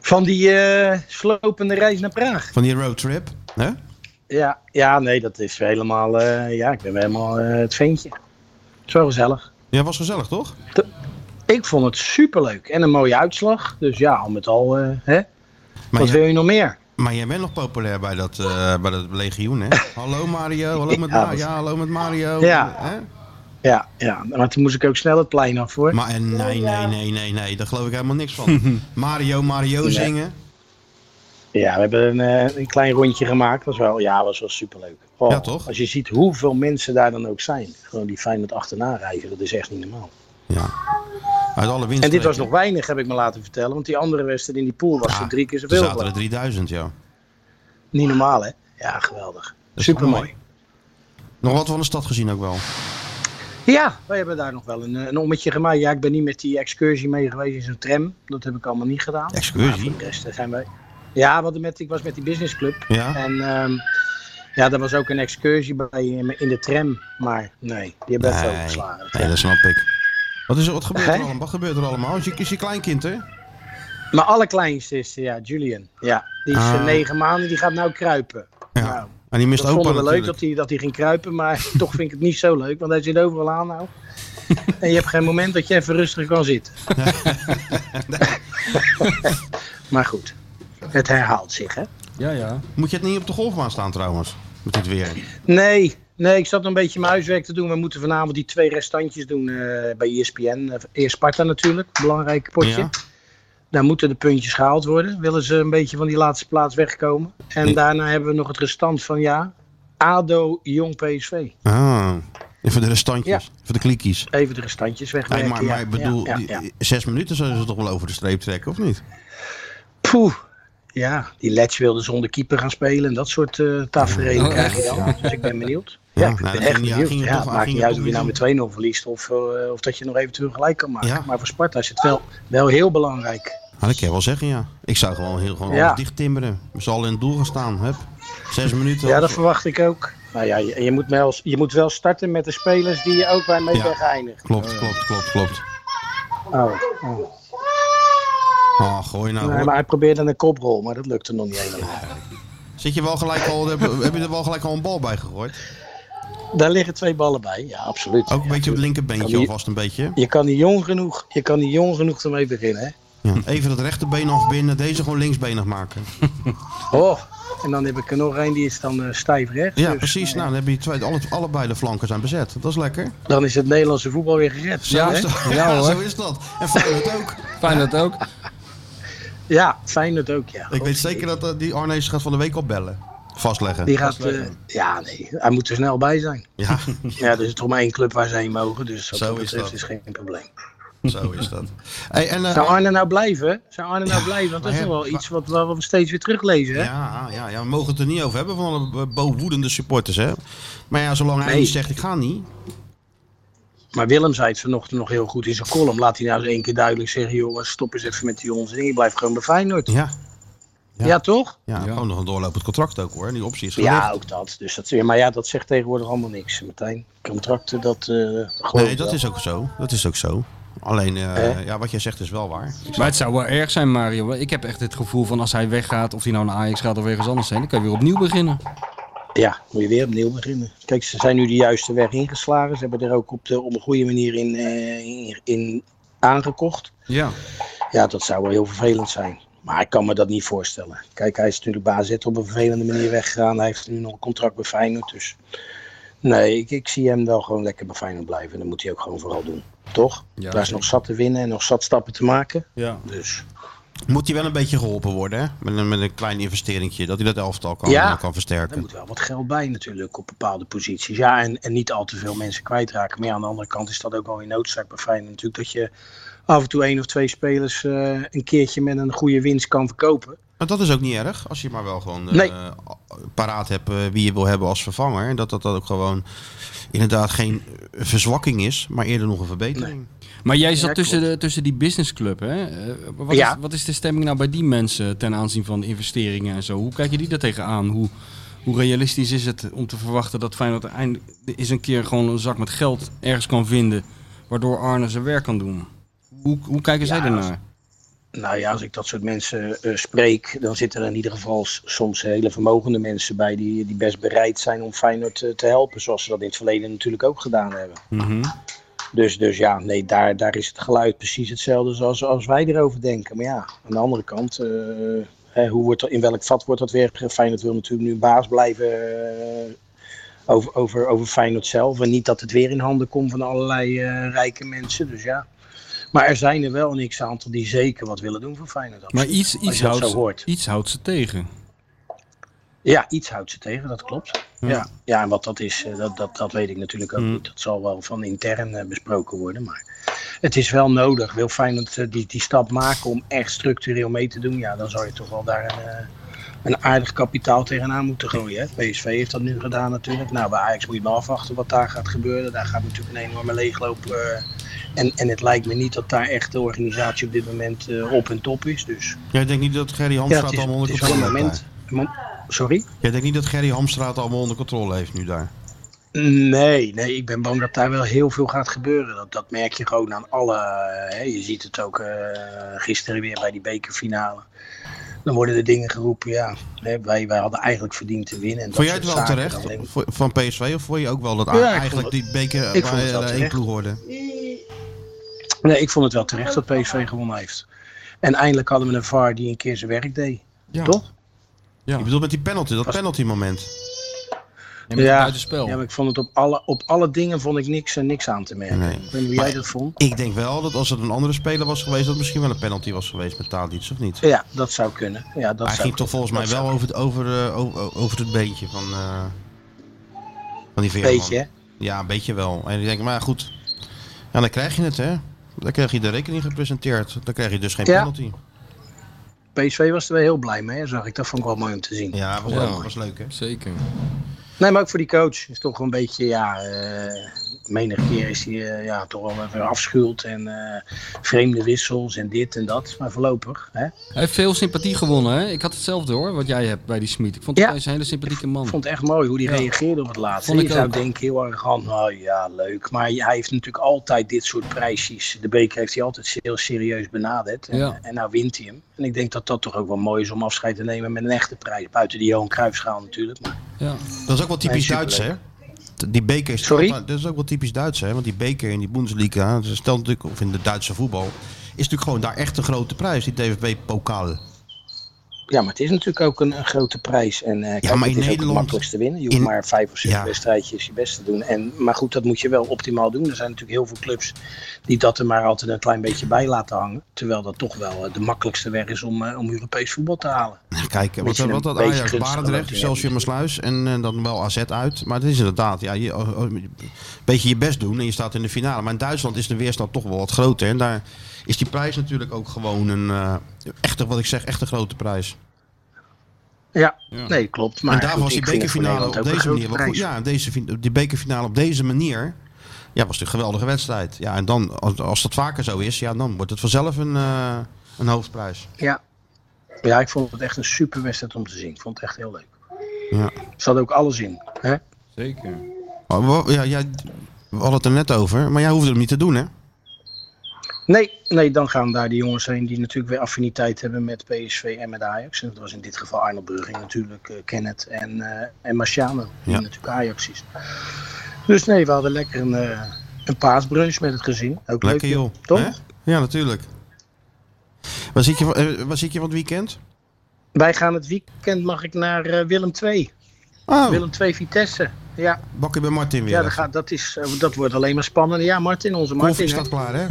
Van die eh, slopende reis naar Praag. Van die roadtrip? Hè? Ja, ja nee, dat is helemaal. eh, ja, ik ben helemaal eh, het ventje. Zo gezellig. Ja, was gezellig, toch? Ik vond het superleuk en een mooie uitslag. Dus ja, al met al. eh, hè? Maar Wat jij, wil je nog meer? maar jij bent nog populair bij dat, eh, bij dat legioen, hè? Hallo Mario, hallo met, Ja, Ma- dat- ja, hallo met Mario. Ja. Hè? Ja, ja, maar toen moest ik ook snel het plein af hoor. Maar eh, nee, nee, nee, nee, nee, daar geloof ik helemaal niks *laughs* van. Mario, Mario Nee. zingen. Ja, we hebben een, eh, een klein rondje gemaakt. Dat was wel, ja, was wel superleuk. Oh, Ja, toch? Als je ziet hoeveel mensen daar dan ook zijn. Gewoon die Feyenoord achterna reizen, dat is echt niet normaal. Ja. Uit alle winst. En dit was nog weinig, heb ik me laten vertellen. Want die andere wedstrijd in die pool was er drie keer Er zoveel. zaten er 3000, ja. Niet normaal, hè? Ja, geweldig. is toch Supermooi. Nog wat van de stad gezien ook wel. Ja, wij hebben daar nog wel een, eh, een ommetje gemaakt. Ja, ik ben niet met die excursie mee geweest in zo'n tram. Dat heb ik allemaal niet gedaan. Maar voor Excursie. de rest eh, zijn wij... Ja, want met, ik was met die businessclub. Ja. En ehm, ja, daar was ook een excursie bij in in de tram. Maar nee, die hebben echt Nee. overgeslagen. nee, dat snap ik. Wat, is er, wat gebeurt er Hè? allemaal? Wat gebeurt er allemaal? Is je, is je kleinkind, hè? Mijn allerkleinste is, eh, ja, Julian. Ja, die is eh, Ah. negen maanden, die gaat nou kruipen. Ja. Nou, En die mist dat opa vonden we leuk natuurlijk. dat hij, dat hij ging kruipen, maar *laughs* toch vind ik het niet zo leuk, want hij zit overal *laughs* aan nou. en je hebt geen moment dat je even rustig kan zitten. maar goed, het herhaalt zich, hè? Ja, ja. Moet je het niet op de golfbaan staan trouwens? Met dit weer. Nee, nee, ik zat een beetje mijn huiswerk te doen. We moeten vanavond die twee restantjes doen eh, bij ESPN. Eh, Eerst Sparta natuurlijk, belangrijk potje. Ja. Daar moeten de puntjes gehaald worden. Willen ze een beetje van die laatste plaats wegkomen. En Nee. daarna hebben we nog het restant van ja, ADO, Jong PSV. Ah. Even de restantjes. Ja. Even de klikkies. Even de restantjes Nee, wegwerken. maar, maar ja, ik bedoel, Ja, ja, die- ja. zes minuten zullen ze toch wel over de streep trekken, of niet? Poeh. Ja, die Letch wilde zonder keeper gaan spelen en dat soort eh tafereelen Oh, krijg je echt? dan. Dus ik ben *laughs* benieuwd. Ja, Ja, nou, ik ben dat echt ging- ja, benieuwd. ging het Ja, toch- het ging maakt niet het uit toch of je nou niet met 2-0 verliest of, eh, of dat je nog even terug gelijk kan maken. Ja. Maar voor Sparta is het wel, wel heel belangrijk. Ah, dat kan je wel zeggen, ja. Ik zou gewoon heel gewoon Ja. alles dicht timmeren. Ze al in het doel gaan staan. Hup. Zes minuten. Ja, dat verwacht ik ook. Nou ja, je, je moet wel, je moet wel starten met de spelers die je ook bij mee Ja. weg eindigt. Klopt, klopt, klopt, klopt. Oh, oh. Ah, gooi nou. Nee, hoor. maar hij probeerde een koprol, maar dat lukte nog niet helemaal. Zit je wel gelijk al, heb, heb je er wel gelijk al een bal bij gegooid? Daar liggen twee ballen bij, ja, absoluut. Ook een beetje op het Kan linkerbeentje die- alvast een beetje. Je kan niet jong genoeg, je kan niet jong genoeg ermee beginnen, hè? Ja. Even dat rechterbeen afbinden, deze gewoon linksbenig maken. Oh, en dan heb ik er nog één die is dan eh, stijf recht. Ja, Dus, precies. eh, Nou, dan heb je twee, alle, allebei de flanken zijn bezet. Dat is lekker. Dan is het Nederlandse voetbal weer gered. Zo Ja, is hè? dat. *laughs* Ja, hoor. zo is dat. En Feyenoord ook. Fijn dat ook. ja fijn dat ook, ja. Ik weet zeker dat eh, die Arnees gaat van de week al bellen. Vastleggen. Die gaat, eh, ja, nee, hij moet er snel bij *laughs* zijn. Ja, Ja, er is toch maar één club waar ze heen mogen, dus wat Zo dat is betreft dat. is geen probleem. zo is dat. Hey, en, eh, Zou Arne nou blijven? Zou Arne nou blijven? Want dat is maar nog hij- wel iets wat, wat we steeds weer teruglezen, hè? Ja, ja, ja, we mogen het er niet over hebben van alle bowoedende supporters, hè. Maar ja, zolang hij Nee. niet zegt, ik ga niet. Maar Willem zei het vanochtend nog heel goed in zijn column. Laat hij nou eens één keer duidelijk zeggen, jongens, stop eens even met die onzin. Je blijft gewoon bij Feyenoord. Ja, Ja, ja. toch? ja, Ja. gewoon nog een doorlopend contract ook, hoor. Die optie is gelicht. Ja, ook dat. Dus dat maar ja, dat zegt tegenwoordig allemaal niks, Martijn. Contracten, dat eh geloof nee, ik dat wel. is ook zo. Dat is ook zo. Alleen, eh, Hè? ja, wat jij zegt is wel waar. Maar het zou wel erg zijn, Mario. Ik heb echt het gevoel van als hij weggaat, of hij nou naar Ajax gaat of ergens anders heen, dan kan je weer opnieuw beginnen. Ja, moet je weer opnieuw beginnen. Kijk, ze zijn nu de juiste weg ingeslagen. Ze hebben er ook op, de, op een goede manier in, eh, in, in aangekocht. Ja. Ja, dat zou wel heel vervelend zijn. Maar ik kan me dat niet voorstellen. Kijk, hij is natuurlijk bij AZ op een vervelende manier weggegaan. Hij heeft nu nog een contract bij Feyenoord. Dus nee, ik, ik zie hem wel gewoon lekker bij Feyenoord blijven. Dat moet hij ook gewoon vooral doen. Toch? Ja, Daar is zeker. nog zat te winnen en nog zat stappen te maken. Ja. Dus Moet hij wel een beetje geholpen worden, hè? Met een, met een klein investeringje, dat hij dat elftal kan, Ja. kan er versterken. moet wel wat geld bij natuurlijk op bepaalde posities. Ja, en, en niet al te veel mensen kwijtraken. Maar ja, aan de andere kant is dat ook wel in noodzaak bij Feyenoord natuurlijk. Dat je af en toe één of twee spelers eh, een keertje met een goede winst kan verkopen. Maar dat is ook niet erg, als je maar wel gewoon eh, Nee. paraat hebt eh, wie je wil hebben als vervanger. En dat dat dan ook gewoon inderdaad geen eh, verzwakking is, maar eerder nog een verbetering. Maar jij zat Ja, tussen, de, tussen die businessclub, hè? Eh, Wat, Ja. is, wat is de stemming nou bij die mensen ten aanzien van de investeringen en zo? Hoe kijk je die daar tegenaan? Hoe, hoe realistisch is het om te verwachten dat Feyenoord eindelijk eens een keer gewoon een zak met geld ergens kan vinden, waardoor Arne zijn werk kan doen? Hoe, hoe kijken zij daarnaar? Nou ja, als ik dat soort mensen eh, spreek, dan zitten er in ieder geval s- soms hele vermogende mensen bij die, die best bereid zijn om Feyenoord eh, te helpen, zoals ze dat in het verleden natuurlijk ook gedaan hebben. Mhm. Dus, dus ja, nee, daar, daar is het geluid precies hetzelfde zoals als wij erover denken. Maar ja, aan de andere kant, eh, hè, hoe wordt dat, in welk vat wordt dat weer? Feyenoord wil natuurlijk nu baas blijven eh, over, over, over Feyenoord zelf. En niet dat het weer in handen komt van allerlei eh, rijke mensen. Dus ja. Maar er zijn er wel een x-aantal die zeker wat willen doen voor Feyenoord. Maar absoluut. iets, Als iets, je dat houdt, zo ze- hoort. iets houdt ze tegen. Ja, iets houdt ze tegen, dat klopt. Ja, ja en wat dat is, eh, dat, dat, dat weet ik natuurlijk ook Mm. niet. Dat zal wel van intern eh, besproken worden. Maar het is wel nodig. Wil Feyenoord eh, die, die stap maken om echt structureel mee te doen? Ja, dan zou je toch wel daar een, eh, een aardig kapitaal tegenaan moeten gooien. Hè? PSV heeft dat nu gedaan natuurlijk. Nou, bij Ajax moet je maar afwachten wat daar gaat gebeuren. Daar gaat natuurlijk een enorme leegloop. eh, en, en het lijkt me niet dat daar echt de organisatie op dit moment eh, op en top is. Dus Jij denkt niet dat Gerry ja, Hamstraat het is, allemaal het onder is wel een controle heeft? moment. daar? een mom- Sorry? Jij denkt niet dat Gerry Hamstraat allemaal onder controle heeft nu daar? Nee, nee, ik ben bang dat daar wel heel veel gaat gebeuren. Dat, dat merk je gewoon aan alle. Hè, je ziet het ook eh, gisteren weer bij die bekerfinale. Dan worden er dingen geroepen, ja. Hè, wij, wij hadden eigenlijk verdiend te winnen. En dat Vond jij het soort wel zaken. terecht Dan denk ik, Vo- van PSV? Of vond je ook wel dat Ja, ik eigenlijk vond het- die beker ik vond het bij wel eh, één terecht. ploeg hoorde? Nee, ik vond het wel terecht dat PSV gewonnen heeft. En eindelijk hadden we een VAR die een keer zijn werk deed. Ja. Toch? Ja. Ik bedoel met die penalty, dat penalty moment. En met Ja. buitenspel. Ja, maar ik vond het op alle, op alle dingen vond ik niks, en niks aan te merken. Nee. Ik weet niet hoe jij dat vond. Ik denk wel dat als het een andere speler was geweest, dat het misschien wel een penalty was geweest met Tadic, of niet? Ja, dat zou kunnen. Ja, dat Hij zou ging toch volgens mij Dat zou wel over het, over, eh, over, over het beentje van, eh, van die Veerman. Beetje, hè? Ja, een beetje wel. En ik denk, maar goed, ja, dan krijg je het hè. Dan krijg je de rekening gepresenteerd. Dan krijg je dus geen Ja. penalty. PSV was er wel heel blij mee, hè, zag ik. Dat vond ik wel mooi om te zien. Ja, was, Ja. wel- was leuk hè. Zeker. Nee, maar ook voor die coach is toch een beetje, ja, eh menig keer is hij eh, ja, toch wel even afschuwd en eh, vreemde wissels en dit en dat. Maar voorlopig, hè? Hij heeft veel sympathie gewonnen, hè? Ik had hetzelfde hoor, wat jij hebt bij die Smit. Ik vond Ja. hij is een hele sympathieke man. Ik vond het echt mooi hoe hij Ja. reageerde op het laatste. Vond ik Je zou ook. denken heel arrogant, nou ja, leuk. Maar hij heeft natuurlijk altijd dit soort prijsjes. De beker heeft hij altijd heel serieus benaderd. En, Ja. en nou wint hij hem. En ik denk dat dat toch ook wel mooi is om afscheid te nemen met een echte prijs. Buiten die Johan Cruijffschaal natuurlijk. Maar Ja. Dat is ook wel typisch Nee, Duits, hè? superleuk. T- Die beker is Sorry? altijd- dat is ook wel typisch Duits, hè? Want die beker in die Bundesliga, dat stelt natuurlijk, of in de Duitse voetbal, is natuurlijk gewoon daar echt een grote prijs, die DFB-pokal. Ja, maar het is natuurlijk ook een, een grote prijs. En eh kijk, maar het in is ook Nederland- het makkelijkste winnen. Je hoeft in- maar vijf of zes Ja. wedstrijdjes je best te doen. En, maar goed, dat moet je wel optimaal doen. Er zijn natuurlijk heel veel clubs die dat er maar altijd een klein beetje bij laten hangen. Terwijl dat toch wel eh, de makkelijkste weg is om, eh, om Europees voetbal te halen. Kijk, wat, Beetje een wat dat beetje Ajax, gunstig Barendrecht, loting Excelsior hebben. Maasluis en eh, dan wel AZ uit. Maar het is inderdaad, ja, je, oh, oh, een beetje je best doen en je staat in de finale. Maar in Duitsland is de weerstand toch wel wat groter. En daar is die prijs natuurlijk ook gewoon een, eh echte, wat ik zeg, echt een grote prijs. Ja, nee, klopt. Maar en daar goed, was die ik vind het voor bekerfinale Nederland op ook een deze grote manier. wel goed. prijs. Ja, deze, fin- die bekerfinale op deze manier. Ja, was een geweldige wedstrijd. Ja, en dan, als, als dat vaker zo is, ja, dan wordt het vanzelf een, eh, een hoofdprijs. Ja. ja, ik vond het echt een super wedstrijd om te zien. Ik vond het echt heel leuk. Ja. Er zat ook alles in. Hè? Zeker. Maar Oh, wa- Ja, jij, we hadden het er net over, maar jij hoefde hem niet te doen, hè? Nee, nee, dan gaan daar die jongens heen die natuurlijk weer affiniteit hebben met PSV en met Ajax. En dat was in dit geval Arnold Brugging natuurlijk, eh, Kenneth en, eh, en Marciano, die Ja. natuurlijk Ajax is. Dus nee, we hadden lekker een, eh een paasbrunch met het gezin. Ook Lekker leuk, joh. Toch? Hè? Ja, natuurlijk. Waar zit, je, van- eh, waar zit je van het weekend? Wij gaan het weekend, mag ik naar eh, Willem II. Oh, Willem II Vitesse. Ja, bakkie bij Martin weer. ja dat, gaat, dat, is, eh, dat wordt alleen maar spannender. Ja, Martin, onze Koffie Martin. hè. staat klaar, hè?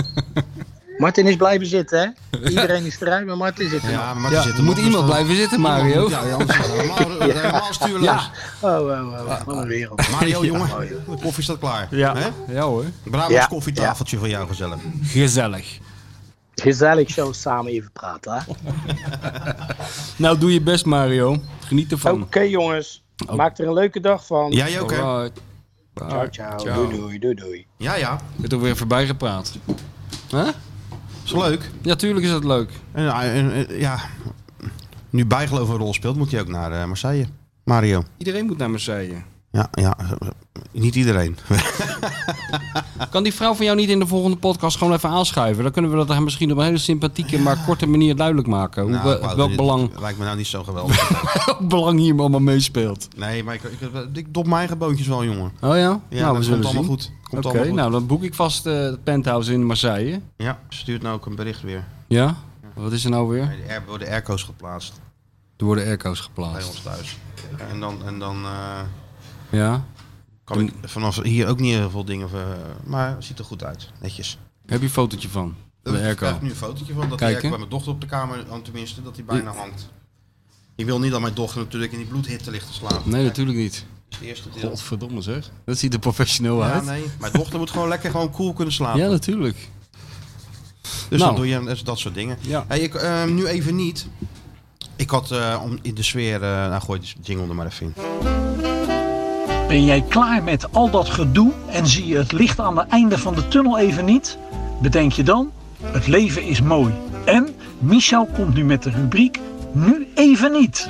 Martin is blijven zitten, *laughs* hè? Iedereen is eruit, maar Martin zit er Ja, nog. maar Ja, er moet dus iemand blijven zitten, Mario. Ja, ja, anders is het helemaal, helemaal stuurloos. Ja. Oh, oh, oh, wat een wereld. Ah, Mario, *laughs* Ja, jongen, mooi, de koffie staat klaar. Hè? Ja. ja hoor. Brabants Ja. koffietafeltje voor jou gezellig. Gezellig. Gezellig zo samen even praten. Hè? Nou, doe je best, Mario. Geniet Oké Oh, ervan. Oh, jongens, maak er een leuke dag van. Jij ook, hè? Alright. Ciao, ciao. Ciao. Doei, doei, doei, doei. Ja, ja. Werd ook weer voorbij gepraat. Huh? Is leuk. Ja, tuurlijk is dat leuk. En, eh, en, eh, ja, nu bijgeloof een rol speelt, moet hij ook naar eh, Marseille. Mario. Iedereen moet naar Marseille. Ja, ja. eh, Niet iedereen. Ah. Kan die vrouw van jou niet in de volgende podcast gewoon even aanschuiven? Dan kunnen we dat haar misschien op een hele sympathieke, maar korte manier duidelijk maken. Hoe, Nou, we- ik wou- welk dit belang, *laughs* Lijkt me nou niet zo geweldig. welk belang hier allemaal meespeelt. nee, maar ik, ik, ik dop mijn eigen boontjes wel, jongen. Oh ja? Ja, nou, we dat zullen komt allemaal zien. goed. Komt Oké, allemaal goed. nou dan boek ik vast eh, het penthouse in Marseille. Ja, stuurt nou ook een bericht weer. Ja? Wat is er nou weer? Nee, de air, worden airco's geplaatst Er worden airco's bij geplaatst. ons thuis. En dan, en dan eh, Ja? Kan ik vanaf hier ook niet heel veel dingen... ver- Maar ziet er goed uit. Netjes. Heb je een fotootje van? De Ik airco. krijg nu een fotootje van dat Kijk, hij bij hè? mijn dochter op de kamer, oh, tenminste, dat hij bijna hangt. Ik wil niet dat mijn dochter natuurlijk in die bloedhitte ligt te slaan. Nee, natuurlijk niet. Dat is het eerste deel. Godverdomme zeg. Dat ziet er professioneel Ja, uit. nee. Mijn dochter moet gewoon lekker gewoon cool kunnen slapen. Ja, natuurlijk. Dus Nou. dan doe je dat- dat soort dingen. Ja. Hey, ik, eh, nu even niet. Ik had eh, om in de sfeer... eh nou, gooi die jingle er maar even in. Ben jij klaar met al dat gedoe en zie je het licht aan het einde van de tunnel even niet? Bedenk je dan, het leven is mooi. En Michel komt nu met de rubriek Nu even niet.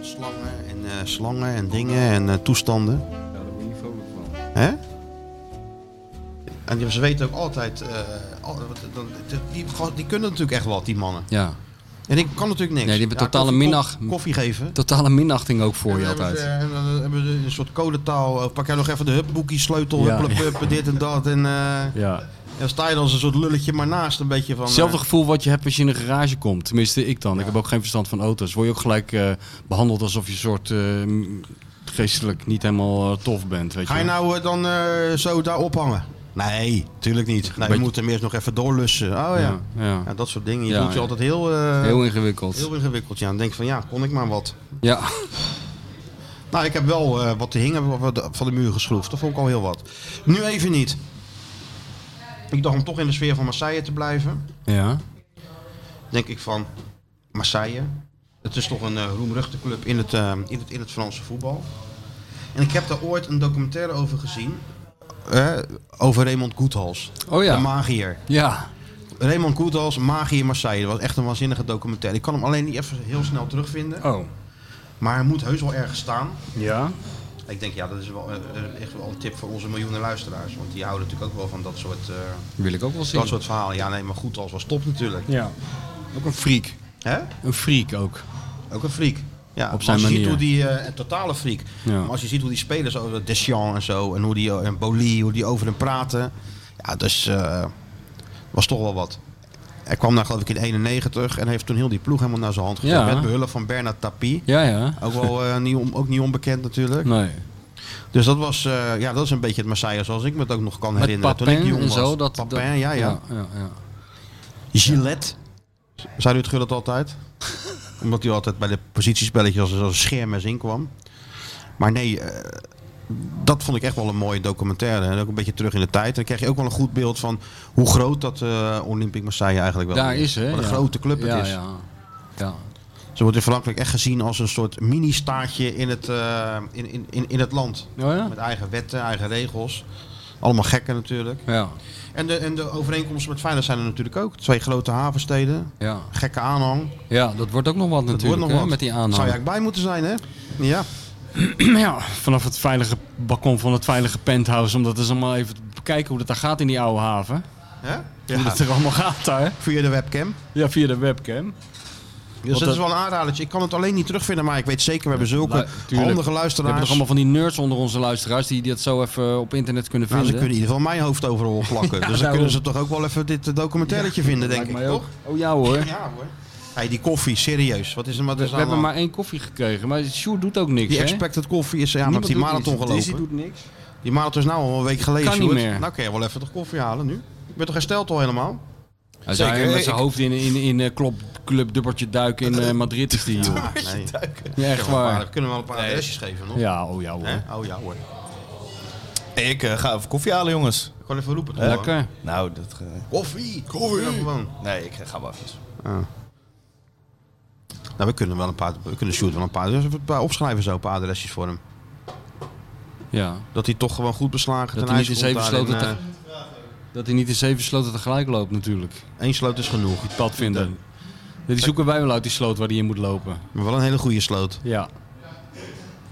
Slangen en eh, slangen en dingen en eh, toestanden. Hè? En die- ze weten ook altijd... eh, al- dan- die, die kunnen natuurlijk echt wat, die mannen. Ja. En ik kan natuurlijk niks. Nee, die hebben totale koffie- minnacht. koff- Koffie geven. Totale minachting ook voor En je dan hebben altijd. ze- En dan hebben ze een soort codetaal. eh, Pak jij nog even de hupboekie sleutel, Ja. hup, hup, hup, dit en dat. En, eh, Ja. en dan sta je dan als een soort lulletje maar naast een beetje van... eh, Hetzelfde gevoel wat je hebt als je in een garage komt. Tenminste, ik dan. Ik heb ook geen verstand van auto's. Word je ook gelijk eh, behandeld alsof je een soort eh, m- geestelijk niet helemaal eh, tof bent. Weet Ga je wel. nou eh, dan eh, zo daar ophangen? Nee, tuurlijk niet. Nee, je Beetje- moet hem eerst nog even doorlussen. Oh ja. Ja, ja. Ja, dat soort dingen. Je Ja, voelt je ja. altijd heel, eh, heel... Heel ingewikkeld. ingewikkeld. Ja, en denk van ja, kon ik maar wat. Ja. Nou, ik heb wel eh, wat te hingen van de- van de muur geschroefd. Dat vond ik al heel wat. Nu even niet. Ik dacht om toch in de sfeer van Marseille te blijven. ja. denk ik van Marseille. Het is toch een eh roemruchte club in het, eh, in, het, in het Franse voetbal. En ik heb daar ooit een documentaire over gezien. eh, over Raymond Goethals, Oh ja. de magier. Ja. Raymond Goethals, magier Marseille. Dat was echt een waanzinnige documentaire. Ik kan hem alleen niet even heel snel terugvinden. Oh. Maar hij moet heus wel ergens staan. Ja. Ik denk, ja, dat is wel, eh, echt wel een tip voor onze miljoenen luisteraars. Want die houden natuurlijk ook wel van dat soort, eh, Wil ik ook wel zien. dat soort verhalen. Ja, nee, maar Goethals was top natuurlijk. Ja. Ook een freak. Hè? Een freak ook. Ook een freak. Ja, Op zijn als je manier. Ziet hoe die, eh, een totale freak. Ja. Maar als je ziet hoe die spelers, zoals Deschamps en zo, en hoe die eh, en Boli, hoe die over hem praten. Ja, dus eh, was toch wel wat. Hij kwam daar geloof ik in 91 en heeft toen heel die ploeg helemaal naar zijn hand gezet. Ja. Met behulp van Bernard Tapie. Ja, ja. Ook wel *laughs* eh, niet, on- ook niet onbekend natuurlijk. Nee. Dus dat was, eh, ja, dat is een beetje het Marseille zoals ik me het ook nog kan Met herinneren. toen ik Papin jong en zo. was. Dat, Papin, dat- ja, ja. ja, ja. Gillette. Zei Rutger dat *laughs* altijd? Omdat hij altijd bij de positiespelletjes als, als een schermes inkwam. Maar nee, eh, dat vond ik echt wel een mooie documentaire. En ook een beetje terug in de tijd. En dan krijg je ook wel een goed beeld van hoe groot dat eh Olympique Marseille eigenlijk wel Daar is hè. Wat een ja. grote club het ja, is. Ja. ja. Ze wordt in Frankrijk echt gezien als een soort mini-staatje in het, eh, in, in, in, in het land. Oh ja? Met eigen wetten, eigen regels. Allemaal gekken natuurlijk. Ja. En de, en de overeenkomsten met Feyenoord zijn er natuurlijk ook. Twee grote havensteden. Ja. Gekke aanhang. Ja, dat wordt ook nog wat Dat wordt natuurlijk, nog hè, wat. met die Zou je aanhang. eigenlijk bij moeten zijn, hè? Ja. *clears throat* Ja, vanaf het veilige balkon van het veilige penthouse, om dat eens allemaal even te bekijken hoe dat daar gaat in die oude haven. Hè? Hoe dat er allemaal gaat daar. Via de webcam. Ja, via de webcam. Dus dat, is dat- wel een aanradertje. Ik kan het alleen niet terugvinden, maar ik weet zeker, we hebben zulke Lu- tuurlijk. handige We hebben luisteraars. toch allemaal van die nerds onder onze luisteraars die die dat zo even op internet kunnen Nou, ze vinden. kunnen in ieder geval mijn hoofd overal *laughs* plakken. dus dan daarom. kunnen ze toch ook wel even dit eh, documentairetje vinden, denk ik, Lijkt mij ook. toch? Oh ja hoor. Ja hoor. Hey, die koffie, serieus. Wat is er wat We is er aan de hebben hand? maar één koffie gekregen, maar Sjoerd doet ook niks. Die hè? expected koffie is, ja, maar Niemand die doet marathon iets. Dizzy gelopen. doet niks. Die marathon is nou al een week geleden. Kan niet Sjoerd. meer. Nou kun je wel even toch koffie halen nu. Je bent toch hersteld al helemaal? Hij zou Zeker, met zijn ik- hoofd in, in, in eh, klop, club dubbertje duiken in eh, Madrid is die, joh. Nee. Kunnen Ja, echt we wel een paar- waar. Kunnen we wel een paar adresjes geven nog? Ja, oh ja hoor. Hè? Oh ja hoor. Hey, ik eh, ga even koffie halen, jongens. Ik kan even roepen. toch? Lekker. Nou, dat... ge- Koffie, koffie. Ja, gewoon. nee, ik eh, ga wel even. Nou, we kunnen wel een paar, we kunnen Sjoerd wel een paar, dus even een paar opschrijven zo, een paar adresjes voor hem. Ja. Dat hij toch gewoon goed beslagen Dat ten hij ijs niet in komt. zeven daar in, sloten eh, te... Dat hij niet in zeven sloten tegelijk loopt natuurlijk. Eén eh, sloot is genoeg. Pad vinden. Die zoeken wij wel uit die sloot waar hij in moet lopen. Maar wel een hele goede sloot. Ja.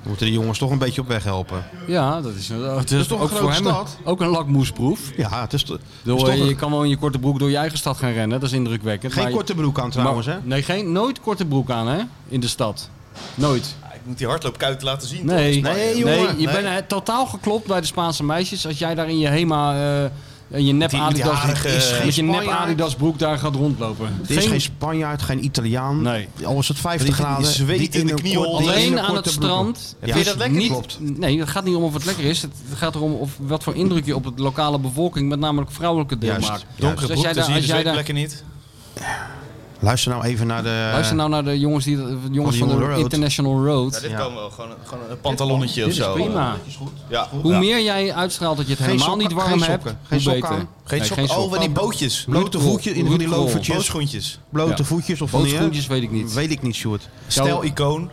We moeten de jongens toch een beetje op weg helpen. Ja, dat is, dat is, is toch een ook grote voor hem stad? ook een lakmoesproef. Ja, het is, to- het is Door, toch je een- kan wel in je korte broek door je eigen stad gaan rennen, dat is indrukwekkend. geen maar je- korte broek aan trouwens, maar- hè? Nee, geen, nooit korte broek aan hè, in de stad. Nooit. Ja, ik moet die hardloopkuit laten zien. toch? Nee, Nee, nee, jongen, je nee. bent eh, totaal geklopt bij de Spaanse meisjes als jij daar in je HEMA eh, en je nep Die- die Adidas, harige- met is je geen nep Spanjaard. Adidas broek daar gaat rondlopen. Er is geen Spanjaard, geen Italiaan. Nee. Al is het 50 Die- die graden. zweet in de een knieën korte- onder. die in Alleen een aan het korte broeken. strand. Ja. Vind je dat lekker? Niet, Klopt. Nee, het gaat niet om of het lekker is. Het gaat erom of wat voor indruk je op het lokale bevolking, met name vrouwelijke deel Juist. maakt. Dus Donkere Donkere als jij broek, dan daar- zie je als de jij daar- zweetplekken dus niet. Luister nou even naar de... Luister nou naar de jongens, die, de jongens van de, Jonge Road. International Road. Ja, dit Ja. kan wel. Gewoon, een- gewoon een pantalonnetje of Dit is zo. prima. Ja. Hoe Ja. meer jij uitstraalt dat je het Geen helemaal sokken, niet warm geen hebt, sokken, hoe geen sokken beter. aan. Geen Nee, sokken. Oh, van die bootjes. Blote Roodkrol, voetjes in van die roodkrol. lovertjes. Bootschoentjes. Blote Ja. voetjes of van die... Bootschoentjes weet ik niet. Weet ik niet, Sjoerd. Stel icoon.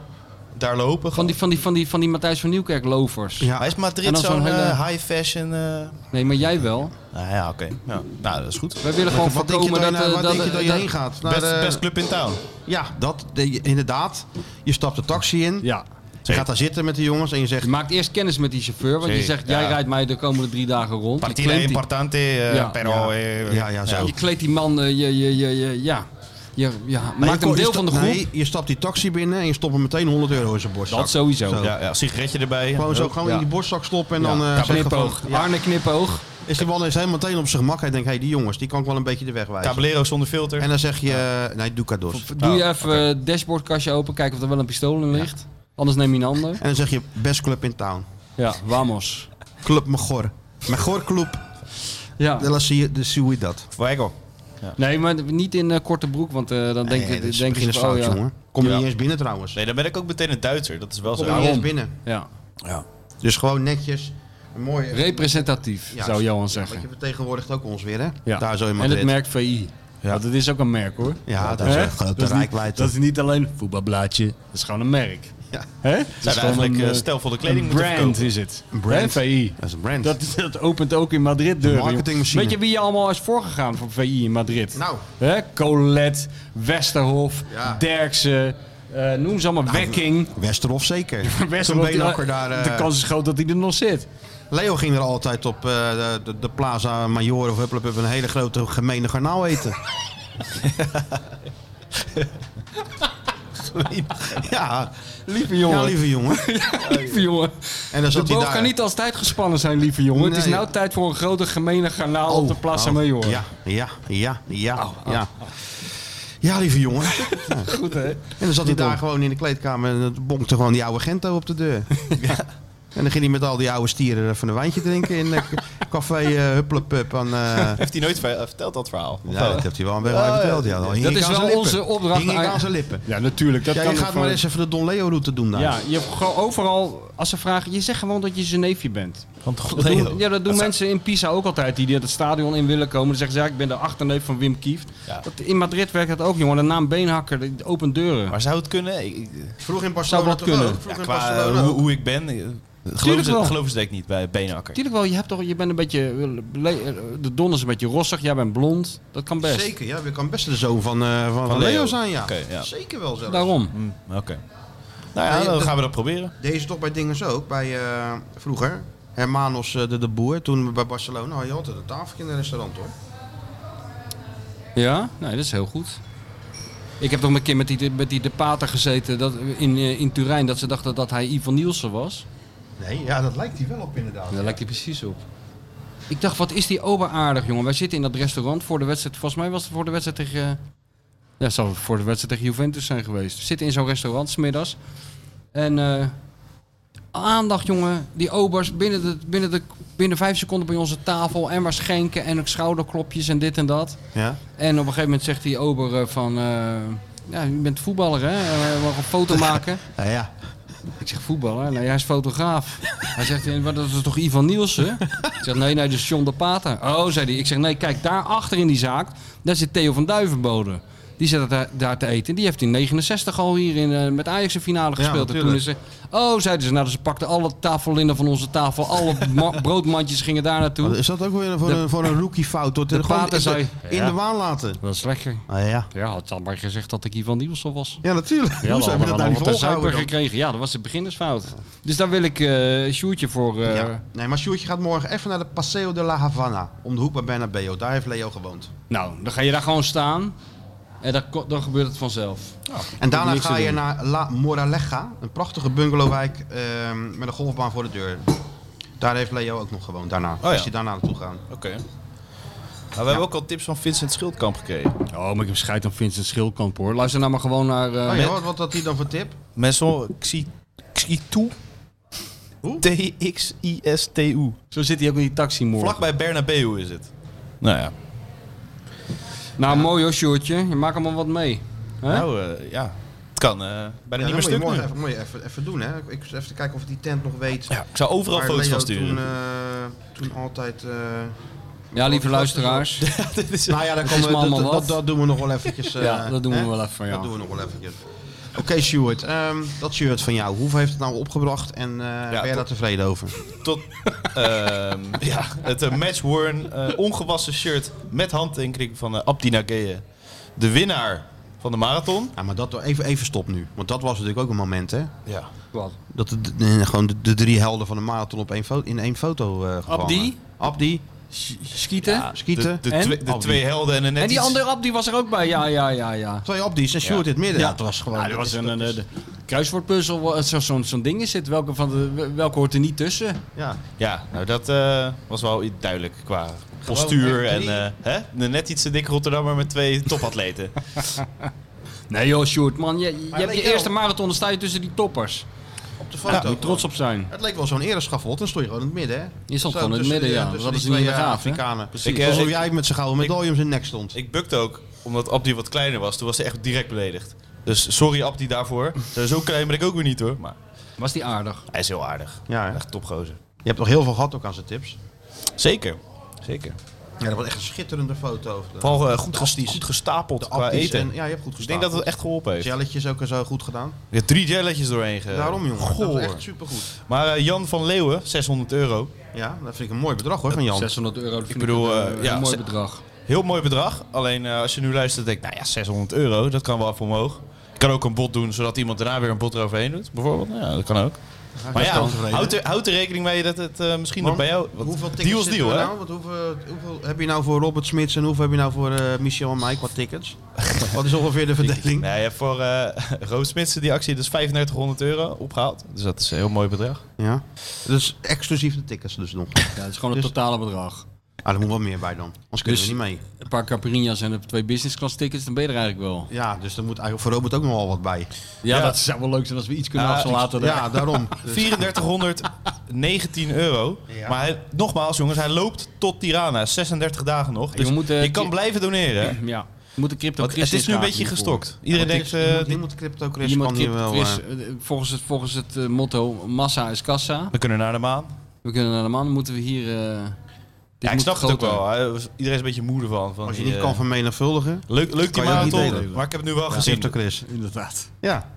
Daar lopen. Van die, van die, van die, van die Matthijs van Nieuwkerk lovers. Ja. Maar is En Madrid dan zo'n zo'n hele- eh, high fashion... eh, Nee, maar jij wel. Nou ja, oké. Ja. Nou, dat is goed. Wij willen gewoon Wat denk je voorkomen dat, dat... je- eh, waar dat- denk je dat je dat- heen gaat? Naar Best, de- best club in town. Ja, dat, de- inderdaad. Je stapt de taxi in. Ja. Je gaat daar zitten met de jongens en je zegt... Je maakt eerst kennis met die chauffeur, want je Zeker, zegt, jij ja. rijdt mij de komende drie dagen rond. Je Partida claimt die- importante, eh, Ja. pero... Ja. eh, Ja, ja, zo. Je kleedt die man, eh, je, je, je, je- ja. Je, Nee, ja, maakt je hem ko- je deel sta- van de groep. Nee, je stapt die taxi binnen en je stopt hem meteen 100 euro in zijn borstzak. dat sowieso. Zo. Ja, ja, sigaretje erbij. Gewoon zo, Hup. gewoon Ja. in die borstzak stoppen en Ja, dan... eh, zeggen van- knipoog. Arne knipoog. Is die man eens helemaal meteen op zijn gemak. Hij denkt, hé, die jongens, die kan ik wel een beetje de weg wijzen. Tablero zonder filter. En dan zeg je, eh, nee, Ducados. Doe je even het dashboardkastje open, kijken of er wel een pistool in ligt. Anders neem je een ander. En dan zeg je, best club in town. Ja, vamos. Club Magor. Magor Club Ja. de la Ci- de Ciudad. Fuego. Nee, maar niet in eh, korte broek, want eh, dan denk, Nee, ik- dat is denk precies ik van, oh fout, ja. jongen. Kom je Ja. niet eens binnen trouwens. Nee, dan ben ik ook meteen een Duitser. Dat is wel zo. Kom je niet eens binnen. ja. Dus gewoon netjes. Een mooie... Representatief, Ja, zou Johan Want je zeggen. vertegenwoordigt ook ons weer, hè? Ja. Daar zo in en Madrid. het merk VI. Ja. Want het is ook een merk hoor. Ja, dat is Hè? een grote Dat is niet- rijkwijde. Dat is niet alleen een voetbalblaadje, dat is gewoon een merk. Ja. Hè? Het is Zou gewoon eigenlijk een, eh, eh, stijlvolle een kleding moeten brand verkopen. is het. Een brand. Hè, VI. Dat is een brand. Dat, dat opent ook in Madrid deuren. joh. marketingmachine. Weet je wie je allemaal is voorgegaan voor VI in Madrid? Nou. Hè? Colette, Westerhof, Ja. Derksen, eh, noem ze allemaal, Wekking. Westerhof zeker. *laughs* Toen Westerhof, die- Beenhakker daar... eh, De kans is groot dat hij er nog zit. Leo ging er altijd op eh, de, de, de Plaza Major of Hupplepup een hele grote gemene garnaal *laughs* eten. ja, Lieve jongen. *laughs* ja, lieve jongen. Lieve jongen. En dan De zat hij boog daar. kan niet als tijd gespannen zijn, lieve jongen. Het is Nee. nou tijd voor een grote gemene garnaal op de Plaza Oh, Major. Ja, ja, ja, ja, ja. Ja, lieve *laughs* jongen. Goed, hè? En dan zat hij daar gewoon in de kleedkamer en het bonkte gewoon die oude Gento op de *laughs* deur. En dan ging hij met al die oude stieren even een wijntje drinken in *laughs* eh, café eh Hupplepup. aan, eh, Heeft hij nooit ver- eh, verteld dat verhaal? Of Ja, wel? dat heeft hij wel een beetje verteld. Ja. Dan hing Dat ik is aan zijn wel lippen. onze opdracht Hing ik aan- aan zijn lippen. Ja, natuurlijk. Dat Jij kan gaat gewoon. maar eens even de Don Leo route doen daar. Ja, je hebt gewoon overal, als ze vragen, je zegt gewoon dat je zijn neefje bent. Want Dat doen, ja, dat doen mensen in Pisa ook altijd, die die het stadion in willen komen. Dan zeggen ze, ja, ik ben de achterneef van Wim Kieft. Ja. Dat, in Madrid werkt dat ook, jongen. De naam Beenhakker, die opent deuren. Maar zou het kunnen? Ik- ik- Vroeg in Zou Barcelona dat toch kunnen? ook? Vroeg ja, in qua eh, Barcelona hoe, ook. hoe ik ben, eh, geloven Tuurlijk ze, wel. geloven ze denk ik niet bij Beenhakker. Tuurlijk wel, je, hebt toch, je bent een beetje, eh, le- de don is een beetje rossig, jij bent blond. Dat kan best. Zeker, ja. Je kan best de zoon van, eh, van, van Leo. Leo. zijn, ja. Oké, ja. Zeker wel zelfs. Daarom. Hmm, Oké. Nou ja, Nee, dan dat- gaan we dat proberen. Deze toch bij dingen ook. Bij eh, vroeger, Hermanos eh, de de Boer. Toen we bij Barcelona had je altijd een tafeltje in een restaurant, hoor. Ja, nee, dat is heel goed. Ik heb toch een keer met die, met die de pater gezeten dat, in, eh, in Turijn, dat ze dachten dat hij Ivan Nielsen was. Nee, ja, dat lijkt hij wel op inderdaad. Ja, Daar lijkt hij precies op. Ik dacht, wat is die ober aardig, jongen. Wij zitten in dat restaurant voor de wedstrijd. Volgens mij was het voor de wedstrijd tegen... eh, Ja, het zal voor de wedstrijd tegen Juventus zijn geweest. We zitten in zo'n restaurant, smiddags. En eh, aandacht, jongen. Die obers binnen, de, binnen, de, binnen vijf seconden bij onze tafel. En maar schenken en ook schouderklopjes en dit en dat. Ja? En op een gegeven moment zegt die ober eh, van... eh, ja, u bent voetballer, hè? Eh, We mogen een foto maken. *laughs* Ja, ja. Ik zeg voetballer? Nee, hij is fotograaf. Hij zegt, "Ja, maar dat is toch Ivan Nielsen? Ik zeg, nee, nee, dat is John de Pater. Oh, zei hij. Ik zeg, nee, kijk, daar achter in die zaak, daar zit Theo van Duivenbode. Die zit daar, daar te eten. Die heeft in 69 al hier in, eh, met Ajax een finale gespeeld. en toen natuurlijk. is ze, oh, zeiden ze, nou, ze pakten alle tafellinnen van onze tafel. Alle ma- broodmandjes gingen daar Wat naartoe. Is dat ook weer voor, De- een, voor een rookie fout? hoor. De Gewoon pater in de- zei- In Ja. de waan laten. Dat is lekker. Ah, ja. Ja, had ze al maar gezegd dat ik Ivan Nielsen was. Ja, natuurlijk. Ja, Hoezo dan heb je hadden dat we nou al niet wat een zuiper volgehouden dan? gekregen. Ja, dat was de beginnersfout. Dus daar wil ik eh Sjoerdje voor... eh, Ja. Nee, maar Sjoerdje gaat morgen even naar de Paseo de la Havana. Om de hoek bij Bernabeu. Daar heeft Leo gewoond. Nou, dan ga je daar gewoon staan. En dan, ko- dan gebeurt het vanzelf. En daarna niks te ga je doen. naar La Moraleja. Een prachtige bungalowwijk ehm, Oh met een golfbaan voor de deur. Daar heeft Leo ook nog gewoond daarna. ja. Is hij daarna naartoe gegaan. Oké. Maar we hebben ook al tips van Vincent Schildkamp gekregen. Oh, maar ik heb scheid aan Vincent Schildkamp hoor. Luister nou maar gewoon naar... eh, Oh ja, wat, wat had hij dan voor tip? Messon Xi- Xitu. T-X-I-S-T-U. Zo zit hij ook in die taxi morgen. Vlakbij Bernabeu is het. Nou ja. Nou, mooi hoor, Sjoerdje. Je maakt allemaal wat mee. Hè? Nou eh, ja. Het kan eh, bijna Ja, dan niet meer moet je stuk nu. morgen even, moet je even, even doen, hè? Ik zit even kijken of die tent nog weet. Ja, ik zou overal waar foto's Leo van sturen. Toen, eh, toen altijd. eh, Ja, lieve *laughs* luisteraars. Dit is- nou ja, dan is komen we- me allemaal dat, dat, wat. dat doen we nog wel *laughs* eventjes. eh, Ja, dat doen hè? we wel even van Dat doen jou. we nog wel eventjes. Oké, Stuart, ehm, dat shirt van jou. Hoeveel heeft het nou opgebracht en eh, ben je tot- daar tevreden over? tot ehm, ja, het eh, match-worn eh, ongewassen shirt met handtekening van eh, Abdi Nageye. De winnaar van de marathon. Ja, maar dat, even, even stop nu. Want dat was natuurlijk ook een moment, hè? Ja. Wat? Dat de, de- gewoon de, de drie helden van de marathon op één foto, in één foto eh gevangen. Abdi? Abdi, Schieten? De, Skieten. de, En? twee- de Abdi. twee helden en een net En die iets- andere app die was er ook bij. Ja, ja, ja, ja. Twee Abdi's en Stuart in het midden. Ja, dat was gewoon... Ja, dat was is- een, dat eh, een, is- de kruiswoordpuzzel, wa- zo- zo'n zo'n ding is het. Welke, van de, welke hoort er niet tussen? ja. Ja, nou dat eh, was wel i- duidelijk qua postuur. En eh, hè? De net iets te dik Rotterdammer met twee *laughs* topatleten. Nee joh, Sjoerd, man. Je, je hebt je leek wel. eerste marathon, dan sta je tussen die toppers. Oh, Op de Ja, foto. Daar moet je trots op zijn. Het leek wel zo'n ereschafot, dan stond je gewoon in het midden, hè? Je stond Zo gewoon in het tussen midden, die- ja. tussen Dat hadden die ze niet in de twee, eh, gaven, hè? Afrikanen. Precies. Ik, eh, Alsof ik- jij met zijn gouden medaille om zijn nek stond. ik bukte ook, omdat Abdi wat kleiner was. Toen was hij echt direct beledigd. Dus sorry Abdi daarvoor. Zo klein ben ik ook weer niet hoor. Maar Was die aardig? hij is heel aardig. Ja, hè? Echt topgozer. Je hebt toch heel veel gehad ook aan zijn tips? Zeker. Zeker. Ja, dat was echt een schitterende foto. Vooral eh, goed, ges- Abdi's. goed gestapeld De qua Abdi's eten. en- ja, je hebt goed ik gestaan. denk dat het echt geholpen heeft. Jelletjes ook en zo goed gedaan. Je hebt drie jelletjes doorheen ge... Daarom, jongen. Dat Goor. is echt supergoed. Maar eh, Jan van Leeuwen, 600 euro. Ja, dat vind ik een mooi bedrag, hoor, van Jan. 600 euro, dat vind ik bedoel, een, eh, eh, ja, een mooi ze- bedrag. Heel mooi bedrag. Alleen eh, als je nu luistert, denk ik, nou ja, 600 euro, dat kan wel even omhoog. Je kan ook een bod doen, zodat iemand daarna weer een bod eroverheen doet, bijvoorbeeld. Nou Ja, dat kan ook. Maar ja, houd er, houd er rekening mee dat het eh, misschien nog Want bij jou... want Hoeveel tickets deal is zitten deal, er hè? nou? Want hoeveel, hoeveel heb je nou voor Robert Smits en hoeveel heb je nou voor eh, Michel en mij qua tickets? Wat is ongeveer de verdeling? Nee, je hebt voor eh *laughs* Roos Smitsen die actie dus 3500 euro opgehaald. Dus dat is een heel mooi bedrag. Ja. Dus exclusief de tickets dus nog. Ja, dat is gewoon het dus- totale bedrag. Ah, er moet wel meer bij dan. Anders kunnen Dus- we niet mee. Een paar Caprinia's en twee business class tickets, dan ben je er eigenlijk wel. Ja, dus er moet eigenlijk voor Robert ook nog wel wat bij. Ja, Ja. dat zou wel leuk zijn als we iets kunnen Ah, afslaten. daar. Ja, *laughs* daarom. Dus- 3419 euro. Ja. Maar hij- nogmaals jongens, hij loopt tot Tirana. 36 dagen nog. Dus we moeten- je kan blijven doneren. hè? ja. Moet de crypto Want het is nu een beetje gestokt. Iedereen Want denkt, dit- iemand- eh, iemand crypto Chris Iemand kan hier crypto wel. Chris, eh, eh, volgens het, volgens het eh, motto massa is kassa. we kunnen naar de maan. We kunnen naar de man, moeten we hier... eh, dit Ja, ik moet snap het ook groter. wel. hè. Iedereen is een beetje moe ervan. Van als je die, niet eh, kan vermenigvuldigen. Leuk, leuk die kan je ook niet marathon, delen. maar ik heb het nu wel gezien. Crypto Chris. Inderdaad. Ja.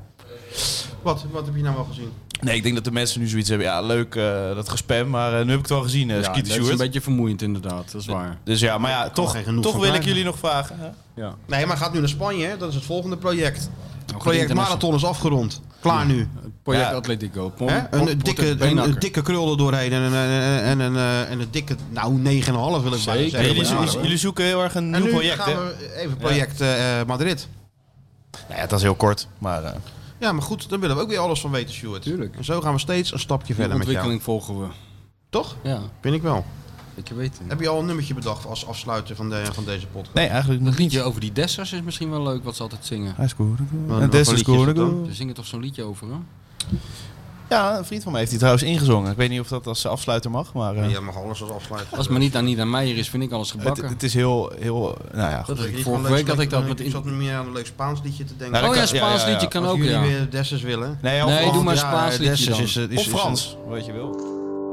Wat, wat heb je nou wel gezien? Nee, ik denk dat de mensen nu zoiets hebben. Ja, leuk eh, dat gespam, maar eh, nu heb ik het wel gezien, eh Ja, Skeeter dat is een Stewart. beetje vermoeiend inderdaad, dat is waar. Dus ja, maar ja, toch, geen genoeg toch van wil ik krijgen. jullie nog vragen. hè? Ja. Nee, maar gaat nu naar Spanje. hè? Dat is het volgende project. project Nou, internationaal. Marathon is afgerond. Klaar nu. Project Ja. Atletico. Pom- Hè? pom- Een, eh, pom- dikke, een, beenhakker. een dikke krul er doorheen en een, en, en, en, eh, en een dikke, nou 9,5 wil ik bijna Zeker. Ja, zeggen. jullie, Ja, jullie- hoor. jullie zoeken heel erg een en nieuw nu project, hè? gaan we even project eh, Madrid. Nou ja, dat is heel kort, maar... eh, Ja, maar goed, dan willen we ook weer alles van weten, Stuart. Tuurlijk. En zo gaan we steeds een stapje Die verder met jou. ontwikkeling volgen we. Toch? Ja, Vind ik wel. ik weet het. Heb je al een nummertje bedacht als afsluiter van, de, van deze podcast? Nee, eigenlijk Een nog niet. liedje over die Dessers is misschien wel leuk wat ze altijd zingen. Hij scoorde Wat- goal. wat En voor Dessers liedje is scoorde dat dan? goal. Ze zingen toch zo'n liedje over hè? Ja, een vriend van mij heeft die trouwens ingezongen. Ik weet niet of dat als afsluiter mag, maar... eh, Ja, mag alles als afsluiter. Als het maar niet aan Nina Meijer is, vind ik alles het, gebakken. het is heel, heel... Nou ja, Dat goed. Weet je ik niet, vorige gewoon leuk week had ik dat een- met... Ik zat in- nu meer aan een leuk Spaans liedje te denken. Nou, Oh dat ja, kan- ja, Spaans ja, ja. liedje kan Als ook, jullie ja. weer Dessers willen. Nee, of, Nee, of- doe maar ja, Spaans liedje Dessers dan. is, eh, is- of is- Frans, wat je wil.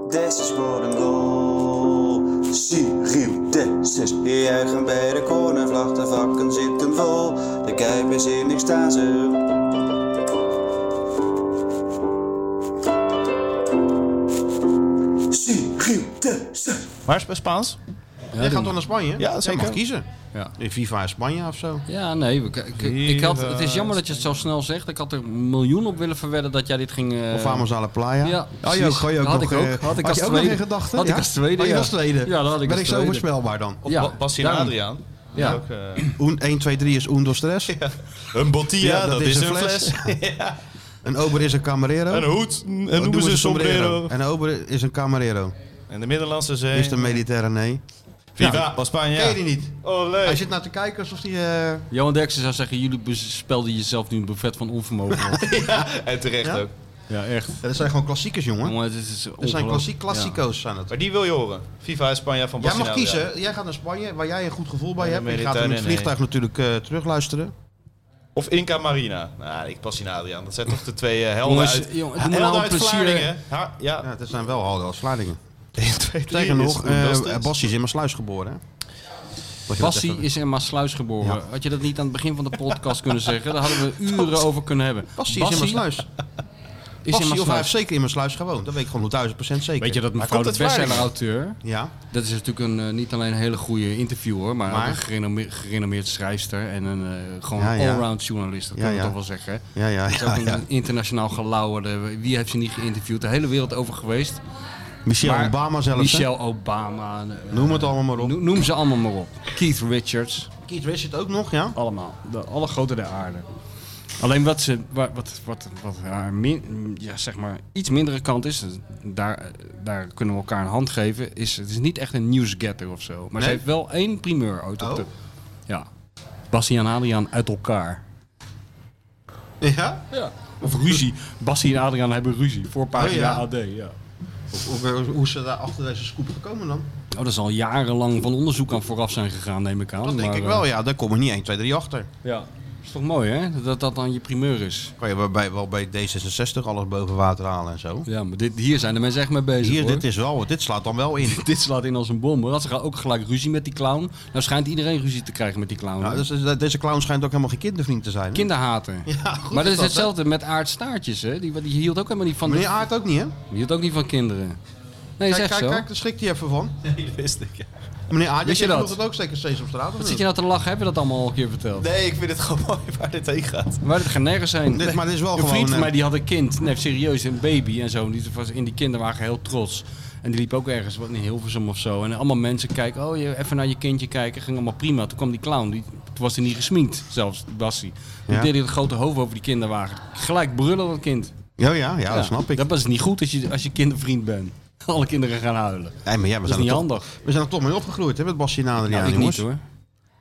Dessus voor een goal. Cyril Dessus. Die juichen bij de cornervlag. De vakken zitten vol. De kuip is in extase. Cyril Dessus. Maar is het Spaans? Jij gaat toch naar Spanje? Ja, Jij zeker. mag kiezen. Ja. Eh, In Viva in Spanje of zo. Ja, nee. we- k- k- ik had, het is jammer dat je het zo snel zegt. Ik had er een miljoen op willen verwedden dat jij dit ging... eh, Of Vamos a la Playa. Oh, ja, had je ook, precies. had je ook Had nog, ik ook. eh, Had ik als je ook nog tweede. in gedachten? Had ik Ja? als tweede, Had je ja. als tweede? Ja, dat had ik Ben als ik zo tweede. voorspelbaar dan? Of Ja, Ba- Bassie en daarom. Adriaan? Ja. Ook, eh, Oen- 1, 2, 3 is un, dos, tres. *laughs* Een bottilla, dat, is een fles. Een ober is een camarero. Een hoed, en noemen ze een sombrero. En een ober is een camarero. En de Middellandse Zee. Is de militaire nee. Vind Viva Spanje. Ken je die niet? Oh, Hij leuk. zit nou te kijken alsof die... eh, Johan Derksen zou zeggen, jullie spelden jezelf nu een buffet van onvermogen op. En terecht Ja? ook. *laughs* ja, echt. Ja, dat zijn gewoon klassiekers, jongen. Jongen, dit is Dat zijn ongelooflijk. klassiek, klassico's zijn het. Maar die wil je horen. Viva Spanje van Jij Bastiaan. mag kiezen. Jij gaat naar Spanje, waar jij een goed gevoel bij Ja, hebt. En je Mediterrane, gaat hem in het nee. vliegtuig natuurlijk eh, terugluisteren. Of Inca Marina. Nou, ik pas in Adriaan. Dat zijn toch de twee eh, helden Jongens, uit, jongen, doe me helden nou een uit plezier. Vlaardingen. Ha, ja. Ja, *laughs* het zijn wel al als Vlaardingen. Twee, drie Tegen is nog, goed, eh, dat is het. Bassie is in mijn sluis geboren. hè? Dat je dat Bassie even- is in Maasluis geboren. Had je dat niet aan het begin van de podcast kunnen zeggen? Daar *laughs* hadden we uren over kunnen hebben. Bassie is in mijn sluis. is Bassie, in of hij heeft Maassluis. zeker in mijn sluis gewoond. Dat weet ik gewoon duizend procent zeker. Weet je dat mevrouw komt de uit Vlaardingen. bestseller-auteur... Ja, Dat is natuurlijk een, eh, niet alleen een hele goede interviewer, maar, Maar? ook een gerenommeer- gerenommeerd schrijfster en een eh, gewoon Ja, ja. allround journalist. Dat Ja, kunnen we ja. toch wel zeggen. hè? ja, ja. Het is ook ja, een ja. internationaal gelauwerde. Wie heeft ze niet geïnterviewd? De hele wereld over geweest. Michelle Maar Obama zelfs. hè? Michelle Obama. eh, Noem het allemaal maar op. no- Noem ze allemaal maar op. Keith Richards. Keith Richard ook nog, ja? Allemaal. De, alle grote der aarde. Alleen wat, ze, wa- wat, wat, wat haar min- ja, zeg maar, iets mindere kant is, daar, daar kunnen we elkaar een hand geven, is het is niet echt een newsgetter of zo. Maar ze Nee? heeft wel één primeur ooit op Oh. de... Ja. Bassie en Adriaan uit elkaar. Ja? Of ruzie. Bassie en Adriaan hebben ruzie. Voor pagina Oh, AD, ja. Hoe, hoe is ze daar achter deze scoop gekomen dan? Oh, dat is al jarenlang van onderzoek aan vooraf zijn gegaan, neem ik aan. Dat denk maar, ik eh, wel, ja. Daar kom ik niet 1, 2, 3 achter. ja. Is toch mooi, hè? Dat dat dan je primeur is. Kan je wel bij, wel bij D66 alles boven water halen en zo. Ja, maar dit, hier zijn de mensen echt mee bezig, Hier, hoor. dit, is wel, dit slaat dan wel in. *laughs* Dit slaat in als een bom. hoor. Want ze gaan ook gelijk ruzie met die clown. Nou schijnt iedereen ruzie te krijgen met die clown. Ja, hoor. dus, eh, deze clown schijnt ook helemaal geen kindervriend te zijn. hè? Kinderhater. Ja, goed maar dat is is dat, hetzelfde met Aard Staartjes. Hè? Die, die hield ook helemaal niet van, Meneer de, Aard ook niet, hè? die hield ook niet van kinderen. Nee, is Kijk, echt kijk, zo. kijk, daar schrikt hij even van. Die wist ik, ja. Meneer Aard, Wist jij je dat? doet het ook zeker steeds op straat, of Wat niet? zit je nou te lachen? Hebben we dat allemaal al een keer verteld? Nee, ik vind het *laughs* gewoon mooi waar dit heen gaat. Maar dit gaat nergens zijn. Dit- maar dit is wel een gewoon, vriend van eh, mij die had een kind. Nee, serieus, een baby en zo. En Die was in die kinderwagen heel trots. En die liep ook ergens, wat in Hilversum of zo. En allemaal mensen kijken, oh, je- even naar je kindje kijken. Ging allemaal prima. Toen kwam die clown, die, toen was hij niet gesminkt zelfs, Bassie. Toen Ja. deed hij het grote hoofd over die kinderwagen. Gelijk brullen dat kind. Ja, ja, ja, dat snap ik. Dat was niet goed als je, als je kindervriend bent. *laughs* Alle kinderen gaan huilen. Nee, maar ja, we, Dat is zijn er niet toch, handig. we zijn er toch mee opgegroeid, hè, met Basje en Adriaan, Nou, ik niet jongens.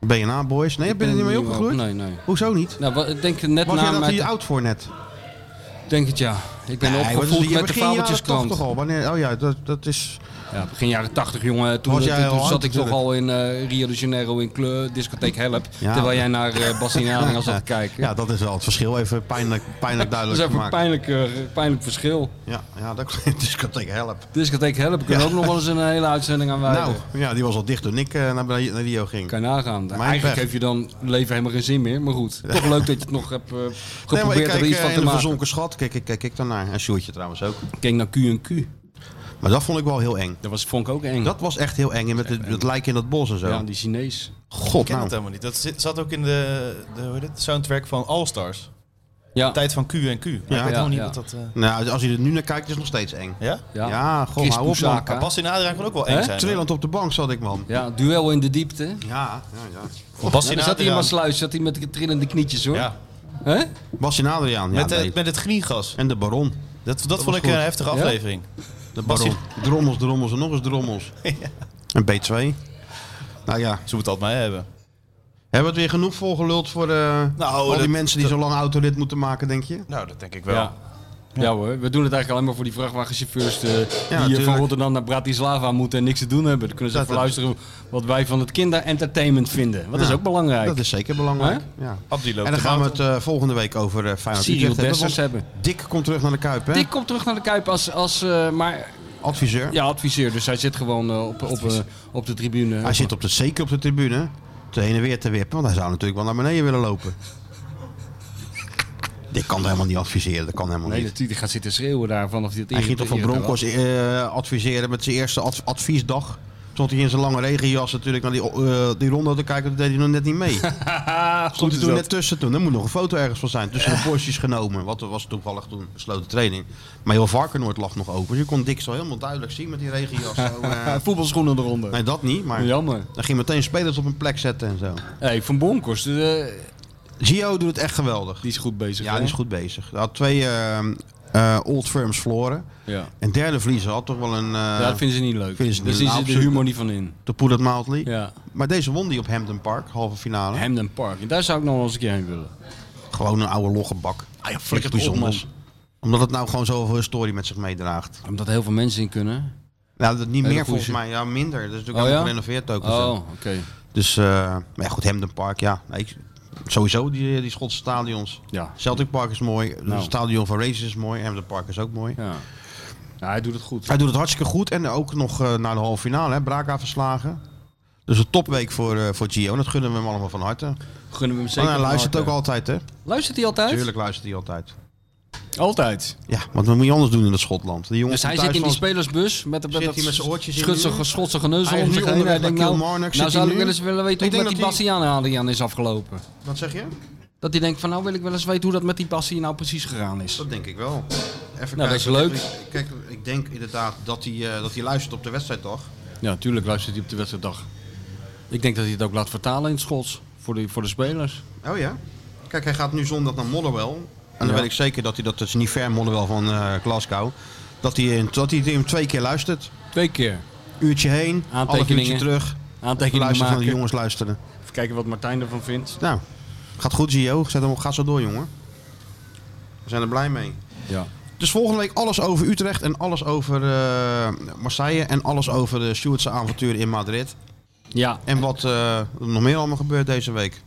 hoor. BNA Boys. Nee, ben je er niet mee niet opgegroeid? op- nee, nee. Hoezo niet? Nou, wat- ik denk net Was na jij dat mijn- hier oud voor net? denk het ja. Ik ben Nee, want opgevoed je met de begin jaren Fabeltjeskrant. 80 al. Wanneer, oh ja, dat, dat is... Ja, begin jaren 80, jongen. Toen, Was jij toen- toen al zat oud, ik toch natuurlijk. al in eh, Rio de Janeiro in kleur, discotheek Help. Ja. Terwijl jij naar eh Bassinadinga zat te kijken. Ja, dat is wel het verschil. Even pijnlijk, *laughs* pijnlijk eh, dat is duidelijk even een gemaakt. pijnlijk, eh, pijnlijk verschil. Ja, ja, dat *laughs* is discotheek help. Discotheek Help kunnen we ook nog wel eens een hele uitzending aan wijden. Nou, ja, die was al dicht toen ik eh, naar, Bra- naar Rio ging. Kan je nagaan. Mijn Eigenlijk pech. heeft je dan leven helemaal geen zin meer. Maar *laughs* goed, toch leuk dat je het nog hebt eh, Nee, maar ik geprobeerd kijk er iets eh, van in te de maken. verzonken schat. Kijk, kijk, kijk, kijk daarnaar. En Sjoertje trouwens ook. Ik keek naar Q&Q. Maar dat vond ik wel heel eng. Dat was, vond ik ook eng. Dat was echt heel eng. En met het, het lijk in dat bos en zo. ja, die Chinees. God, Ik ken nou. het helemaal niet. Dat zit- zat ook in de, de, hoe heet het, soundtrack van All Stars. Ja, Tijd van Q en Q. Maar ik weet helemaal niet ja. wat dat... eh, Nou, als je er nu naar kijkt, is het nog steeds eng. ja? ja. Ja, god, Chris hou op, man. Bouchaka. Bas in Adriaan kan ook wel Hè? eng zijn. hoor. Trillend op de bank zat ik, man. Ja, duel in de diepte. Ja, ja, ja. Bas Ja, in dan zat hij in Adriaan. Maasluis, zat hij met de trillende knietjes hoor. Ja, Hè? Bas en Adriaan. Ja, met, nee. het, met het kniegas. En de baron. Dat, dat, vond ik goed. een heftige aflevering. De Bas baron. Drommels, drommels en nog eens *laughs* drommels. En B2. Nou ja, Ze moet het altijd mij hebben. hebben we het weer genoeg volgeluld voor eh, al die Nou, dat- mensen die zo lang autorit moeten maken, denk je? Nou, dat denk ik wel. Ja. Ja. hoor, we doen het eigenlijk alleen maar voor die vrachtwagenchauffeurs eh, die eh, natuurlijk. van Rotterdam naar Bratislava moeten en niks te doen hebben. Dan kunnen ze Dat- even luisteren wat wij van het kinderentertainment vinden. Wat is Ja, ook belangrijk. Dat is zeker belangrijk. Ja. Abdi loopt En dan de gaan we maand. het eh, volgende week over eh Feyenoord Cyril Utrecht hebben, Dessers want hebben. Dick komt terug naar de Kuip, hè? Dick komt terug naar de Kuip als, als eh, maar, Adviseur. ja, adviseur, dus hij zit gewoon eh, op, op, eh, op de tribune. Hij zit op de, zeker op de tribune. Te heen en weer te wippen, want hij zou natuurlijk wel naar beneden willen lopen. Dick kan helemaal niet adviseren, dat kan helemaal Nee, niet. natuurlijk, die gaat zitten schreeuwen daar vanaf dit Hij ging toch van Broncos eh, adviseren met zijn eerste ad- adviesdag. Stond hij in zijn lange regenjas natuurlijk naar die, eh die ronde te kijken. Dat deed hij nog net niet *laughs* mee. Stond hij toen net tussen toen. Er moet nog een foto ergens van zijn. Tussen de borstjes genomen. Wat er was toevallig toen besloten training. Maar heel Varkenoord lag nog open. Dus je kon Dick zo helemaal duidelijk zien met die *laughs* regenjas. Zo, eh, voetbalschoenen eronder. nee, dat niet. Maar Jammer. dan ging meteen spelers op een plek zetten en zo. Hey, van Broncos, eh, Gio doet het echt geweldig. die is goed bezig. Ja, hè? die is goed bezig. Hij had twee eh, eh, Old Firms verloren. Ja. En derde verliezer had toch wel een... eh ja, dat vinden ze niet leuk. vinden ze Daar niet zien leuk. ze de Absoluut. humor niet van in. De Poelet Mildly. Ja. Maar deze won die op Hampden Park, halve finale. Hamden Park. En daar zou ik nog wel eens een keer heen willen. Gewoon een oude loggenbak. Ah ja, Niks bijzonders. Omdat het nou gewoon zoveel historie met zich meedraagt. Omdat er heel veel mensen in kunnen. Nou, dat niet Hele meer volgens goeie. mij. Ja, minder. Dat is natuurlijk Oh, allemaal ja? gerenoveerd ook. en zo. Oh, oké. Dus, eh, maar ja, goed, Hampden Park, ja. Nee, ik- sowieso die, die Schotse stadions. Ja. Celtic Park is mooi. Nou. Het stadion van Racers is mooi. Hampden Park is ook mooi. Ja. ja, hij doet het goed. Hij doet het hartstikke goed. En ook nog eh, naar de halve finale, hè. Braga verslagen. Dus een topweek voor, eh, voor Gio. En dat gunnen we hem allemaal van harte. Gunnen we hem En zeker. hij van luistert ook harte. altijd, hè? Luistert hij altijd? Tuurlijk luistert hij altijd. Altijd. Ja, want wat moet je anders doen in het Schotland? Die jongens Dus hij van zit in die thuisland- spelersbus met, Zit met hij met zijn oortjes in schutse, nu? schotse geneuzel Hij is om nu zich heen. onderweg Hij denkt, naar Nou, Kilmarnock. nou Zit hij zou ik nu? wel eens willen weten Ik denk hoe met die dat hij- Bastiaan Adriaan is afgelopen. Wat zeg je? Dat hij denkt van nou wil ik wel eens weten hoe dat met die Bassie nou precies gegaan is. Dat denk ik wel. Even Nou, dat is leuk. Kijk, ik denk inderdaad dat hij, eh, dat hij luistert op de wedstrijd toch? Ja, natuurlijk luistert hij op de wedstrijddag. Ik denk dat hij het ook laat vertalen in het Schots. Voor de, voor de spelers. Oh ja. Kijk, hij gaat nu zondag naar Motherwell. En dan Ja. weet ik zeker dat hij dat, dat is niet ver Motherwell van eh, Glasgow. Dat hij, in- dat hij hem twee keer luistert. Twee keer. Uurtje heen, half uurtje Aantekeningen. terug. Aantekeningen Luisteren van de maken. jongens luisteren. Even kijken wat Martijn ervan vindt. Nou, gaat goed Gio. Zet hem, op- ga zo door jongen. We zijn er blij mee. Ja. Dus volgende week alles over Utrecht en alles over eh, Marseille en alles over de Stuartse avonturen in Madrid. Ja, En wat eh, er nog meer allemaal gebeurt deze week.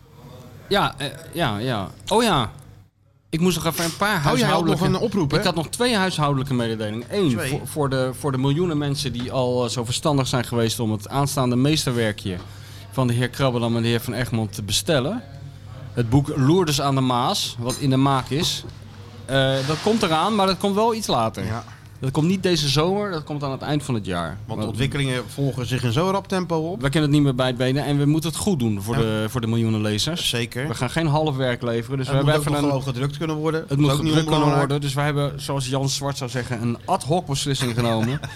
ja, eh, ja, ja. Oh ja. Ik moest nog even een paar Oh, had nog huishoudelijke... een oproep, hè? Ik had nog twee huishoudelijke mededelingen. Eén, Twee. voor, voor, de, voor de miljoenen mensen die al eh, zo verstandig zijn geweest... om het aanstaande meesterwerkje van de heer Krabbelam en de heer Van Egmond te bestellen. Het boek Loerders aan de Maas, wat in de maak is. Eh, dat komt eraan, maar dat komt wel iets later. Ja. Dat komt niet deze zomer, dat komt aan het eind van het jaar. Want de ontwikkelingen volgen zich in zo'n rap tempo op. We kunnen het niet meer bij het benen en we moeten het goed doen voor, Ja. de, voor de miljoenen lezers. Zeker. We gaan geen half werk leveren, dus Het we moet hebben ook nog even een... gewoon gedrukt kunnen worden. Het Dat moet is ook niet gedrukt kunnen onbelangrijk. worden, dus we hebben, zoals Jan Zwart zou zeggen, een ad hoc beslissing *laughs* genomen. Eh,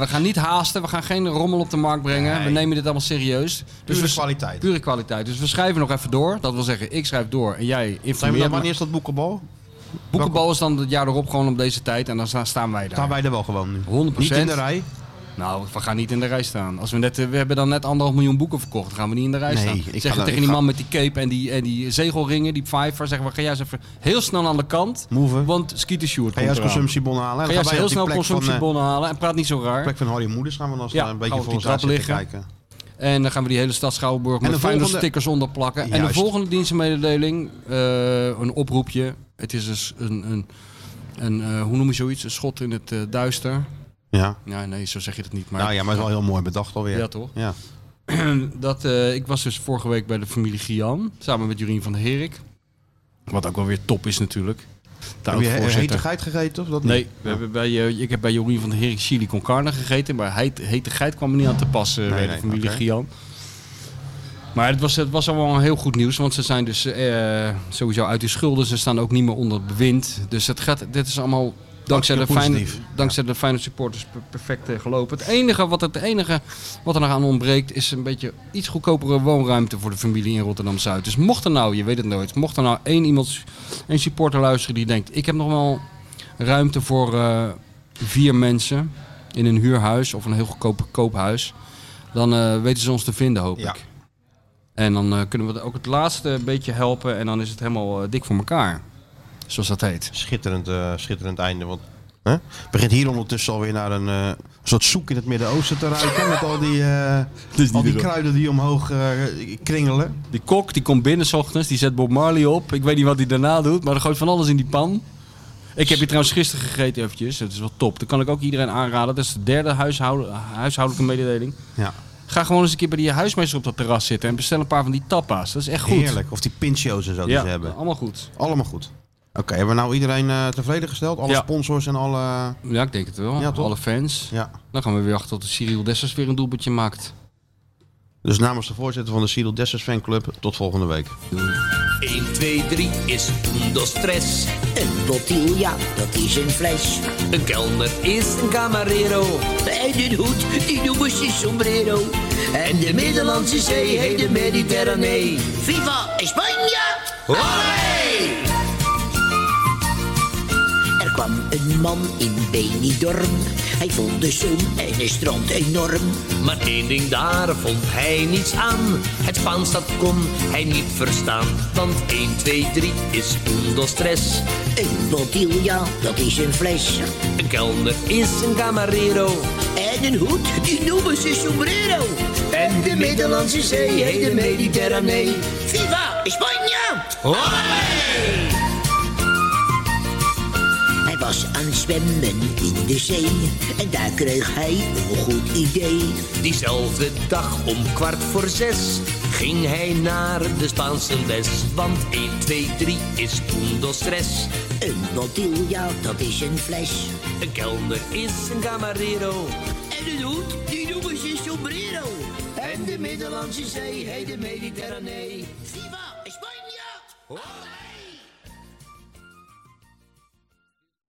we gaan niet haasten, we gaan geen rommel op de markt brengen. Nee. We nemen dit allemaal serieus. Dus Pure we- kwaliteit. Pure kwaliteit. Dus we schrijven nog even door. Dat wil zeggen, ik schrijf door en jij Zijn we informeert dan, me. wanneer is dat boekenbal? Boekenbal is dan het jaar erop gewoon op deze tijd en dan sta- staan wij daar. Staan wij er wel gewoon nu? 100%. Niet in de rij? Nou, we gaan niet in de rij staan. Als we, net, eh, we hebben dan net anderhalf miljoen boeken verkocht. Dan gaan we niet in de rij Nee, staan. ik ga Zeggen tegen daar- ik die ga- man met die cape en die, en die zegelringen, die pfeifer. Zeggen we, ga jij eens even heel snel aan de kant. Moeven. Want Skeeter Sjoerd Ga komt jij eens eraan. consumptiebon halen? Ga En jij dan eens gaan wij heel op die snel plek van, eh, consumptiebonnen halen. En praat niet zo raar. plek van Harry Moeders gaan we dan Ja, een beetje gaan we op voor ons die uit trap zitten liggen. kijken. En dan gaan we die hele stad Schouwburg de met Feyenoord volgende- stickers onderplakken. En de Juist. volgende dienstenmededeling, eh, een oproepje. Het is dus een, een, een eh, hoe noem je zoiets? Een schot in het eh, duister. Ja. Ja, nee, zo zeg je het niet. Maar Nou ja, maar het is wel heel mooi bedacht alweer. Ja, toch? Ja. dat, eh, ik was dus vorige week bij de familie Gian, samen met Jurien van der Herik. Wat ook wel weer top is natuurlijk. De Heb je he- oud-voorzitter. hete geit gegeten of dat niet? Nee, we hebben bij, eh, ik heb bij Jorien van der Herik chili con carne gegeten. Maar heet, hete geit kwam er niet aan te passen bij nee, de familie oké. Gian. Maar het was, het was allemaal heel goed nieuws. Want ze zijn dus eh, sowieso uit de schulden. Ze staan ook niet meer onder bewind. Dus het gaat, dit is allemaal dankzij, de Hartstikke fijne, positief. dankzij de fijne supporters per- perfect eh, gelopen. Het enige, wat, het enige wat er nog aan ontbreekt is een beetje iets goedkopere woonruimte voor de familie in Rotterdam-Zuid. Dus mocht er nou, je weet het nooit, mocht er nou één iemand, één supporter luisteren die denkt... ik heb nog wel ruimte voor eh, vier mensen in een huurhuis of een heel goedkoop koophuis. Dan eh, weten ze ons te vinden, hoop Ja. ik. En dan eh, kunnen we het ook het laatste beetje helpen en dan is het helemaal eh, dik voor elkaar. Zoals dat heet. Schitterend, eh, schitterend einde. Want hè, het begint hier ondertussen alweer naar een eh, soort zoek in het Midden-Oosten te ruiken. met al die, eh, al die kruiden die omhoog eh, kringelen. Die kok die komt binnen 's ochtends, die zet Bob Marley op. Ik weet niet wat hij daarna doet, maar er gooit van alles in die pan. Ik heb hier trouwens gisteren gegeten eventjes. Dat is wel top. Dat kan ik ook iedereen aanraden. Dat is de derde huishouden, huishoudelijke mededeling. Ja, Ga gewoon eens een keer bij die huismeester op dat terras zitten en bestel een paar van die tapas. Dat is echt goed. heerlijk. Of die pincho's en zo die Ja, ze hebben. allemaal goed. Allemaal goed. Oké, hebben we nou iedereen eh, tevreden gesteld? Alle Ja. sponsors en alle... Ja, ik denk het wel. Ja, toch? Alle fans. Ja. Dan gaan we weer wachten tot de Cyril Dessers weer een doelpuntje maakt. Dus namens de voorzitter van de Cyril Dessers fanclub, tot volgende week. 1, 2, 3 is un, dos, tres. Een bottiglia, dat is een fles. Een kelner is een camarero. En een hoed, die noemen ze sombrero. En de Middellandse Zee heet de Mediterranee. Viva España! Olé! Er kwam een man in Benidorm. Hij vond de zon en het strand enorm. Maar één ding daar vond hij niets aan. Het Spaans dat kon hij niet verstaan. Want 1, 2, 3 is poendel stress. Een botilla, dat is een fles. Een kelner is een camarero. En een hoed, die noemen ze sombrero. En de Middellandse Zee heet de Mediterranee. Viva Spanje! Hij was aan het zwemmen in de zee. En daar kreeg hij een goed idee. Diezelfde dag om kwart voor zes ging hij naar de Spaanse les. Want 1, 2, 3 is poendel stress. Een botilla, dat is een fles. Een kelner is een camarero. En een hoed, die noemen ze sombrero. En de Middellandse Zee heet de Mediterranee. Viva Spanje!